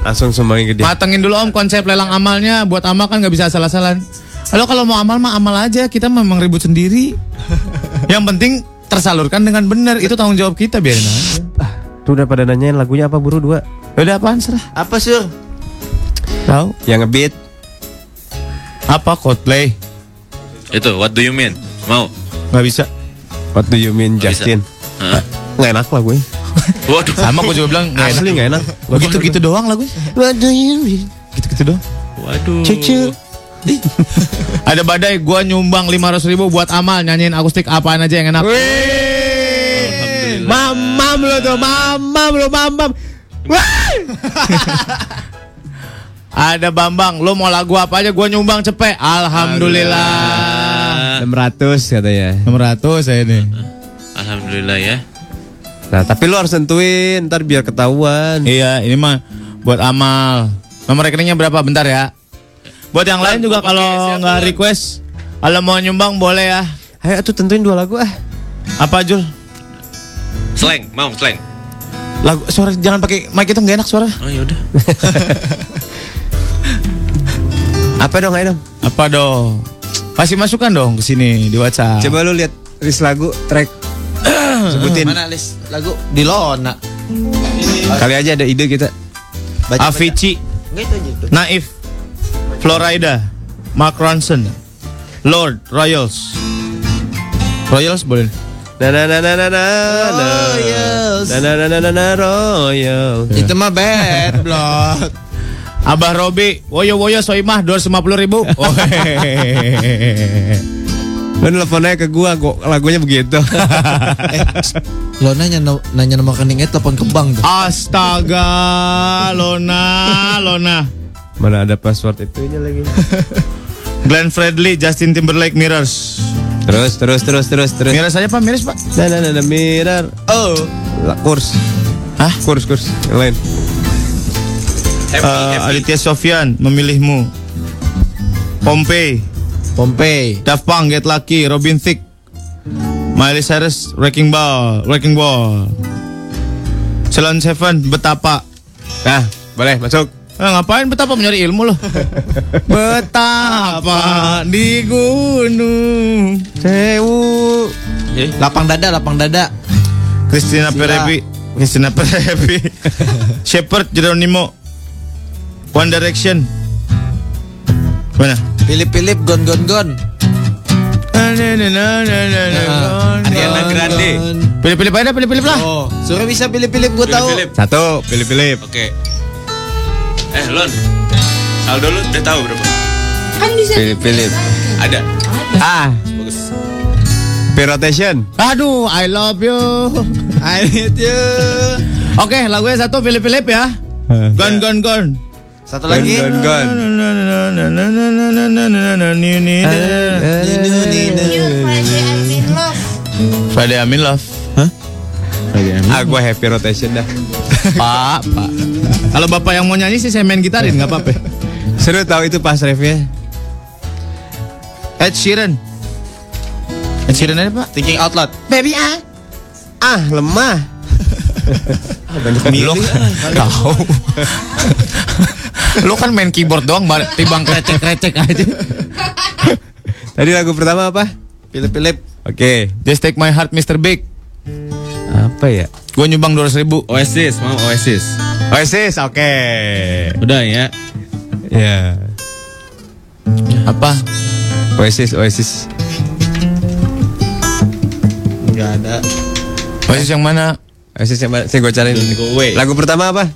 Langsung sumbangin ke dia.
Matengin dulu om konsep lelang amalnya buat amal kan nggak bisa asal-asalan. Halo kalau mau amal mah amal aja kita memang ribut sendiri. Yang penting tersalurkan dengan benar itu tanggung jawab kita biarin aja.
Tuh udah pada nanyain lagunya apa buru dua?
Udah apaan serah?
Apa sur?
Tahu?
Yang ngebeat
Apa Coldplay?
Itu what do you mean? Mau?
Nggak bisa.
What do you mean
Nggak bisa.
Justin?
Hah?
Nggak enak lah gue.
Waduh.
Sama gue juga bilang nggak enak.
Asli nggak enak.
Begitu-gitu doang lagunya. Gitu-gitu doang.
Waduh.
Cucu. Ada badai, gua nyumbang 500 ribu buat amal nyanyiin akustik apaan aja yang enak.
Mamam lo tuh, mamam lo, mamam.
Ada Bambang, lo mau lagu apa aja? Gua nyumbang cepet.
Ah.
Alhamdulillah.
600 katanya.
600 saya ini.
Alhamdulillah ya.
Nah, tapi lu harus tentuin ntar biar ketahuan.
Iya, ini mah buat amal. Nomor rekeningnya berapa? Bentar ya. Buat yang lain juga kalau nggak request, kalau mau nyumbang boleh ya.
Ayo tuh tentuin dua lagu ah.
Apa Jul?
Slang, mau slang.
Lagu suara jangan pakai mic itu nggak enak suara.
Oh ya udah.
Apa dong, ayo dong.
Apa dong? Pasti masukan dong ke sini di
Ah.
WhatsApp.
Coba lu lihat list lagu track sebutin.
Mana list lagu di Lona?
Kali aja ada ide kita.
Avicii,
Enggak itu aja.
Naif, Florida, Mark Ronson, Lord, Royals. Royals boleh.
Na na na na na na. na.
Royals.
Na na na na na na Royal.
Itu mah bad blog.
Abah Robi, woyo woyo soimah 250 ribu. Oh, hehehe.
Lu nelfon aja ke gua, gua lagunya begitu.
eh, lo nanya no- nanya nomor rekeningnya telepon ke bank tuh.
Astaga, Lona, Lona.
Mana ada password itunya lagi.
Glenn Fredly, Justin Timberlake, Mirrors.
Terus terus terus terus terus.
Mirrors aja pak, Mirrors pak.
Na na na na mirror.
Oh,
La- Kurs.
Hah?
Kurs kurs. Yang lain.
Eh, Aditya Sofyan, memilihmu. Pompei,
Pompei.
Daft Punk, Get Lucky, Robin Thicke, Miley Cyrus, Wrecking Ball, Wrecking Ball. Ceylon Seven, betapa.
Nah, boleh masuk.
Eh, ngapain betapa mencari ilmu loh? betapa di gunung.
Sewu.
Eh,
Lapang dada, lapang dada.
Christina
Sila.
Perebi Christina Perebi Shepard Jeronimo One Direction Mana?
Pilip-pilip gon gon gon.
Ariana Grande.
Pilih-pilih aja, pilih-pilih lah
Oh, suruh bisa pilip-pilip gua tahu.
Philip.
Satu, pilih-pilih.
Oke. Eh, Lon. Saldo lu udah tahu berapa?
Kan bisa
Pilih-pilih.
Ada.
Ah,
Bagus.
P-Rotation.
Aduh, I love you
I need you.
Oke, lagunya satu pilih-pilih ya Gun, gun, gun
Satu lagi.
Gon gon.
Ninu, ninu.
You Friday I'm in love.
Friday I'm in love
Ah, gua happy rotation dah.
Pak, pak Kalau bapak yang mau nyanyi sih saya main gitarin, gak apa-apa
Seru tahu itu pas refnya.
Ed Sheeran Ed Sheeran aja pak
Thinking out loud.
Baby ah. Ah, lemah.
Lo
kan
tahu. Lo kan main keyboard doang, bar- tibang krecek-krecek aja.
Tadi lagu pertama apa?
Pilip-pilip.
Oke.
Just take my heart, Mr. Big.
Apa ya?
Gue nyumbang 200 ribu.
Oasis, mau Oasis.
Oasis, oke.
Udah ya.
Ya.
Apa?
Oasis, Oasis.
Enggak ada.
Oasis yang mana?
Oasis yang mana? Saya gua cariin.
Don't go away.
Lagu pertama apa?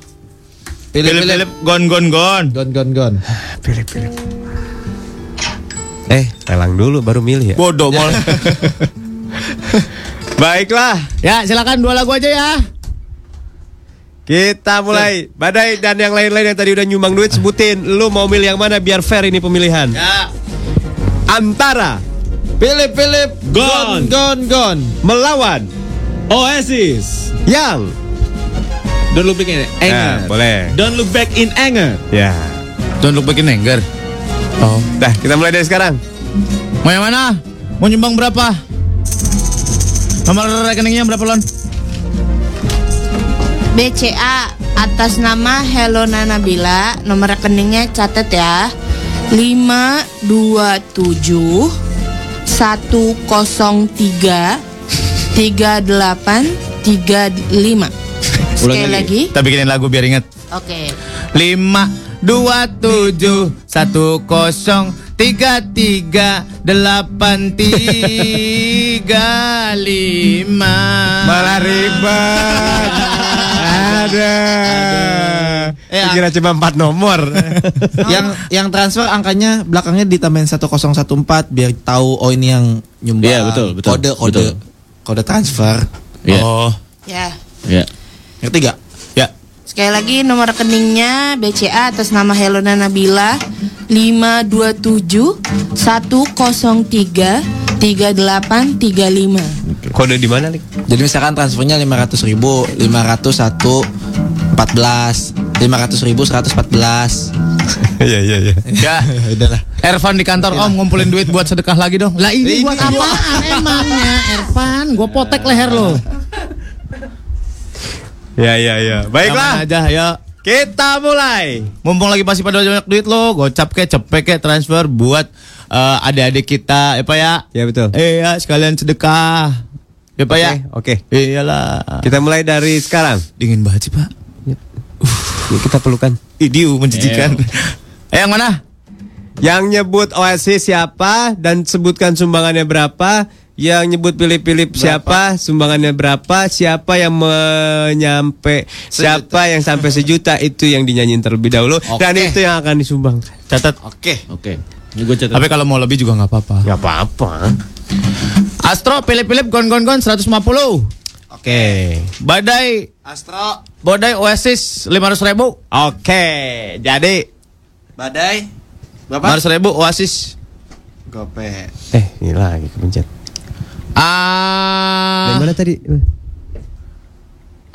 Philip Philip, gon gon gon.
Gon gon gon.
Eh, lelang dulu baru milih ya.
Bodoh mol.
Baiklah,
ya silakan dua lagu aja ya.
kita mulai. Badai dan yang lain-lain yang tadi udah nyumbang duit sebutin. Lu mau milih yang mana biar fair ini pemilihan?
Ya.
Antara P
Philip Philip
Gone.
Gone Gone
Melawan Oasis Yang Don't look back in
Ya,
anger
Nah, boleh.
Don't look back in anger
Ya. Don't look back in anger. Oh. Dah, kita mulai dari sekarang.
Mau yang mana? Mau nyumbang berapa? Nomor rekeningnya berapa lon?
BCA atas nama Hello Nanabila nomor rekeningnya catat ya 527 103 38 35 Sekali lagi
Kita bikinin lagu biar inget.
Oke
Lima dua tujuh satu kosong tiga tiga delapan tiga lima.
Malah ribet. Ada. Eh,
Kira
cuma empat nomor.
yang yang transfer angkanya belakangnya ditambahin 1014 biar tahu oh ini yang nyumbang.
Iya, betul, betul,
Kode kode
betul.
kode transfer.
Iya.
Oh.
ya
Ya.
Ngerti gak? Ya.
Sekali lagi nomor rekeningnya BCA atas nama Helona Nabila 527 103 3835
Kode di mana, Jadi misalkan transfernya 500 ribu, 501 14 500 ribu 114
Iya iya iya.
Ya,
udahlah.
Ervan di kantor Om ngumpulin duit buat sedekah lagi dong. Lah ini,
Ini
buat
buat-
apaan emangnya Ervan? Gue potek leher lo.
Ya ya ya. Baiklah.
Aman aja ya.
Kita mulai.
Mumpung lagi pasti pada banyak duit lo, gocap ke, cepek ke, transfer buat eh, adik-adik kita, apa ya?
Ya betul. Eh,
Iya, sekalian sedekah. Ya
Oh,
Pak ya.
Oke.
Iyalah.
Kita mulai dari sekarang.
Dingin banget sih Pak.
kita pelukan.
Idiu menjijikan. Eh, yang mana?
Yang nyebut Oasis siapa dan sebutkan sumbangannya berapa? Yang nyebut Philip-Philip siapa, sumbangannya berapa, siapa yang menyampe, siapa yang sampai sejuta itu yang dinyanyiin terlebih dahulu dan itu yang akan disumbangkan.
Catat.
Oke.
Oke. Ini gue catat.
Tapi kalau mau lebih juga nggak apa-apa.
Gak apa-apa.
Astro, pilih-pilih, gon gon gon 150.
Oke.
Badai
Astro
Badai Oasis 500 ribu
Oke Jadi
Badai Berapa?
500 ribu Oasis
Gope.
Eh, ini lagi kepencet.
Ah,
Yang mana tadi?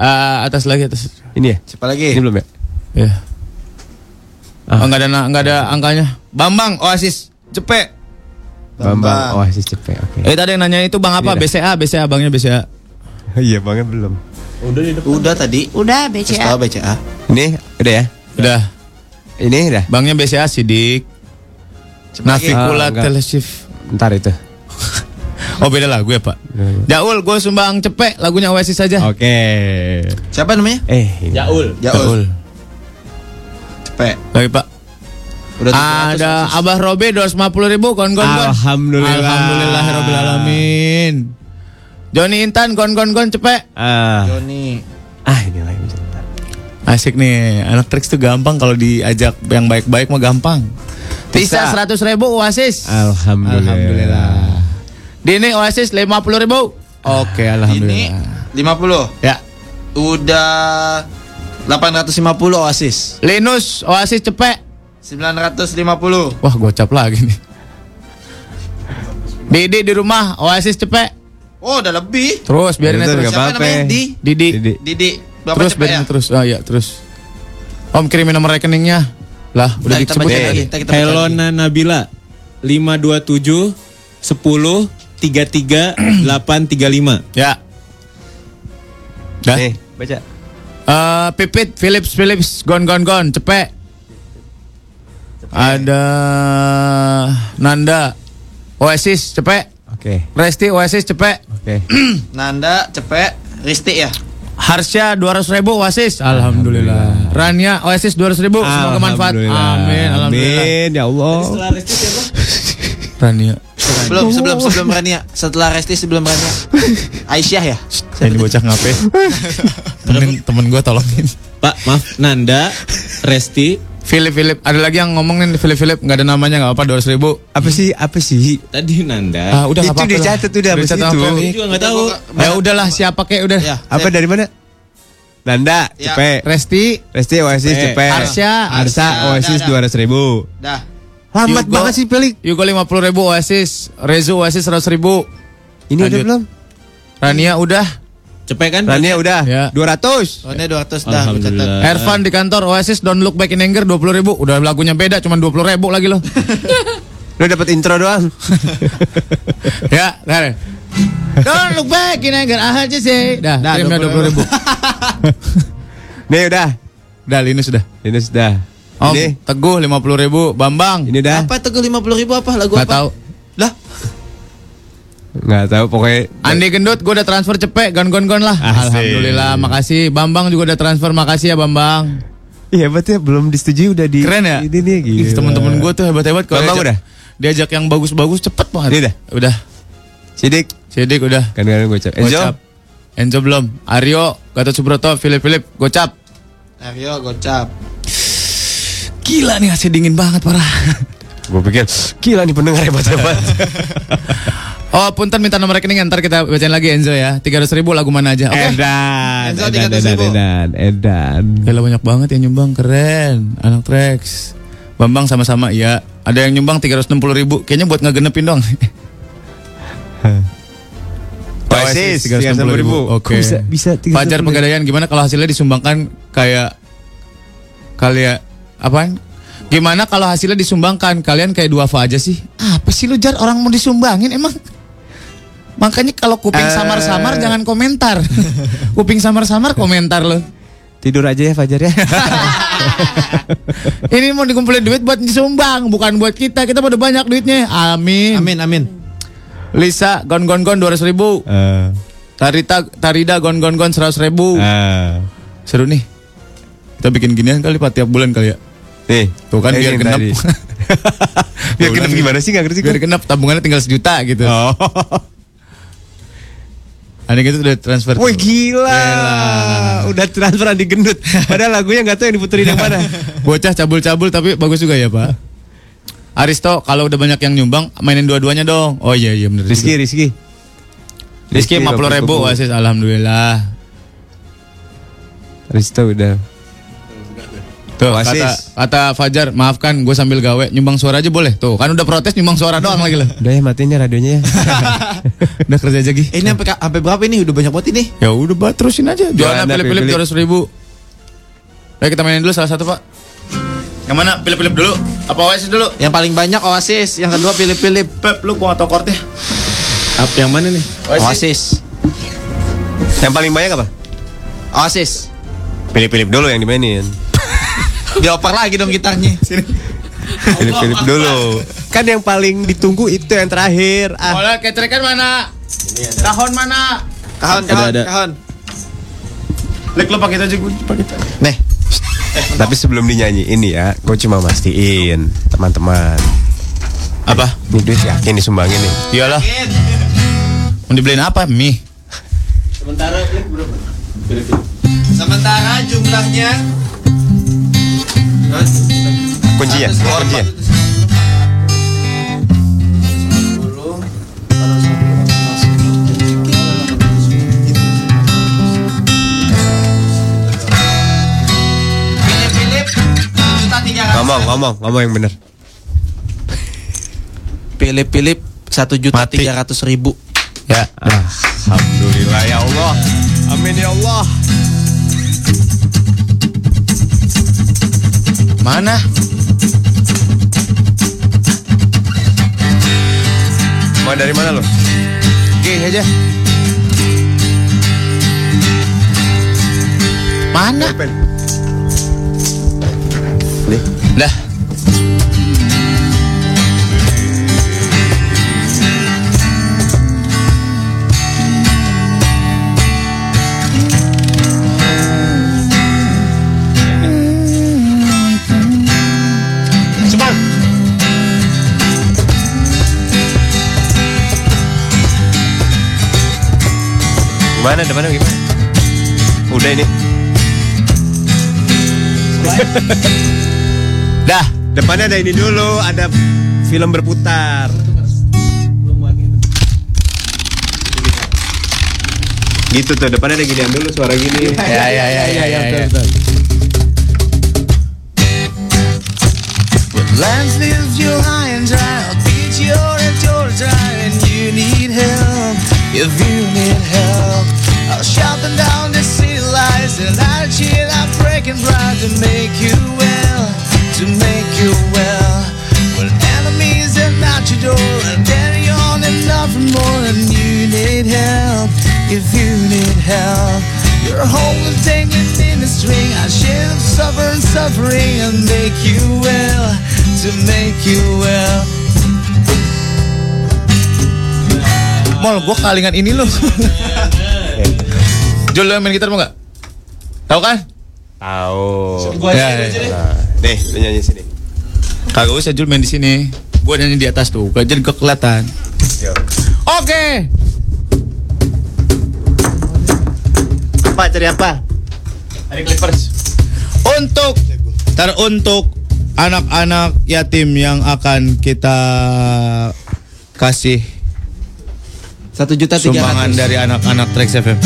ah, atas lagi atas.
Ini ya?
Siapa lagi?
Ini belum ya?
Ya. Ah. Enggak ada na- enggak ada angkanya. Bambang Oasis Cepet.
Bambang Oasis cepet. Oke.
Eh tadi yang nanya itu Bang apa?
Ini Iya dah.
BCA, BCA Bangnya BCA.
Iya, Bangnya belum.
Udah di
Udah tadi.
Udah
Astro
BCA
BCA.
Ini udah ya?
Udah.
Ini udah.
Bangnya BCA Sidik.
Ah,
Navikula
enggak.
Teleshift.
Ntar itu.
Oh beda lagu ya Pak. Jaul gue sumbang cepet lagunya Oasis aja.
Hmm. Oke.
Siapa namanya?
Eh, ini.
Jaul.
Jaul. Cepet.
Lagi Pak.
Udah 300,
Ada
Oasis.
Abah Robe 250 ribu kon kon kon.
Alhamdulillah.
Alhamdulillah Robbil Alamin. Joni Intan kon kon kon cepet.
Ah,
Joni.
ah ini lagi pencet. Ntar.
Asik nih, anak Trix tuh gampang kalau diajak yang baik-baik mah gampang. Tisa
Tisa.
100 ribu Oasis.
Alhamdulillah.
Alhamdulillah. Dini Oasis 50 ribu. Oke,
Ini
alhamdulillah.
50.
Ya.
Udah 850 Oasis.
Linus Oasis cepet.
950.
Wah, gocap lagi nih. Didi di rumah Oasis cepet.
Oh, udah lebih.
Terus biarin
Itu
aja terus.
nggak
Siapa
apa-apa.
namanya? Di?
Didi.
Didi.
Didi. Berapa
Terus
cepet ya?
biarin terus. Ah ya, terus. Om kirimin nomor rekeningnya. Lah, udah
Nah, kita
disebut
bacain lagi.
tadi.
Kita- kita bacain lagi.
Helona Nabila 527 10 33 835.
Ya. Dah.
Nih, baca.
Eh, Pipit, Philips, Philips, gon gon gon, cepet. Ada Nanda, Oasis, cepet.
Oke.
Resti, Oasis, cepet.
Oke.
Nanda, cepet. Risti ya?
Harsya 200 ribu Oasis Alhamdulillah Rania Oasis 200 ribu Semoga manfaat
Alhamdulillah.
Amin Alhamdulillah
Amin, ya Allah.
Rania
Belum, sebelum sebelum Rania. Setelah Resti sebelum Rania. Aisyah ya?
Ini bocah ngapain Temen, temen gue tolongin
Pak, maaf Nanda Resti
Philip Philip Ada lagi yang ngomongin Philip Philip Gak ada namanya gak apa-apa 200 ribu
Apa sih? Apa sih?
tadi Nanda.
ah, Udah nggak
Itu
apa-apa lah.
dicatat udah, abis
Dicatat
itu.
apa-apa.
Ini juga nggak tahu.
Ya udahlah siapa kek udah
Ya.
Apa dari mana? Nanda,
Ya.
cepet.
Resti
Resti Oasis
Cepet.
cepet.
Arsya.
Arsa
Arsa,
Oasis
dah, dah.
dua ratus ribu.
Dah.
Lambat banget sih Pelik. Yugo 50 ribu Oasis. Rezo Oasis 100 ribu. Ini
udah belum?
Rania udah.
Cepet kan?
Rania udah.
Ya.
200.
Rania 200
dah,
Alhamdulillah.
Eh.
Ervan di kantor Oasis Don't Look Back in Anger 20 ribu. Udah lagunya beda cuman 20 ribu lagi loh.
Lu dapat intro doang.
ya, dah. Don't look back in anger, I heard you say. Dah,
Dah,
kirimnya 20
20
ribu.
Nih udah.
Udah, Linus udah.
Linus udah.
Om, Teguh 50 ribu. Bambang.
Ini dah.
Eh, Apa Teguh 50 ribu apa lagu
Gak
apa?
tahu.
Nggak tahu pokoknya
Andi Gendut, gue udah transfer cepet, gon gon gon lah.
Asik.
Alhamdulillah, makasih. Bambang juga udah transfer, makasih ya Bambang.
Iya hebat ya belum disetujui udah di
Keren ya?
Ini nih
Ih,
gitu.
Temen-temen gue tuh hebat-hebat. kalau
Bambang
diajak-
udah?
Diajak yang bagus-bagus cepet banget.
Ini dah.
Udah.
Sidik. Kan,
Sidik udah.
Kan-kan gocap. Enzo.
Gocap. Enzo belum. Aryo, Gatot Subroto, Philip Philip, gocap.
Aryo gocap.
Gila nih AC dingin banget parah.
Gue pikir gila nih pendengar hebat-hebat.
Oh, punten minta nomor rekening ntar kita bacain lagi Enzo ya. 300 ribu lagu mana aja. Oke.
Edan,
Enzo
Edan,
300
Edan,
ribu.
Edan, Edan.
Gila banyak banget yang nyumbang, keren. Anak Trax. Bambang sama-sama ya. Ada yang nyumbang 360 ribu. Kayaknya buat ngegenepin dong.
Oasis,
360 ribu.
Kok
Oke.
Bisa, bisa 360
Fajar Pegadaian gimana kalau hasilnya disumbangkan kayak kalian apaan? Gimana kalau hasilnya disumbangkan kalian kayak duafa aja sih? Apa sih lu jar orang mau disumbangin emang? Makanya kalau kuping
Eh.
samar-samar jangan komentar. kuping samar-samar komentar lo.
Tidur aja ya Fajar ya.
Ini mau dikumpulin duit buat disumbang, bukan buat kita. Kita udah banyak duitnya. Amin.
Amin amin.
Lisa gon gon gon 200 ribu.
Eh,
Tarita Tarida gon gon gon 100 ribu.
eh.
Seru nih. Kita bikin ginian kali Pak tiap bulan kali ya.
Nih,
Tuh kan
Eh, ini
biar
yang
genap.
Iya, tadi. kan Biar genap gimana sih nggak ngerti gue.
biar genap tabungannya tinggal sejuta gitu.
Oh.
Ada gitu udah transfer.
Wih
tuh.
gila. Udah transferan di gendut. Padahal lagunya nggak tahu yang diputerin yang mana.
Bocah cabul-cabul tapi bagus juga ya, Pak. Aristo kalau udah banyak yang nyumbang mainin dua-duanya dong. Oh iya iya bener.
Rizky,
juga.
Rizky.
Rizky 50 ribu
Rizky.
wasis alhamdulillah.
Risto udah.
Tuh
Oasis.
kata, kata Fajar maafkan gue sambil gawe nyumbang suara aja boleh. Tuh kan udah protes nyumbang suara doang lagi lah.
Udah ya matiinnya radionya ya.
Udah kerja aja gih.
Eh, ini sampai sampai berapa ini? Udah banyak banget ini.
Ya udah Pak, terusin aja. Jualan
Jualan,
pilih-pilih
pilih-pilih.
200 ribu. Ayo kita mainin dulu salah satu Pak. Yang mana? Pilih-pilih dulu. Apa Oasis dulu?
Yang paling banyak Oasis, yang kedua Philip Philip.
Pep, lu gua nggak tahu kortnya.
Apa yang mana nih?
Oasis.
yang paling banyak apa?
Oasis.
Pilih-pilih dulu yang dimainin.
Dioper lagi dong gitarnya.
Pilih-pilih dulu. Kan yang paling ditunggu itu yang terakhir. Ah,
Kalau ketrekan mana? Tahun mana?
Kahon
Ada,
kahon
ada.
kahon.
Lek lo pakai aja gue pakai.
Nih,
Tapi sebelum dinyanyi ini ya, gue cuma mastiin teman-teman.
Apa?
Ini duit yakin disumbangin nih.
Iyalah. Mau dibeliin apa? Mie.
Sementara Sementara jumlahnya
Iya, ya,
Kuncinya, kuncinya.
Philip
Ngomong, ngomong, ngomong yang bener.
Philip Philip satu juta
Mati.
tiga ratus ribu.
Ya.
Alhamdulillah ya Allah. Amin ya Allah.
Mana?
Mau dari mana lo?
Oke aja.
Nah.
Mana? Dah.
Gimana, depannya gimana? Udah ini.
Dah.
Depannya ada ini dulu, ada film berputar. Gitu tuh, depannya ada ginian dulu suara gini. Iya,
Ya ya ya ya ya. ya.
Lands leaves your I'm breaking proud to make you well, to make you well. When enemies have knocked your door and then you're on enough and more, and you need help, if you need help. Your whole is dangling in a string. I share suffer and suffering and make you well, to make you well.
Mol, gua kalingan ini loh. Jol lu yang main gitar mau nggak? Tahu kan? Ya,
Tahu.
Gua aja, gua aja deh.
Nih, lu nyanyi sini.
Kagak usah Jul main di sini. Gua nyanyi di atas tuh, gak jadi gak kelihatan. Oke.
Apa cari apa? Cari Clippers.
Untuk teruntuk anak-anak yatim yang akan kita kasih
satu juta
sumbangan dari anak-anak Trax FM.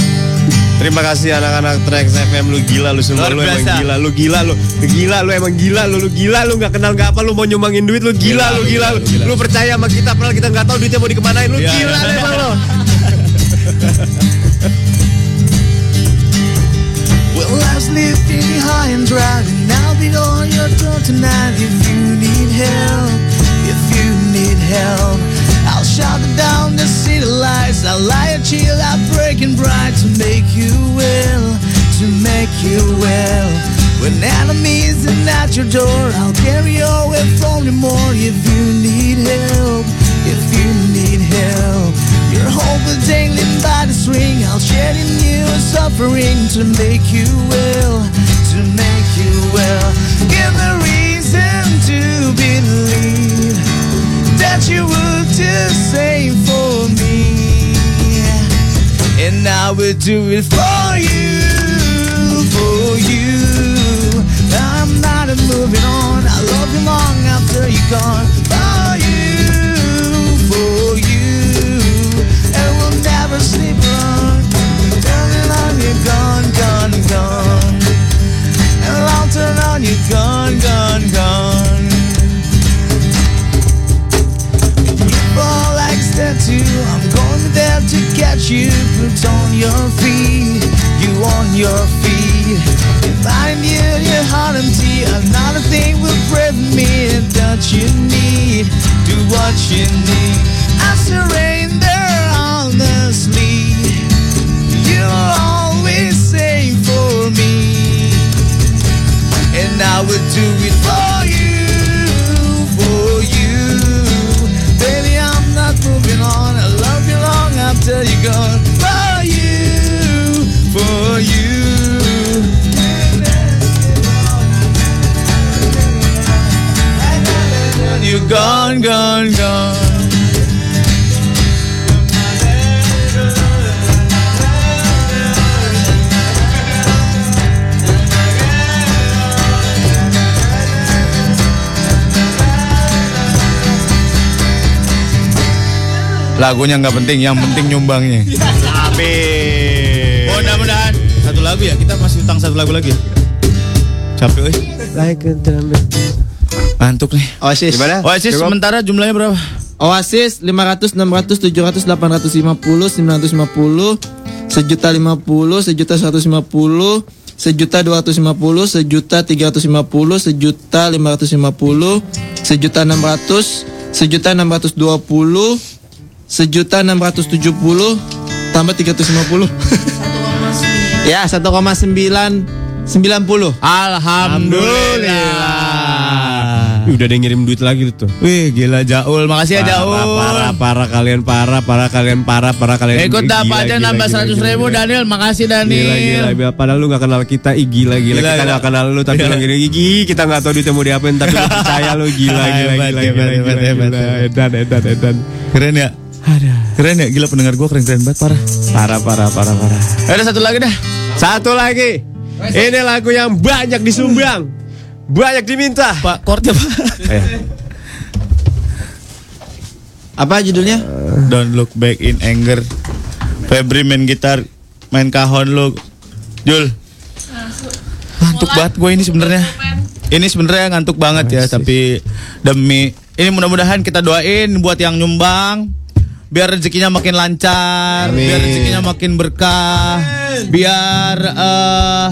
Terima kasih anak-anak Trax FM lu gila lu semua
Luar
lu emang
biasa.
gila lu gila lu Lu gila lu emang gila lu lu gila lu nggak kenal nggak apa lu mau nyumbangin duit lu gila lu gila lu, lu percaya sama kita padahal kita nggak tahu duitnya mau dikemanain lu
Iya.
gila lu emang lu
Well, life's lifting high and dry, and I'll be on your door tonight if you need help. If you need help, I'll shout it down the city lights. I'll lie and chill, I'll break and bright to make you well, to make you well. When enemies are at your door, I'll carry you away from the more if you need help. If you need help, your hope is dangling by the string. I'll shed in you a suffering to make you well, to make you well. Give a reason to believe that you would do the same for me, and I will do it for you, for you. I'm not a moving on. I love you long after you're gone. For you, for you. And we'll never sleep on. Turning on you, gone, gone, gone. And I'll turn on you, gone, gone, gone. Fall like a statue. I'm going to there to catch you. Put on your feet, you on your feet. If I'm you, your heart empty. Another thing will prevent me that you need. Do what you need. I surrender honestly. You'll always say for me, and I would do it for you, for you. Baby, I'm not moving on. I love you long after you're gone. For you, for you. You're gone, gone, gone.
Lagunya nggak penting, yang penting nyumbangnya. Amin. Mudah-mudahan satu lagu ya, kita masih utang satu lagu lagi. ya? Capek, weh.
Like a
Ngantuk nih.
Oasis.
Gimana? Oasis sementara jumlahnya berapa?
Oasis 500, 600, 700, 850, 950, sejuta 50, sejuta 150, sejuta 250, sejuta 350, sejuta 550, sejuta 600, sejuta 620, sejuta 670 tambah 350. ya, 1,9 90. Alhamdulillah.
Ih, Udah ada yang ngirim duit lagi tuh.
Wih, gila Jaul. Makasih
Parah,
ya Jaul. Eh,
Parah, parah kalian parah, parah kalian parah, parah kalian.
Ikut
Gila,
apa aja
gila,
nambah
gila,
seratus
gila,
ribu
gila.
Daniel, makasih Daniel.
Gila, gila, gila. Padahal lu gak kenal kita, ih gila, gila.
Gila, Iya.
kita
gila.
gak kenal lu, tapi
Gila.
lu gini gigi. Kita gak tahu duitnya mau diapain, tapi lu percaya lu gila, gila, gila,
Hebat, hebat,
gila,
hebat,
gila,
hebat,
gila.
hebat.
Edan, edan, edan.
Keren ya? Ada. Keren ya? Gila pendengar gua keren-keren banget parah.
Parah, parah, parah, parah.
Ada satu lagi dah.
Satu lagi. Ini lagu yang banyak disumbang. Banyak diminta.
Pak, chordnya Pak.
Eh.
Apa judulnya?
Don't look back in anger. Febri main gitar, main kahon lu. Jul. Ngantuk banget gue ini sebenarnya. Ini sebenarnya ngantuk banget ya, tapi demi ini mudah-mudahan kita doain buat yang nyumbang biar rezekinya makin lancar, biar rezekinya makin berkah, biar eh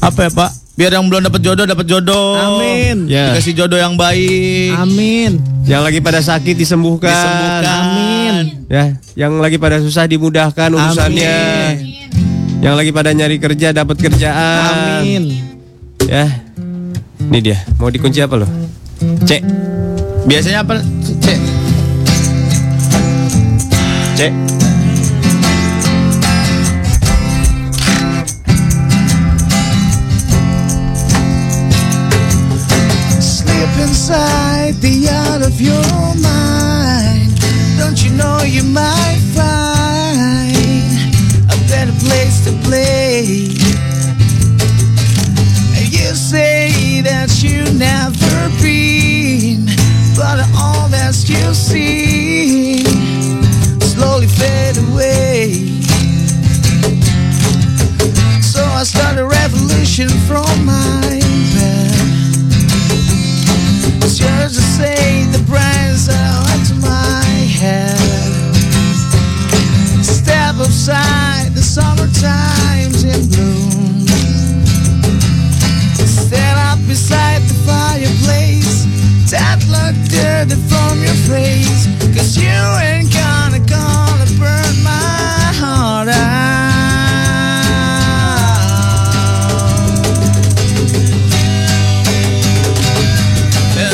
apa ya Pak? Biar yang belum dapat jodoh dapat jodoh. Amin.
Ya.
Dikasih jodoh yang baik.
Amin. Yang lagi pada sakit disembuhkan. Amin. Ya, yang lagi pada susah dimudahkan urusannya. Yang lagi pada nyari kerja dapat kerjaan. Amin. Ya. Ini dia. Mau dikunci apa lo? Cek.
Biasanya apa? Cek.
Cek.
Slip inside the out of your mind. Don't you know you might find a better place to play? And you say that you never been, but all that you see slowly fade away. So I start a revolution from my bed. It's yours to say the brains are onto my head. Step outside, the summertime's in bloom. Stand up beside the fireplace. That look dirty from your face. Cause you ain't gonna, gonna burn my heart out.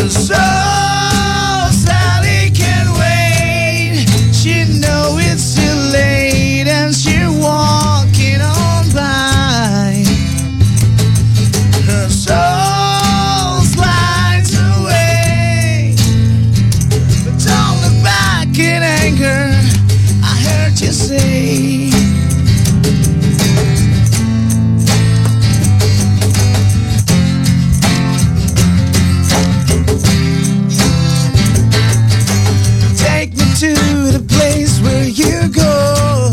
And so Sally can wait. She know it's too late, and she walking on by. Her soul slides away, but don't look back in anger. I heard you say. Take me to the place where you go,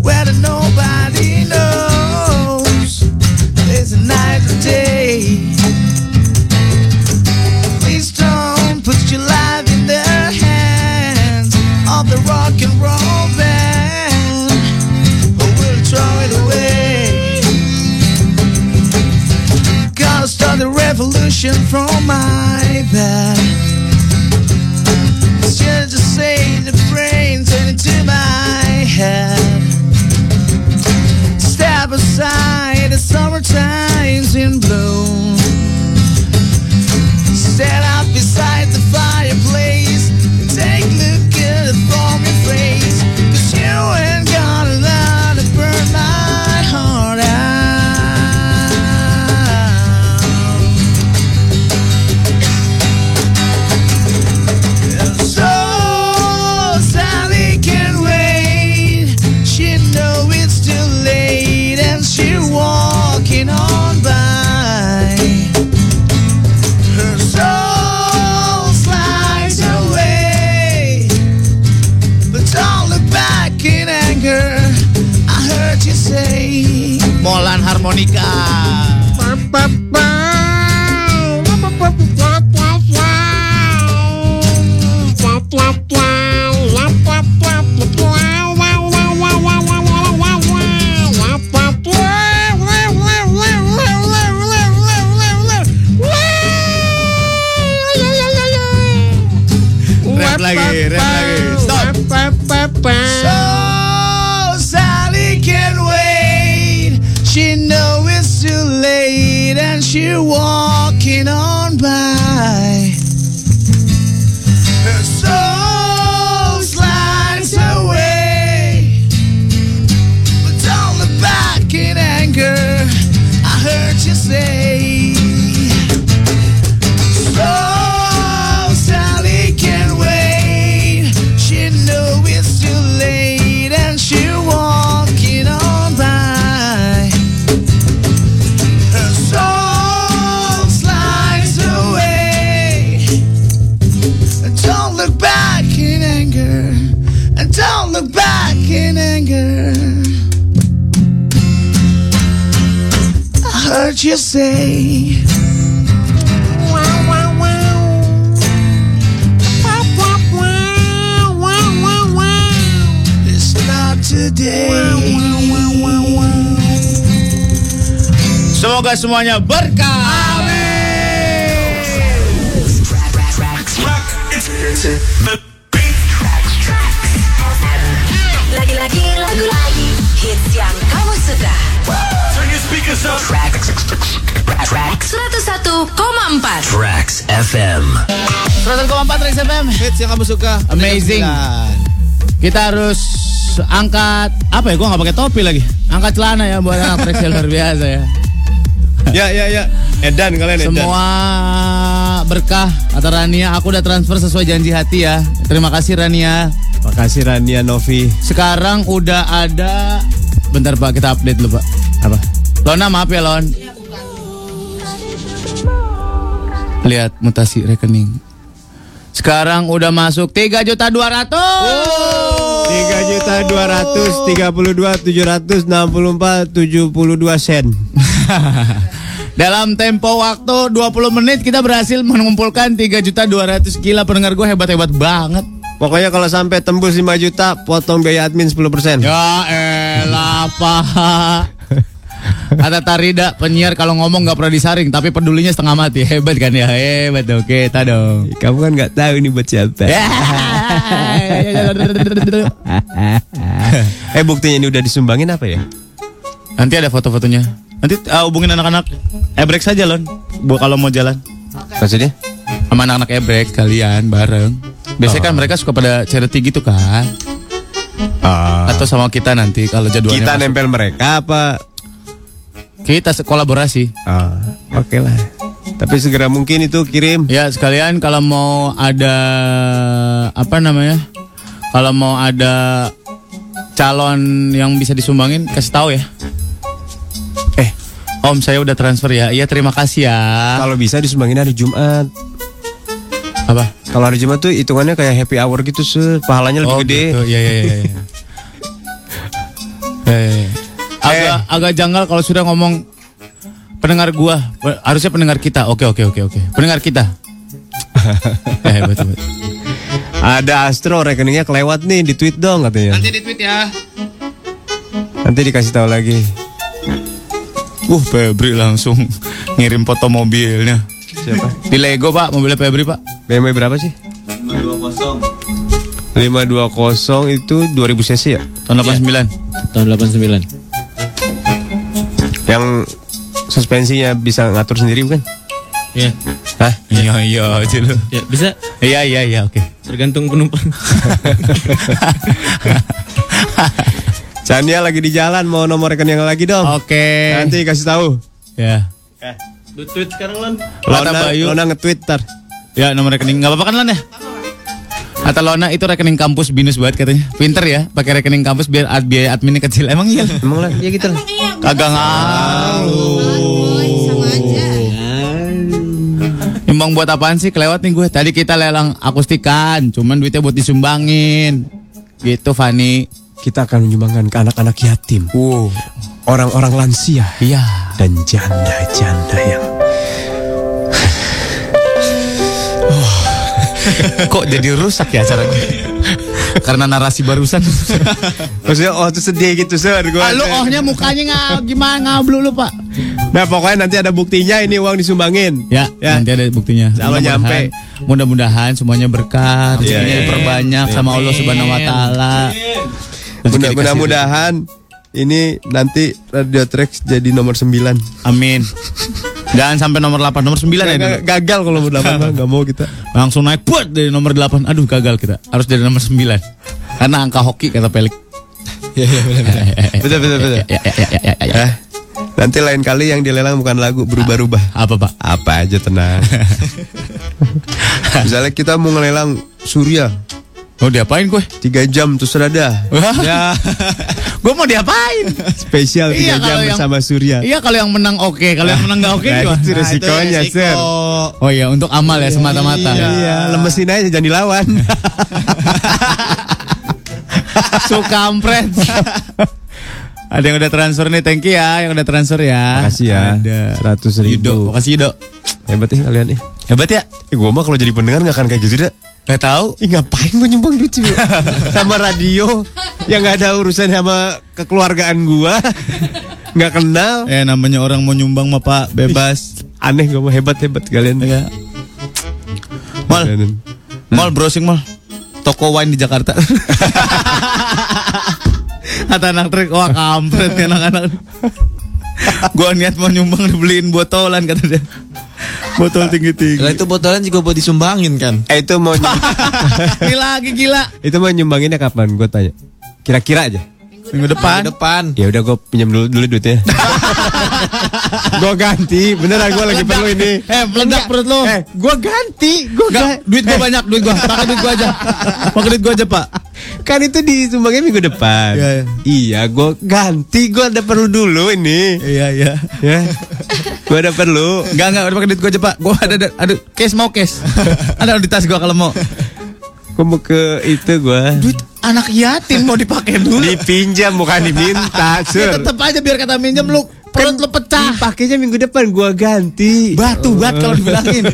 where the nobody knows. There's a night and day. Please don't put your life in the hands of the rock and roll band, or we'll throw it away. Gotta start the revolution from my bed. It's just to say the brains and into my head. Step aside, the summertime's in bloom. Stand up beside the fireplace and take a look at the foamy face. Cause you ain't gonna let it burn my heart out. So Sally can wait. She know it's too late, and she walking on by. Her soul slides away, but don't look back in anger. I heard you say.
Molan harmonika.
Rap lagi, rap lagi. Stop. So Sally can wait. She know it's too late, and she walking on by. Her soul slides away, but don't look back in anger. I heard you say. Oh, Sally can wait. She know it's too late, and she walking on by. Her soul slides away. And don't look back in anger. And don't look back in anger. I heard you say. It's not today.
So
Semoga semuanya berkah.
Lagi-lagi lagu lagi hits yang kamu suka.
Turn your speakers up.
Track 101,4.
Tracks FM.
100,4 Trax FM. Hits yang kamu suka. Amazing. Kita harus angkat apa ya? Gua nggak pakai topi lagi. Angkat celana ya buat anak Trax yang luar biasa ya.
Ya ya ya. Edan kalian Edan.
Semua berkah kata Rania. Aku udah transfer sesuai janji hati ya. Terima kasih Rania.
Makasih Rania Novi.
Sekarang udah ada. Bentar Pak kita update dulu Pak. Apa? Lona maaf ya Lon. Lihat mutasi rekening. Sekarang udah masuk 3 juta 200.
Tiga juta dua ratus tiga puluh dua tujuh ratus enam puluh empat tujuh puluh dua sen.
Dalam tempo waktu 20 menit kita berhasil mengumpulkan 3 juta 200 gila pendengar gue hebat-hebat banget.
Pokoknya kalau sampai tembus 5 juta potong biaya admin 10 persen.
Ya elah paha. Kata Tarida, penyiar kalau ngomong nggak pernah disaring, tapi pedulinya setengah mati. Hebat kan ya? Hebat dong kita dong. Ya.
Kamu kan nggak tahu ini buat siapa.
Ya.
eh buktinya ini udah disumbangin apa ya?
Nanti ada foto-fotonya. Nanti uh, hubungin anak-anak Ebrek saja Lon. Bu kalau mau jalan.
Maksudnya?
Sama anak-anak Ebrek kalian bareng. Biasanya kan mereka suka pada charity gitu kan. Atau sama kita nanti kalau jadwalnya
Kita
Ah, masuk.
nempel mereka apa?
Kita se- kolaborasi.
Oke lah. Tapi segera mungkin itu kirim.
Ya sekalian kalau mau ada apa namanya? Kalau mau ada calon yang bisa disumbangin kasih tahu ya. Eh, Om saya udah transfer ya. Iya terima kasih ya.
Kalau bisa disumbangin hari Jumat.
Apa?
Kalau hari Jumat tuh hitungannya kayak happy hour gitu, se pahalanya lebih
Oh,
gede.
gitu. Iya, iya, iya, iya. Eh, agak agak janggal kalau sudah ngomong pendengar gua Pe- harusnya pendengar kita. Oke oke oke oke. Pendengar kita. Eh, hebat, hebat.
Ada Astro rekeningnya kelewat nih di tweet dong katanya.
di tweet ya.
Nanti dikasih tahu lagi.
Wuh, Uh, Febri langsung ngirim foto mobilnya.
Siapa?
Di Lego, Pak. Mobilnya Febri, Pak.
BMW berapa sih? 520 itu 2000 cc ya?
Tahun 89.
Tahun 89. Yang suspensinya bisa ngatur sendiri bukan?
Iya.
Hah?
Iya, iya aja lu.
Ya, bisa.
Iya, iya, iya, oke.
Tergantung penumpang.
Chania lagi di jalan mau nomor rekening lagi dong.
Oke.
Nanti kasih tahu.
Ya.
Eh, Lu tweet sekarang lan.
Lona,
Lona,
Bayu.
Lona nge-tweet ntar.
Ya, nomor rekening nggak apa-apa kan, Lon ya? Kata Lona itu rekening kampus binus banget katanya. Pinter ya, pakai rekening kampus biar ad biaya adminnya kecil. Emang iya?
Emang lah, ya gitu lah.
Kagak ngaruh. Nyumbang buat apaan sih? Kelewat nih gue. Tadi kita lelang akustikan, cuman duitnya buat disumbangin. Gitu, Fani.
Kita akan menyumbangkan ke anak-anak yatim. Orang-orang lansia.
Iya.
Dan janda-janda yang
Kok jadi rusak ya acara gue? Karena narasi barusan.
Maksudnya oh tuh sedih gitu sir gua.
ah, lu ohnya mukanya nggak gimana ngablu lu pak?
Nah pokoknya nanti ada buktinya ini uang disumbangin
Ya,
Ya.
nanti ada buktinya.
Kalau
Mudah-mudahan-
nyampe.
Mudah-mudahan semuanya berkah,
Amin.
rezekinya diperbanyak sama Allah Subhanahu wa taala. Rezeki
Mudah-
dikasih
Mudah-mudahan ini nanti Radio Trax jadi nomor 9
Amin. Jangan sampai nomor 8, nomor 9 ya. dulu.
Gagal, gagal kalau mau delapan Bang. nggak mau kita
Langsung naik buat dari nomor 8. Aduh gagal kita. Harus dari nomor 9. Karena angka hoki kata Pelik.
Iya iya betul betul betul.
Ya, ya, ya, ya, ya, ya.
Eh, Nanti lain kali yang dilelang bukan lagu berubah-ubah.
Apa Pak?
Apa aja tenang. Misalnya kita mau ngelelang Surya
Mau diapain gue?
tiga jam terus rada.
ya. gue mau diapain?
Spesial tiga
Iya,
jam
kalau yang-
bersama Surya.
Iya kalau yang menang oke, kalau yang menang nggak oke
Nah,
gimana?
itu resikonya,
itu
Sir.
Oh iya, untuk amal ya semata-mata.
Iya, lemesin aja jangan dilawan.
Suka ampret. Ada yang udah transfer nih, thank you ya yang udah transfer ya.
Makasih ya.
Ada.
100 ribu.
Yudo, makasih Yudo.
Hebat ya kalian nih.
Hebat ya.
Eh, gua mah kalau jadi pendengar nggak akan kayak gitu deh.
Gak tahu.
Ih, ngapain gue nyumbang duit sih, Bro? sama radio yang nggak ada urusan sama kekeluargaan gua. Nggak kenal.
Eh namanya orang mau nyumbang mah Pak, bebas.
Aneh gak mau hebat-hebat kalian.
Ya. Mal. Mal browsing mal. Toko wine di Jakarta. Kata anak trek, wah kampret nih anak-anak. Gua niat mau nyumbang dibeliin botolan kata dia. Botol tinggi-tinggi.
Lah itu botolan juga buat disumbangin kan.
Eh itu mau
Ini lagi gila.
Itu mau nyumbanginnya kapan? Gue tanya. Kira-kira aja.
Minggu depan.
Minggu depan.
Ya udah gue pinjam dulu dulu duitnya. gue ganti. Beneran gue lagi perlu ini.
Eh, meledak perut lo.
Eh, gue ganti. Gue
Enggak, duit gua
Eh.
banyak, duit gua. Pakai duit gua aja. Pakai duit gua aja, Pak.
Kan itu disumbangin minggu depan.
Iya, iya.
Iya, gue ganti. Gue ada perlu dulu ini.
Iya, iya.
Ya. Gue ada perlu.
Enggak, enggak, udah pakai duit gua aja, Pak. Gua ada ada, ada case mau case. Ada di tas gua kalau mau.
Gue mau ke itu gue.
Duit anak yatim mau dipakai dulu.
Dipinjam bukan
Ya
diminta. Sur.
tetap aja biar kata minjem lu perut lu pecah.
Pakainya minggu depan gue ganti.
Batu bat kalau dibilangin.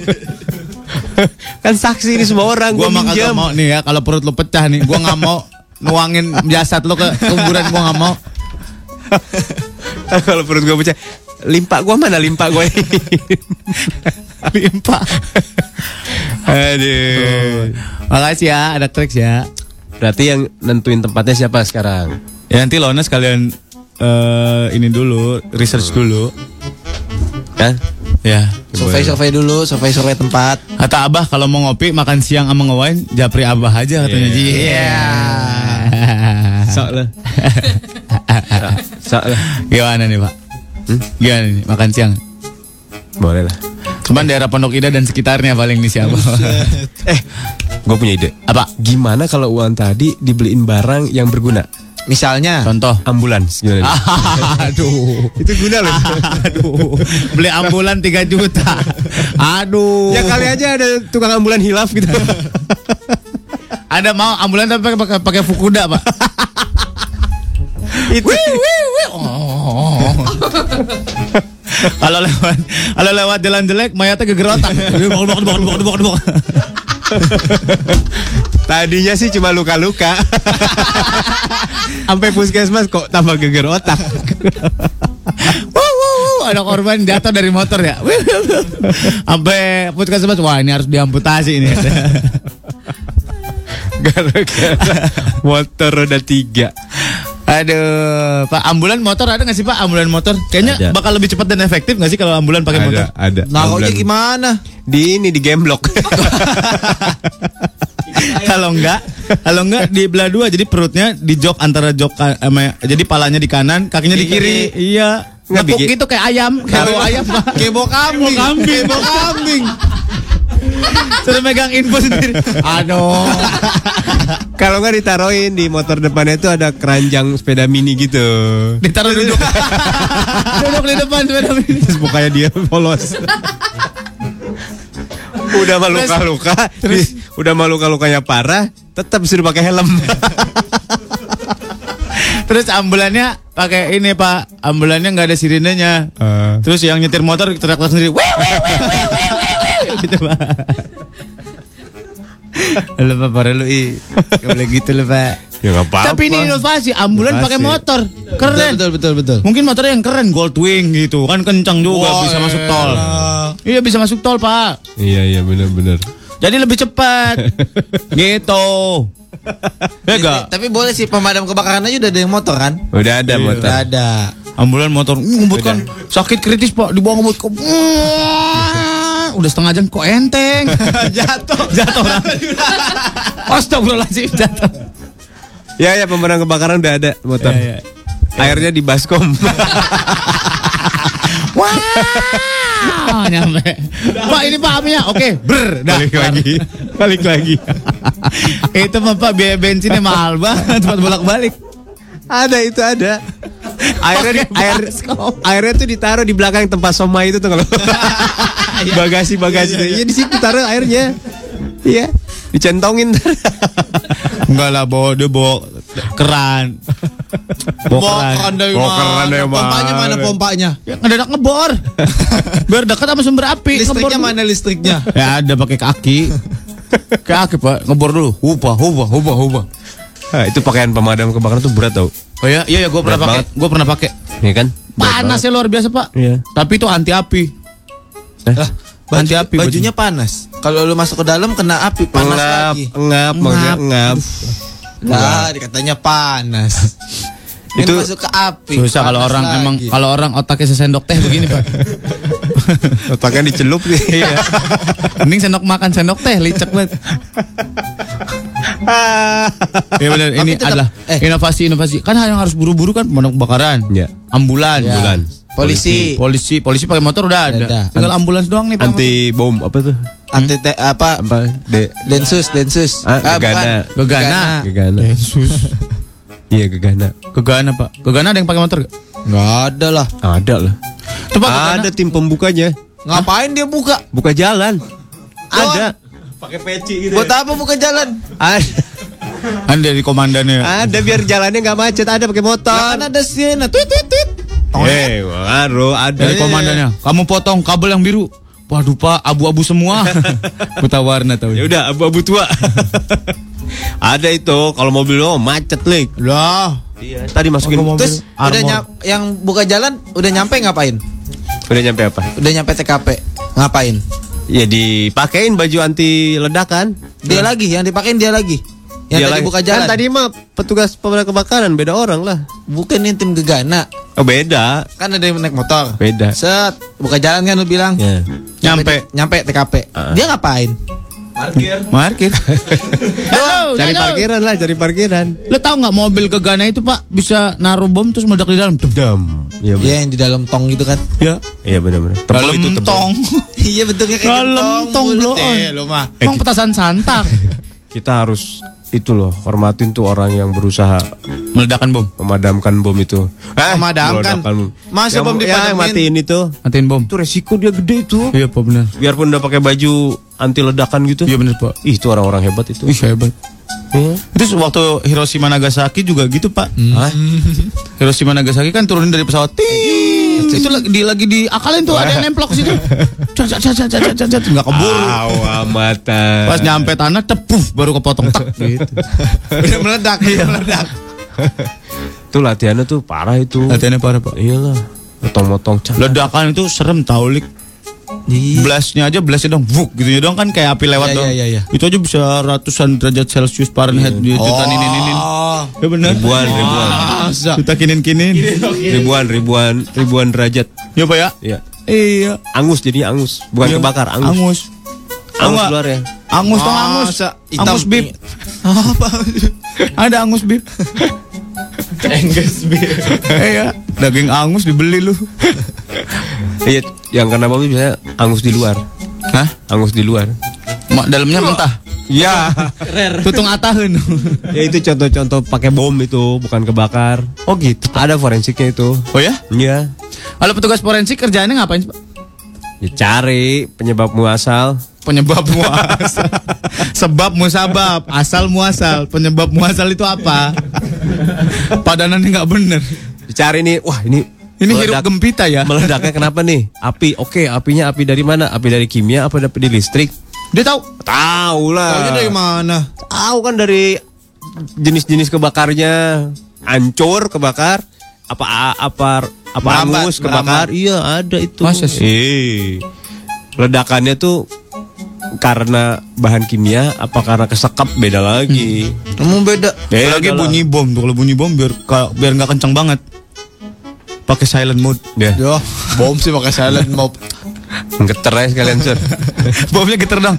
kan saksi ini semua orang.
gua
Gue
mah kagak
minjam.
mau nih ya kalau perut lu pecah nih. Gua nggak mau nuangin jasad lu ke kuburan gua nggak mau.
Kalau perut gue pecah Limpa gue mana limpa gue
Limpa.
Aduh
Makasih ya, ada trik ya.
Berarti yang nentuin tempatnya siapa sekarang?
Ya nanti Lona sekalian eh, ini dulu, research dulu.
Hah?
Ya.
Survei-survei dulu, survei-survei tempat.
Kata Abah kalau mau ngopi makan siang sama ngewain japri Abah aja katanya. Iya.
Sok lah Ah. Sok lah
Gimana nih, Pak?
Hmm?
Gimana nih makan siang?
Boleh lah
Cuman daerah Pondok Indah dan sekitarnya paling nih siapa?
Eh Gue punya ide
Apa?
Gimana kalau uang tadi dibeliin barang yang berguna?
Misalnya
Contoh.
Ambulans Ah. gimana?
Aduh.
Itu guna loh
Aduh. Beli ambulan 3 juta. Aduh.
Ya kali aja ada tukang ambulan hilaf gitu
Ada mau ambulan tapi pakai pakai, pakai fukuda, Pak.
Itu
Oh. Kalau lewat kalau lewat jalan jelek mayatnya kegerotan. Dibok, dibok, dibok, dibok, dibok, dibok.
Tadinya sih cuma luka-luka Sampai puskesmas kok tambah geger otak
Wuh, wuh, wuh, ada korban jatuh dari motor ya. Wuh, wuh, wuh. Sampai puskesmas wah ini harus diamputasi ini.
Gara-gara motor roda tiga
Aduh, Pak ambulan motor ada nggak sih Pak ambulan motor? Kayaknya
Ada.
bakal lebih cepat dan efektif nggak sih kalau ambulan pakai motor?
Ada, ada Ambulan.
Naruhnya Nah, gimana?
Di ini di game block
kalau enggak, kalau enggak di belah dua jadi perutnya di jok antara jok ka- sama- jadi palanya di kanan, kakinya di kiri. Iya.
Nggak
Nepuk
bikin-
gitu kayak ayam, kayak bawa ayam. Pak.
Kebo kambing.
Kambing, bawa kambing. Sudah megang info sendiri. Aduh.
Kalau nggak ditaruhin di motor depannya itu ada keranjang sepeda mini gitu
Ditaruh duduk. duduk di depan sepeda mini.
Terus mukanya dia polos Udah mah luka-luka di- Udah mah luka-lukanya parah Tetap suruh pakai helm
Terus ambulannya pakai ini Pak, ambulannya nggak ada sirinenya.
Eh.
Terus yang nyetir motor teriak-teriak sendiri. Wih, wih, wih, wih, wih, wih, wih. gitu Pak. Lu Pak parah lu i. Nggak boleh gitu lu Pak.
Ya nggak apa-apa
Tapi ini inovasi, ambulan
Inovasi.
pakai motor. Keren.
Betul betul betul.
Mungkin motornya yang keren Goldwing gitu kan kencang juga bisa masuk tol. Iya bisa masuk tol, Pak.
Iya iya benar-benar
Jadi lebih cepat. gitu. Ya enggak?
Tapi boleh sih pemadam kebakaran aja udah ada yang motor kan?
Udah ada
Iya.
motor
Udah ada.
Ambulan motor uh, ngebut kan sakit kritis pak dibawa ngebut ke Wah, udah setengah jam kok enteng jatuh jatuh orang Astagfirullahaladzim jatuh
Ya ya pemadam kebakaran udah ada motor.
Ya, ya.
Airnya di baskom.
wah nyampe pak ini pak amnya oke ber dah
Balik
kelar.
lagi. Balik lagi.
itu mah pak biaya bensinnya mahal banget buat bolak balik
ada itu ada. Airnya di,
Pakai
air
baskom.
airnya tuh ditaruh di belakang tempat somai itu tuh kalau bagasi bagasi. Iya di situ taruh airnya. Iya. Dicentongin.
enggak lah bawa dia bawa keran bawa keran
dari
Bawa keran
mana?
dari
Pompanya
mana?
mana pompanya?
Ya, ngedadak ngebor biar dekat sama sumber api
Listriknya
ngebor.
mana listriknya?
Ya ada pakai kaki. Ke aki pak, ngebor dulu. Hupa, hupa, hupa, hupa.
Ah, itu pakaian pemadam kebakaran tuh berat tau.
Oh iya, iya, iya gue pernah
Berat
pakai. Gue pernah pakai.
Iya kan?
Panasnya luar biasa pak.
Iya.
Tapi itu anti api.
Lah,
anti api.
Bajunya panas. Kalau lu masuk ke dalam kena api panas
Ngap,
lagi.
ngap, maksudnya
Ngap.
ngap.
Nah, dikatanya panas. Ini
Itu
masuk ke api.
Susah kalau
panas
orang
lagi.
emang kalau orang otaknya sesendok teh begini pak.
Otaknya dicelup nih.
Iya. Mending sendok makan sendok teh licek banget. Iya benar
Tapi
ini
tetap-
adalah
eh.
inovasi-inovasi. Kan yang harus buru-buru kan pemadam kebakaran.
Iya.
Ambulan.
Ya. Ambulan. Polisi.
Polisi, polisi pakai motor udah ada.
Ada.
Tinggal ambulans doang nih Pak.
Anti bom apa tuh?
Anti te- apa?
Apa? De
Densus, densus.
Ah, gegana.
bukan.
Gegana.
Gegana. Iya gegana.
Gegana, Pak. Gegana ada yang pakai motor gak?
Nggak ada lah.
Ada lah.
Coba
Ada tim pembukanya.
Ngapain dia buka?
Buka jalan. Ada.
Pakai peci gitu.
Buat apa buka jalan?
Ada.
Kan dari komandannya.
Ada biar jalannya nggak macet, ada pakai motor.
Kan ada sirena. Tweet tweet tweet.
ya?
Eh, waru, ada
Dari komandannya. Kamu potong kabel yang biru. Waduh Pak, abu-abu semua. Buta warna tahu.
Ya udah abu-abu tua. ada itu kalau mobil lo macet lik.
Lah,
Iya. Tadi masukin
Kalau mobil.
terus
Terus udah
Armor.
nyam- yang buka jalan udah nyampe ngapain?
udah nyampe apa?
Udah nyampe TKP. Ngapain?
Ya dipakein baju anti ledakan.
Dia lagi yang dipakein dia lagi. Yang
Dia
tadi
lagi-
buka jalan.
Kan tadi mah petugas pemadam kebakaran beda orang lah.
bukan ini tim gegana.
Oh beda.
Kan ada yang naik motor.
Beda.
Set, buka jalan kan lu bilang.
Ya.
Nyampe.
Nyampe TKP.
Ah.
Dia ngapain?
Parkir.
Markir. Halo,
Cari
halo.
parkiran lah, cari parkiran.
Lo tau nggak mobil ke Ghana itu pak bisa naruh bom terus meledak di dalam? Dep, dep.
Dam. Iya
Dia yang di dalam tong gitu kan.
Ya.
Iya benar-benar. Tebel
Dalam
itu tebel.
tong.
iya bentuknya kayak
Dalam tong Eh,
mulut
bloon.
deh, lu mah.
Tong petasan santan.
Kita harus itu loh hormatin tuh orang yang berusaha
Meledakan bom.
memadamkan bom itu. Eh,
kan?
Memadamkan.
meledakkan bom.
Masa
yang,
bom
yang
dipadamin?
matiin itu.
ya, Matiin bom.
Itu resiko dia gede itu.
Iya pak benar.
Biarpun udah pakai baju anti ledakan gitu.
Iya benar pak.
Ih, itu orang-orang hebat itu.
Ih ya. hebat.
Iya.
Terus waktu Hiroshima Nagasaki juga gitu pak.
Hah?
Hiroshima Nagasaki kan turunin dari pesawat. Ting. Itu lagi di lagi diakalin tuh ada yang nemplok ke situ. Cat cat cat cat cat cat nggak keburu.
Awam mata.
Pas nyampe tanah tepuf baru kepotong tak gitu. Udah meledak, iya meledak.
Itu latihannya tuh parah itu.
Latihannya parah pak.
Iyalah. Motong-motong cat.
Ledakan itu serem tau lik. Blastnya aja blastnya dong vuk gitu ya dong kan kayak api lewat
Iya,
dong.
iya, iya, iya.
Itu aja bisa ratusan derajat Celcius Fahrenheit di jutaan ini ini ini. Ya benar.
Ribuan, ribuan.
Masa. Kita kinin-kinin.
Ribuan, ribuan, ribuan derajat.
Ya Pak ya?
Iya.
Iya.
Angus jadi angus, bukan
Iya.
kebakar, angus.
Angus.
Angus,
Enggak.
luar ya.
Angus dong angus.
Masa hitam.
Angus bib. Apa? Ada angus bib.
Angus beer.
Iya. Daging angus dibeli lu.
Iya, yang kena bom itu biasanya angus di luar.
Hah?
Angus di luar.
Mak dalamnya mentah.
Ya.
Iya. Tutung ataheun.
ya itu contoh-contoh pakai bom itu, bukan kebakar.
oh gitu.
Ada forensiknya itu.
Oh ya?
Iya.
Kalau petugas forensik kerjaannya ngapain sih, Pak?
Ya cari penyebab muasal.
Penyebab muasal. Sebab musabab, asal muasal. Penyebab muasal itu apa? Padanannya nggak bener.
Dicari nih, wah ini
Ini hirup gempita ya.
meledaknya kenapa nih? Api, oke, apinya api dari mana? Api dari kimia, apa dari listrik?
Dia tahu.
Tahu lah.
Taunya dari mana?
Tahu kan dari jenis-jenis kebakarnya, hancur kebakar, apa apa apa
Merambat,
hangus kebakar?
merambat.
Iya ada itu.
Masa sih?
Eh, ledakannya tuh karena bahan kimia, apa karena kesekap beda lagi.
Kamu beda.
Beda
Apalagi
lah.
bunyi bom tuh kalau bunyi bom biar ka- biar nggak kencang banget. Pakai silent mode.
Deh,
Yo, bom sih pakai silent mob.
geter aja sekalian sur.
Bomnya geter dong.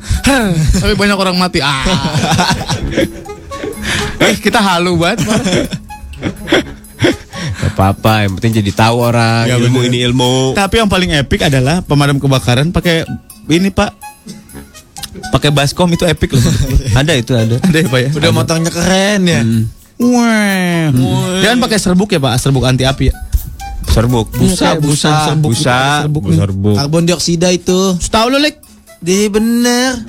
Tapi banyak orang mati. Ah. eh kita halu banget.
Gak apa-apa, yang penting jadi tahu orang.
Ya,
ilmu
bener.
ini ilmu.
Oh.
Tapi yang paling epic adalah pemadam kebakaran pakai ini Pak. Pakai baskom itu epic loh.
Ada itu ada.
Ada ya Pak ya?
Udah motornya keren ya.
Hmm.
Wah. Jangan pakai serbuk ya Pak, serbuk anti api ya.
Serbuk.
Busa, Iya, busa,
Iya, serbuk, gitu,
Busa,
serbuk.
serbuk.
Karbon dioksida itu.
Tahu lu, Lik?
Di bener.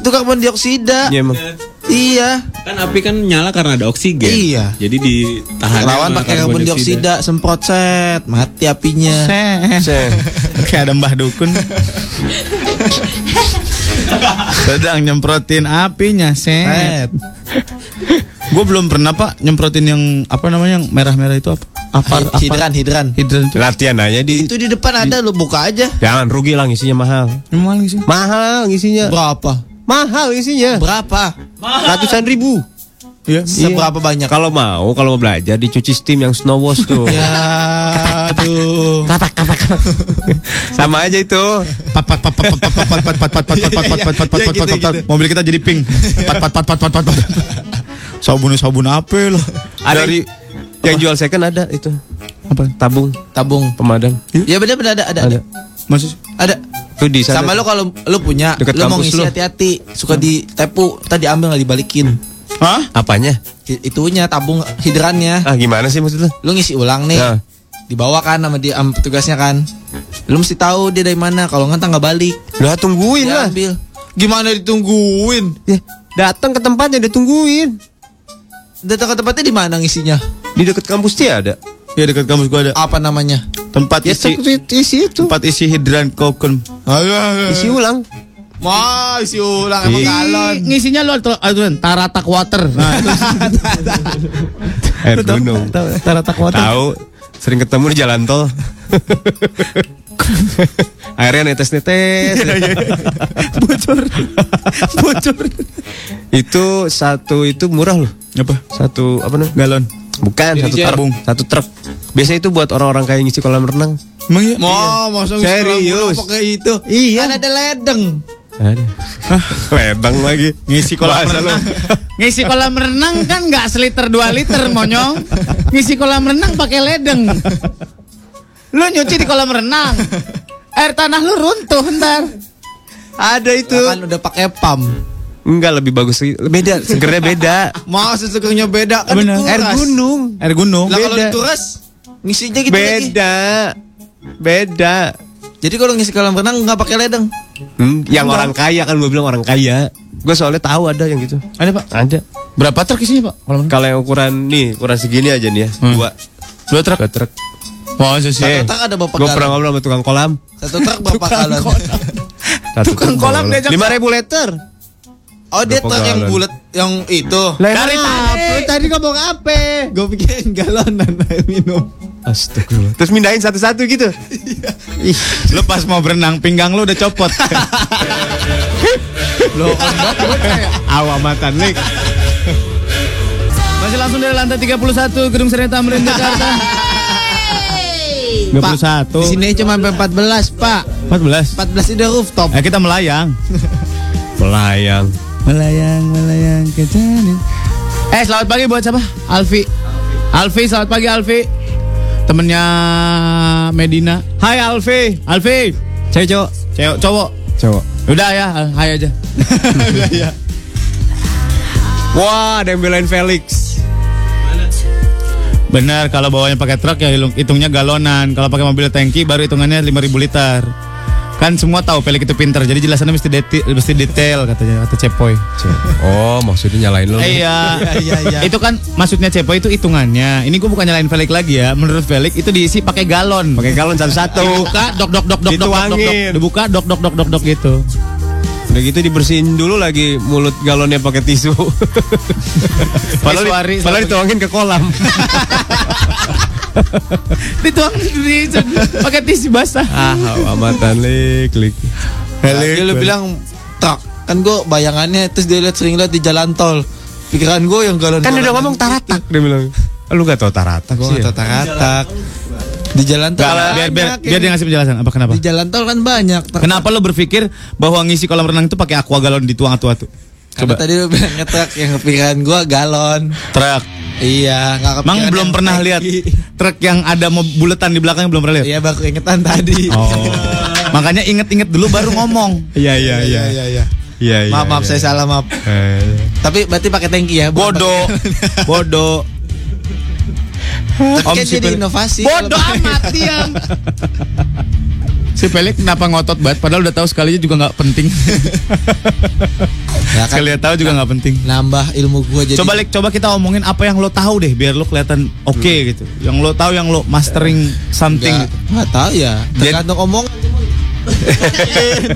Itu karbon dioksida.
Iya, emang.
Eh.
Iya.
Kan api kan nyala karena ada oksigen.
Iya.
Jadi ditahan.
Lawan
sama
pakai karbon dioksida, semprot set, mati apinya.
Set. Kayak ada Mbah Dukun. Sedang nyemprotin apinya, Sep. Gue belum pernah, Pak, nyemprotin yang apa namanya yang merah-merah itu apa? Apa
Hi- hidran,
hidran. Hidran itu.
Latihan aja di
Itu di depan ada lu buka aja.
Jangan rugi lah ngisinya mahal.
Mahal ngisinya.
Mahal ngisinya.
Berapa?
Mahal isinya.
Berapa?
Ratusan ribu. Ya,
Iya.
Seberapa banyak?
Kalau mau, kalau mau belajar dicuci steam yang snow wash tuh.
Iya.
Ya, aduh.
Sama aja itu.
Mobil kita jadi pink. Pat pat pat pat pat pat. pat. Sabun sabun apa loh?
Ada Dari yang jual second ada itu.
Apa?
Tabung.
Tabung
pemadam.
Ya benar-benar ada ada. ada.
Maksud
ada.
Tuh di sana.
Sama lu kalau lu punya,
Deket
lu mau
kampus
ngisi
lu.
hati-hati, suka
Hmm.
ditepu, tadi ambil nggak dibalikin.
Hah?
Apanya?
Hi- Itunya tabung hidrannya.
Ah, gimana sih maksud lu?
Lu ngisi ulang nih.
Ya.
Dibawa kan sama dia sama petugasnya kan. Lu mesti tahu dia dari mana, kalau nggak ntar nggak balik.
Lah
Dia
Iya.
tungguin lah. Ya,
Ambil. Gimana ditungguin?
Datang ke tempatnya ditungguin.
Datang ke tempatnya di mana ngisinya?
Di dekat kampus dia ada.
Ya dekat kampus gua ada.
Apa namanya? Ya,
Tempat isi
Ya, isi itu. Eh.
tempat isi hidran kokon.
Isi ulang.
Wah, isi ulang
Ih, Ngisinya lu atau aturan taratak water. Nah, itu
Air Eh, gunung.
taratak water.
Tahu. Sering ketemu di jalan tol. Airnya netes-netes.
Bocor. Bocor.
itu satu itu murah loh.
Apa?
Satu apa namanya?
Galon.
Bukan
Jadi
satu
jar-
tabung, satu truk. Biasanya itu buat orang-orang kaya ngisi kolam renang.
Emang iya?
Mau masuk
Serius?
pakai itu.
Iya.
Kan ada ledeng.
Ada. Ledeng lagi.
Ngisi kolam
Bahasa lu.
renang.
Ngisi kolam renang kan nggak seliter 2 liter monyong. Ngisi kolam renang pakai ledeng. Lu nyuci di kolam renang. Air tanah lu runtuh ntar.
Ada itu.
Kan udah pakai pam.
Enggak lebih bagus lagi. Beda, segernya beda.
Mau sesukanya beda kan
Bener.
dikuras.
Air gunung.
Air gunung.
Lah kalau
Beda.
dituras ngisinya gitu lagi.
Beda. Beda.
Jadi kalau ngisi kolam renang nggak pakai ledeng.
Hmm, yang orang kaya kan gue bilang orang kaya. Gue soalnya tahu ada yang gitu.
Ada, Pak.
Ada.
Berapa truk isinya, Pak? Kalau
Kalau yang ukuran nih, ukuran segini aja nih ya. Dua.
dua truk.
Dua truk.
Masa sih?
Satu truk ada berapa
Gue Eh, pernah
galon?
ngobrol sama tukang kolam.
Satu truk berapa galon?
Satu
Tukang
truk
kolam diajak-
Lima ribu liter.
Oh dia
Berapa
truk yang
galon?
bulat yang itu.
Dari tadi. Tadi ngomong apa?
Gue pikirin galonan minum.
Astagfirullah. Terus mindahin satu-satu gitu.
Lu pas mau berenang pinggang lu udah copot. ya?
Awamatan lek.
Masih langsung dari lantai 31 Gedung Sereta Tamrin Jakarta. 21.
Di sini cuma sampai 14, Pak.
14.
14 itu rooftop.
Ya kita melayang.
Melayang.
Melayang, melayang ke sana. Eh, selamat pagi buat siapa? Alfi. Alfi, selamat pagi Alfi. Temennya Medina. Hai Alfi. Alfi. Cewek cowok. Cewek cowok.
Cowok.
Udah ya, hai aja. Udah ya.
Wah, ada yang belain Felix.
Benar, kalau bawanya pakai truk ya hitung- hitungnya galonan. Kalau pakai mobil tangki baru hitungannya 5000 liter. Kan semua tahu Pelik itu pinter, jadi jelasannya mesti deti- mesti detail katanya kata Cepoy.
Oh, maksudnya nyalain lo.
Eh, Iya, Itu kan maksudnya Cepo itu hitungannya. Ini gue bukan nyalain Felix lagi ya. Menurut Felix itu diisi pakai galon.
Pakai galon satu-satu.
Dibuka dok dok dok dok dok dok dok.
Dituangin.
Dibuka dok dok dok dok dok gitu.
Udah gitu dibersihin dulu lagi mulut galonnya pakai tisu. padahal
Tisu hari,
padahal dituangin ke kolam.
Dituang di pakai tisu basah.
ah, amatan lek lek.
Dia lu bilang truk. Kan gue bayangannya terus dia lihat sering lihat di jalan tol. Pikiran gue yang galon.
kan udah ngomong taratak dia bilang. Lu gak tau taratak
Oh,
Gue
sih. ya?
tatak-tatak. Di jalan tol.
Gak lah, biar biar biar dia ngasih penjelasan apa kenapa.
Di jalan tol kan banyak. truk.
Kenapa lo berpikir bahwa ngisi kolam renang itu pakai aqua galon dituang atu-atu?
Karena tadi lu bilang ngetruk yang kepikiran gue galon.
Truk.
Iya, nggak kepikiran.
Mang belum
yang
pernah
tangki.
lihat truk yang ada mau buletan di belakangnya belum pernah lihat.
Iya, baru ingetan tadi.
Oh. Makanya inget-inget dulu baru ngomong.
Iya iya iya.
Iya, iya.
Iya iya.
Maaf, maaf
iya.
saya salah, maaf.
Eh,
Tapi berarti pakai tangki ya. bukan
Bodoh. Bodoh.
pakai- Tapi
Om
kan
si
jadi
Pel-
inovasi.
Bodoh
Kalau-
amat diam. Si Pelik kenapa ngotot banget padahal udah tahu sekalinya juga nggak penting.
Ya kan,
Sekali tahu juga nggak penting.
nambah ilmu gua jadi
Coba Lek, coba kita omongin apa yang lo tahu deh biar lo kelihatan oke gitu. Yang lo tahu yang lo mastering something
Nggak-
gitu.
nggak tahu ya
Jadi-
tergantung omong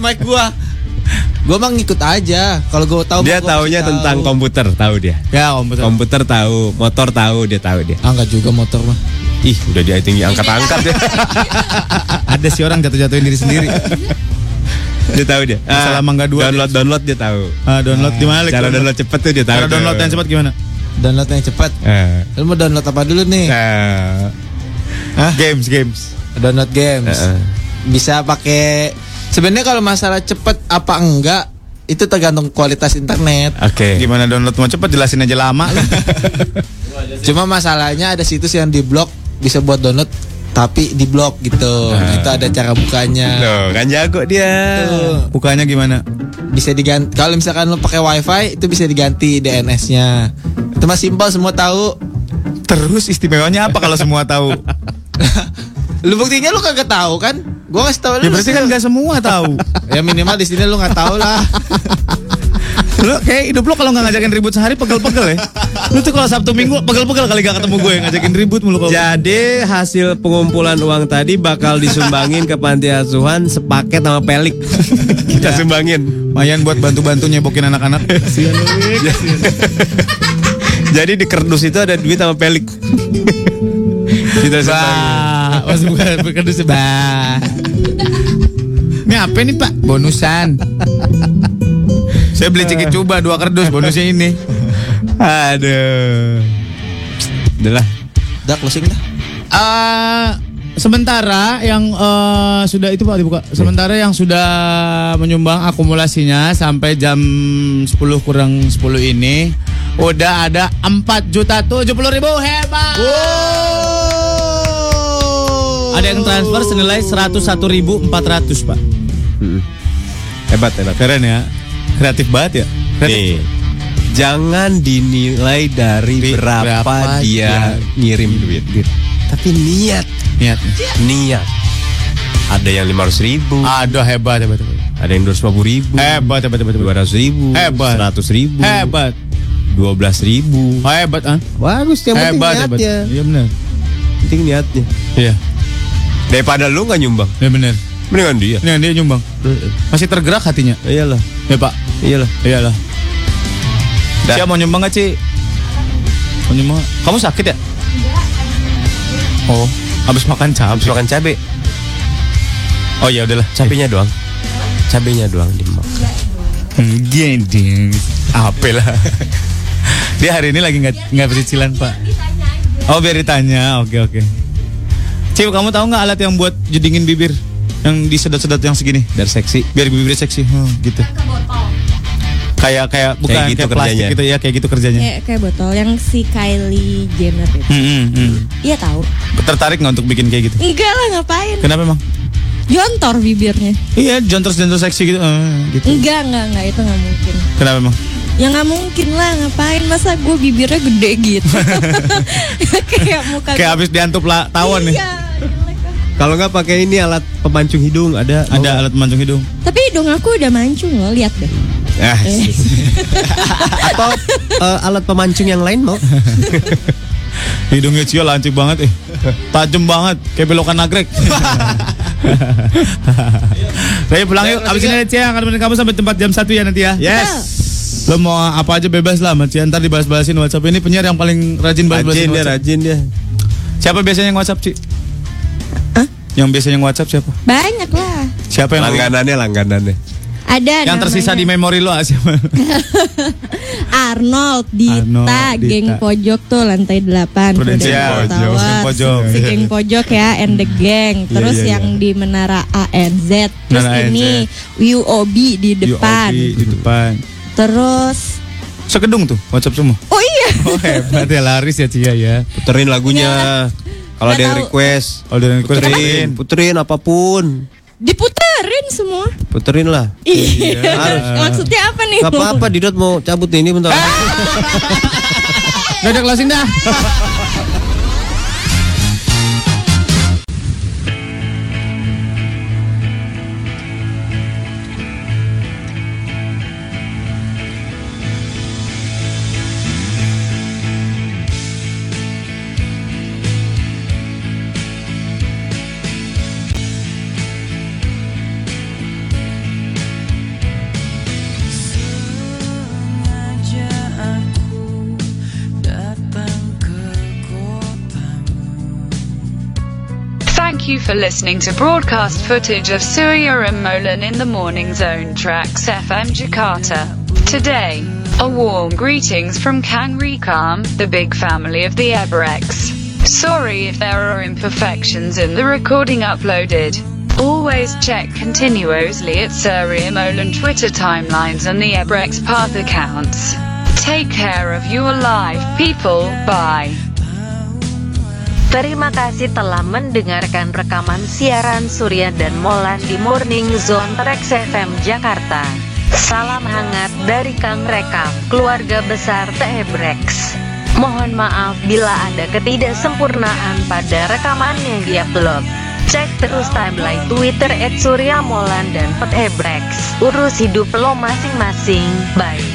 mic gua
Gue mah ngikut aja. Kalau gue tahu mah
Dia
gua pasti
taunya
tahu.
tentang komputer, tahu dia.
Ya, komputer.
Komputer tahu, motor tahu, dia tahu dia.
Angkat juga motor mah.
Ih, udah dia tinggi angkat-angkat ya.
Ada sih orang jatuh-jatuhin diri sendiri.
Dia tahu dia. Ah,
Masalah Mangga dua.
Download download dia tahu.
Ah, download di mana? Lex?
Cara download cepet tuh dia tahu.
Cara download yang cepat gimana?
Download yang cepat.
Eh.
Lu mau download apa dulu nih?
Ya. Ah. Games, games.
Download games.
Eh, eh.
Bisa pakai Sebenarnya kalau masalah cepat apa enggak itu tergantung kualitas internet.
Oke.
Gimana download mau cepat jelasin aja lama lu.
Cuma masalahnya ada situs yang diblok bisa buat download tapi diblok gitu.
Ya.
Nah.
Itu ada cara bukanya.
Loh, kan jago dia.
Bukanya gimana?
Bisa diganti. Kalau misalkan lo pakai WiFi itu bisa diganti DNS-nya. Itu mah simpel semua tahu.
Terus istimewanya apa kalau semua tahu?
Lu buktinya lu kagak tahu kan? Gua kasih tahu lu.
Ya berarti kan nggak semua tahu.
ya minimal di sini lu nggak tahu lah.
Lu kayak hidup lu kalau nggak ngajakin ribut sehari pegel-pegel ya. Lu tuh kalau Sabtu Minggu pegel-pegel kali gak ketemu gue ngajakin ribut mulu kalau.
Jadi hasil pengumpulan uang tadi bakal disumbangin ke panti asuhan sepaket sama pelik.
Kita sumbangin.
Mayan buat bantu-bantu nyebokin anak-anak.
Jadi di kerdus itu ada duit sama pelik. Kita sumbangin.
Mas bukan berkedus bah. Ini apa nih Pak?
Bonusan. Saya beli ciki coba dua kerdus bonusnya ini.
Aduh. Udah lah.
Udah closing dah.
Eh, sementara yang eh, sudah itu Pak
Iya.
dibuka. Sementara yang sudah menyumbang akumulasinya sampai jam 10 kurang 10 ini udah ada 4 juta 70 ribu hebat. Ada yang transfer senilai 101.400 Pak.
Hebat, hebat.
Keren ya. Kreatif banget ya.
Iya.
Nih, jangan dinilai dari berapa,
berapa
dia, ngirim duit. Tapi niat,
niat,
niat. Ada yang 500 ribu,
Aduh hebat hebat. hebat.
ada yang 250 ribu,
Hebat hebat hebat. hebat.
200 ribu,
Hebat.
100 ribu,
Hebat.
12 ribu.
Hebat ah.
Bagus yang penting
Hebat
niat
hebat.
ya.
Iya benar.
Penting niatnya.
Iya.
Daripada lu nggak nyumbang,
Iya benar.
mendingan dia.
Ini dia nyumbang. Masih tergerak hatinya.
Iyalah,
Ya Pak.
iyalah.
Iyalah.
Dah.
Siapa mau nyumbang gak, Ci? Mau nyumbang? nggak? Kamu sakit ya? Oh, habis makan
Habis
capek.
makan cabe. Oh ya udahlah, cabenya doang. Cabenya doang dimakan.
Gini. Apa lah. Dia hari ini lagi nggak nggak bercicilan, Pak. Oh, biar ditanya. Oke, oke. Ci, kamu tahu nggak alat yang buat jedingin bibir? Yang disedot-sedot yang segini,
Biar seksi.
biar bibirnya seksi. Hmm, gitu. Kayak kayak bukan kayak,
gitu
plastik
kerjanya.
gitu ya, kayak gitu kerjanya.
Iya.
Kayak, kayak botol yang si Kylie Jenner itu. Hmm, hmm, hmm. Iya tahu. Tertarik nggak untuk bikin kayak gitu? Enggak lah ngapain? Kenapa emang? Jontor bibirnya. Iya, jontor-jontor seksi gitu. Eh, gitu.
Hmm.
Enggak, enggak, enggak itu enggak mungkin. Kenapa emang? Ya nggak mungkin lah, ngapain masa gue bibirnya gede gitu. kayak muka Kayak habis diantup lah tawon nih.
Kalau nggak pakai ini alat pemancung hidung ada
Ada
Oh.
alat mancung hidung. Eh, Tapi hidung aku udah mancung loh, lihat deh.
Ah,
atau eh, alat pemancung yang lain mau?
Hidungnya Cio lancip banget eh. Tajam banget, kayak belokan nagrek. Raya pulang yuk, abis ini ada Cia yang akan menemani kamu sampai tempat jam 1 ya nanti ya.
Yes.
Lo mau apa aja bebas lah, sama Cia ntar dibahas-bahasin WhatsApp ini penyiar yang paling rajin
Rajin
bahas-bahasin
dia,
WhatsApp.
rajin dia.
Siapa biasanya yang WhatsApp, Ci? Yang biasanya yang WhatsApp siapa?
Banyak lah.
Siapa yang
Langganannya, langganannya.
Ada
yang tersisa di memori lo ah, siapa?
Arnold Dita,
Arnold, Dita.
geng pojok tuh lantai 8
Prudential
Tower.
Geng pojok. Hmm.
Si geng pojok ya and the gang. Terus
iya,
yang di Menara ANZ. Terus
Menara
ini UOB di depan.
UOB di depan.
Terus
Sekedung tuh WhatsApp semua.
Oh iya.
Oh hebat ya laris ya Cia ya.
Puterin lagunya. Kalau ada yang
Nggak tahu.
request,
Kalau dari
puterin, puterin apapun.
diputerin semua.
Puterin lah.
ya.
Iya. Maksudnya apa nih?
Gak apa-apa Didot mau cabut nih, ini bentar.
Udah udah closing dah.
you for listening to broadcast footage of Surya and Molan in the morning zone tracks FM Jakarta. Today, a warm greetings from Kang Rikam, the big family of the Everex. Sorry if there are imperfections in the recording uploaded. Always check continuously at Surya Molan Twitter timelines and the Ebrex Path accounts. Take care of your life, people. Bye.
Terima kasih telah mendengarkan rekaman siaran Surya dan Molan di Morning Zone Trax FM Jakarta. Salam hangat dari Kang Rekam, keluarga besar Tebrex. Mohon maaf bila ada ketidaksempurnaan pada rekaman yang diupload. Cek terus timeline Twitter @suryamolan dan Petebrex. Urus hidup lo masing-masing. Bye.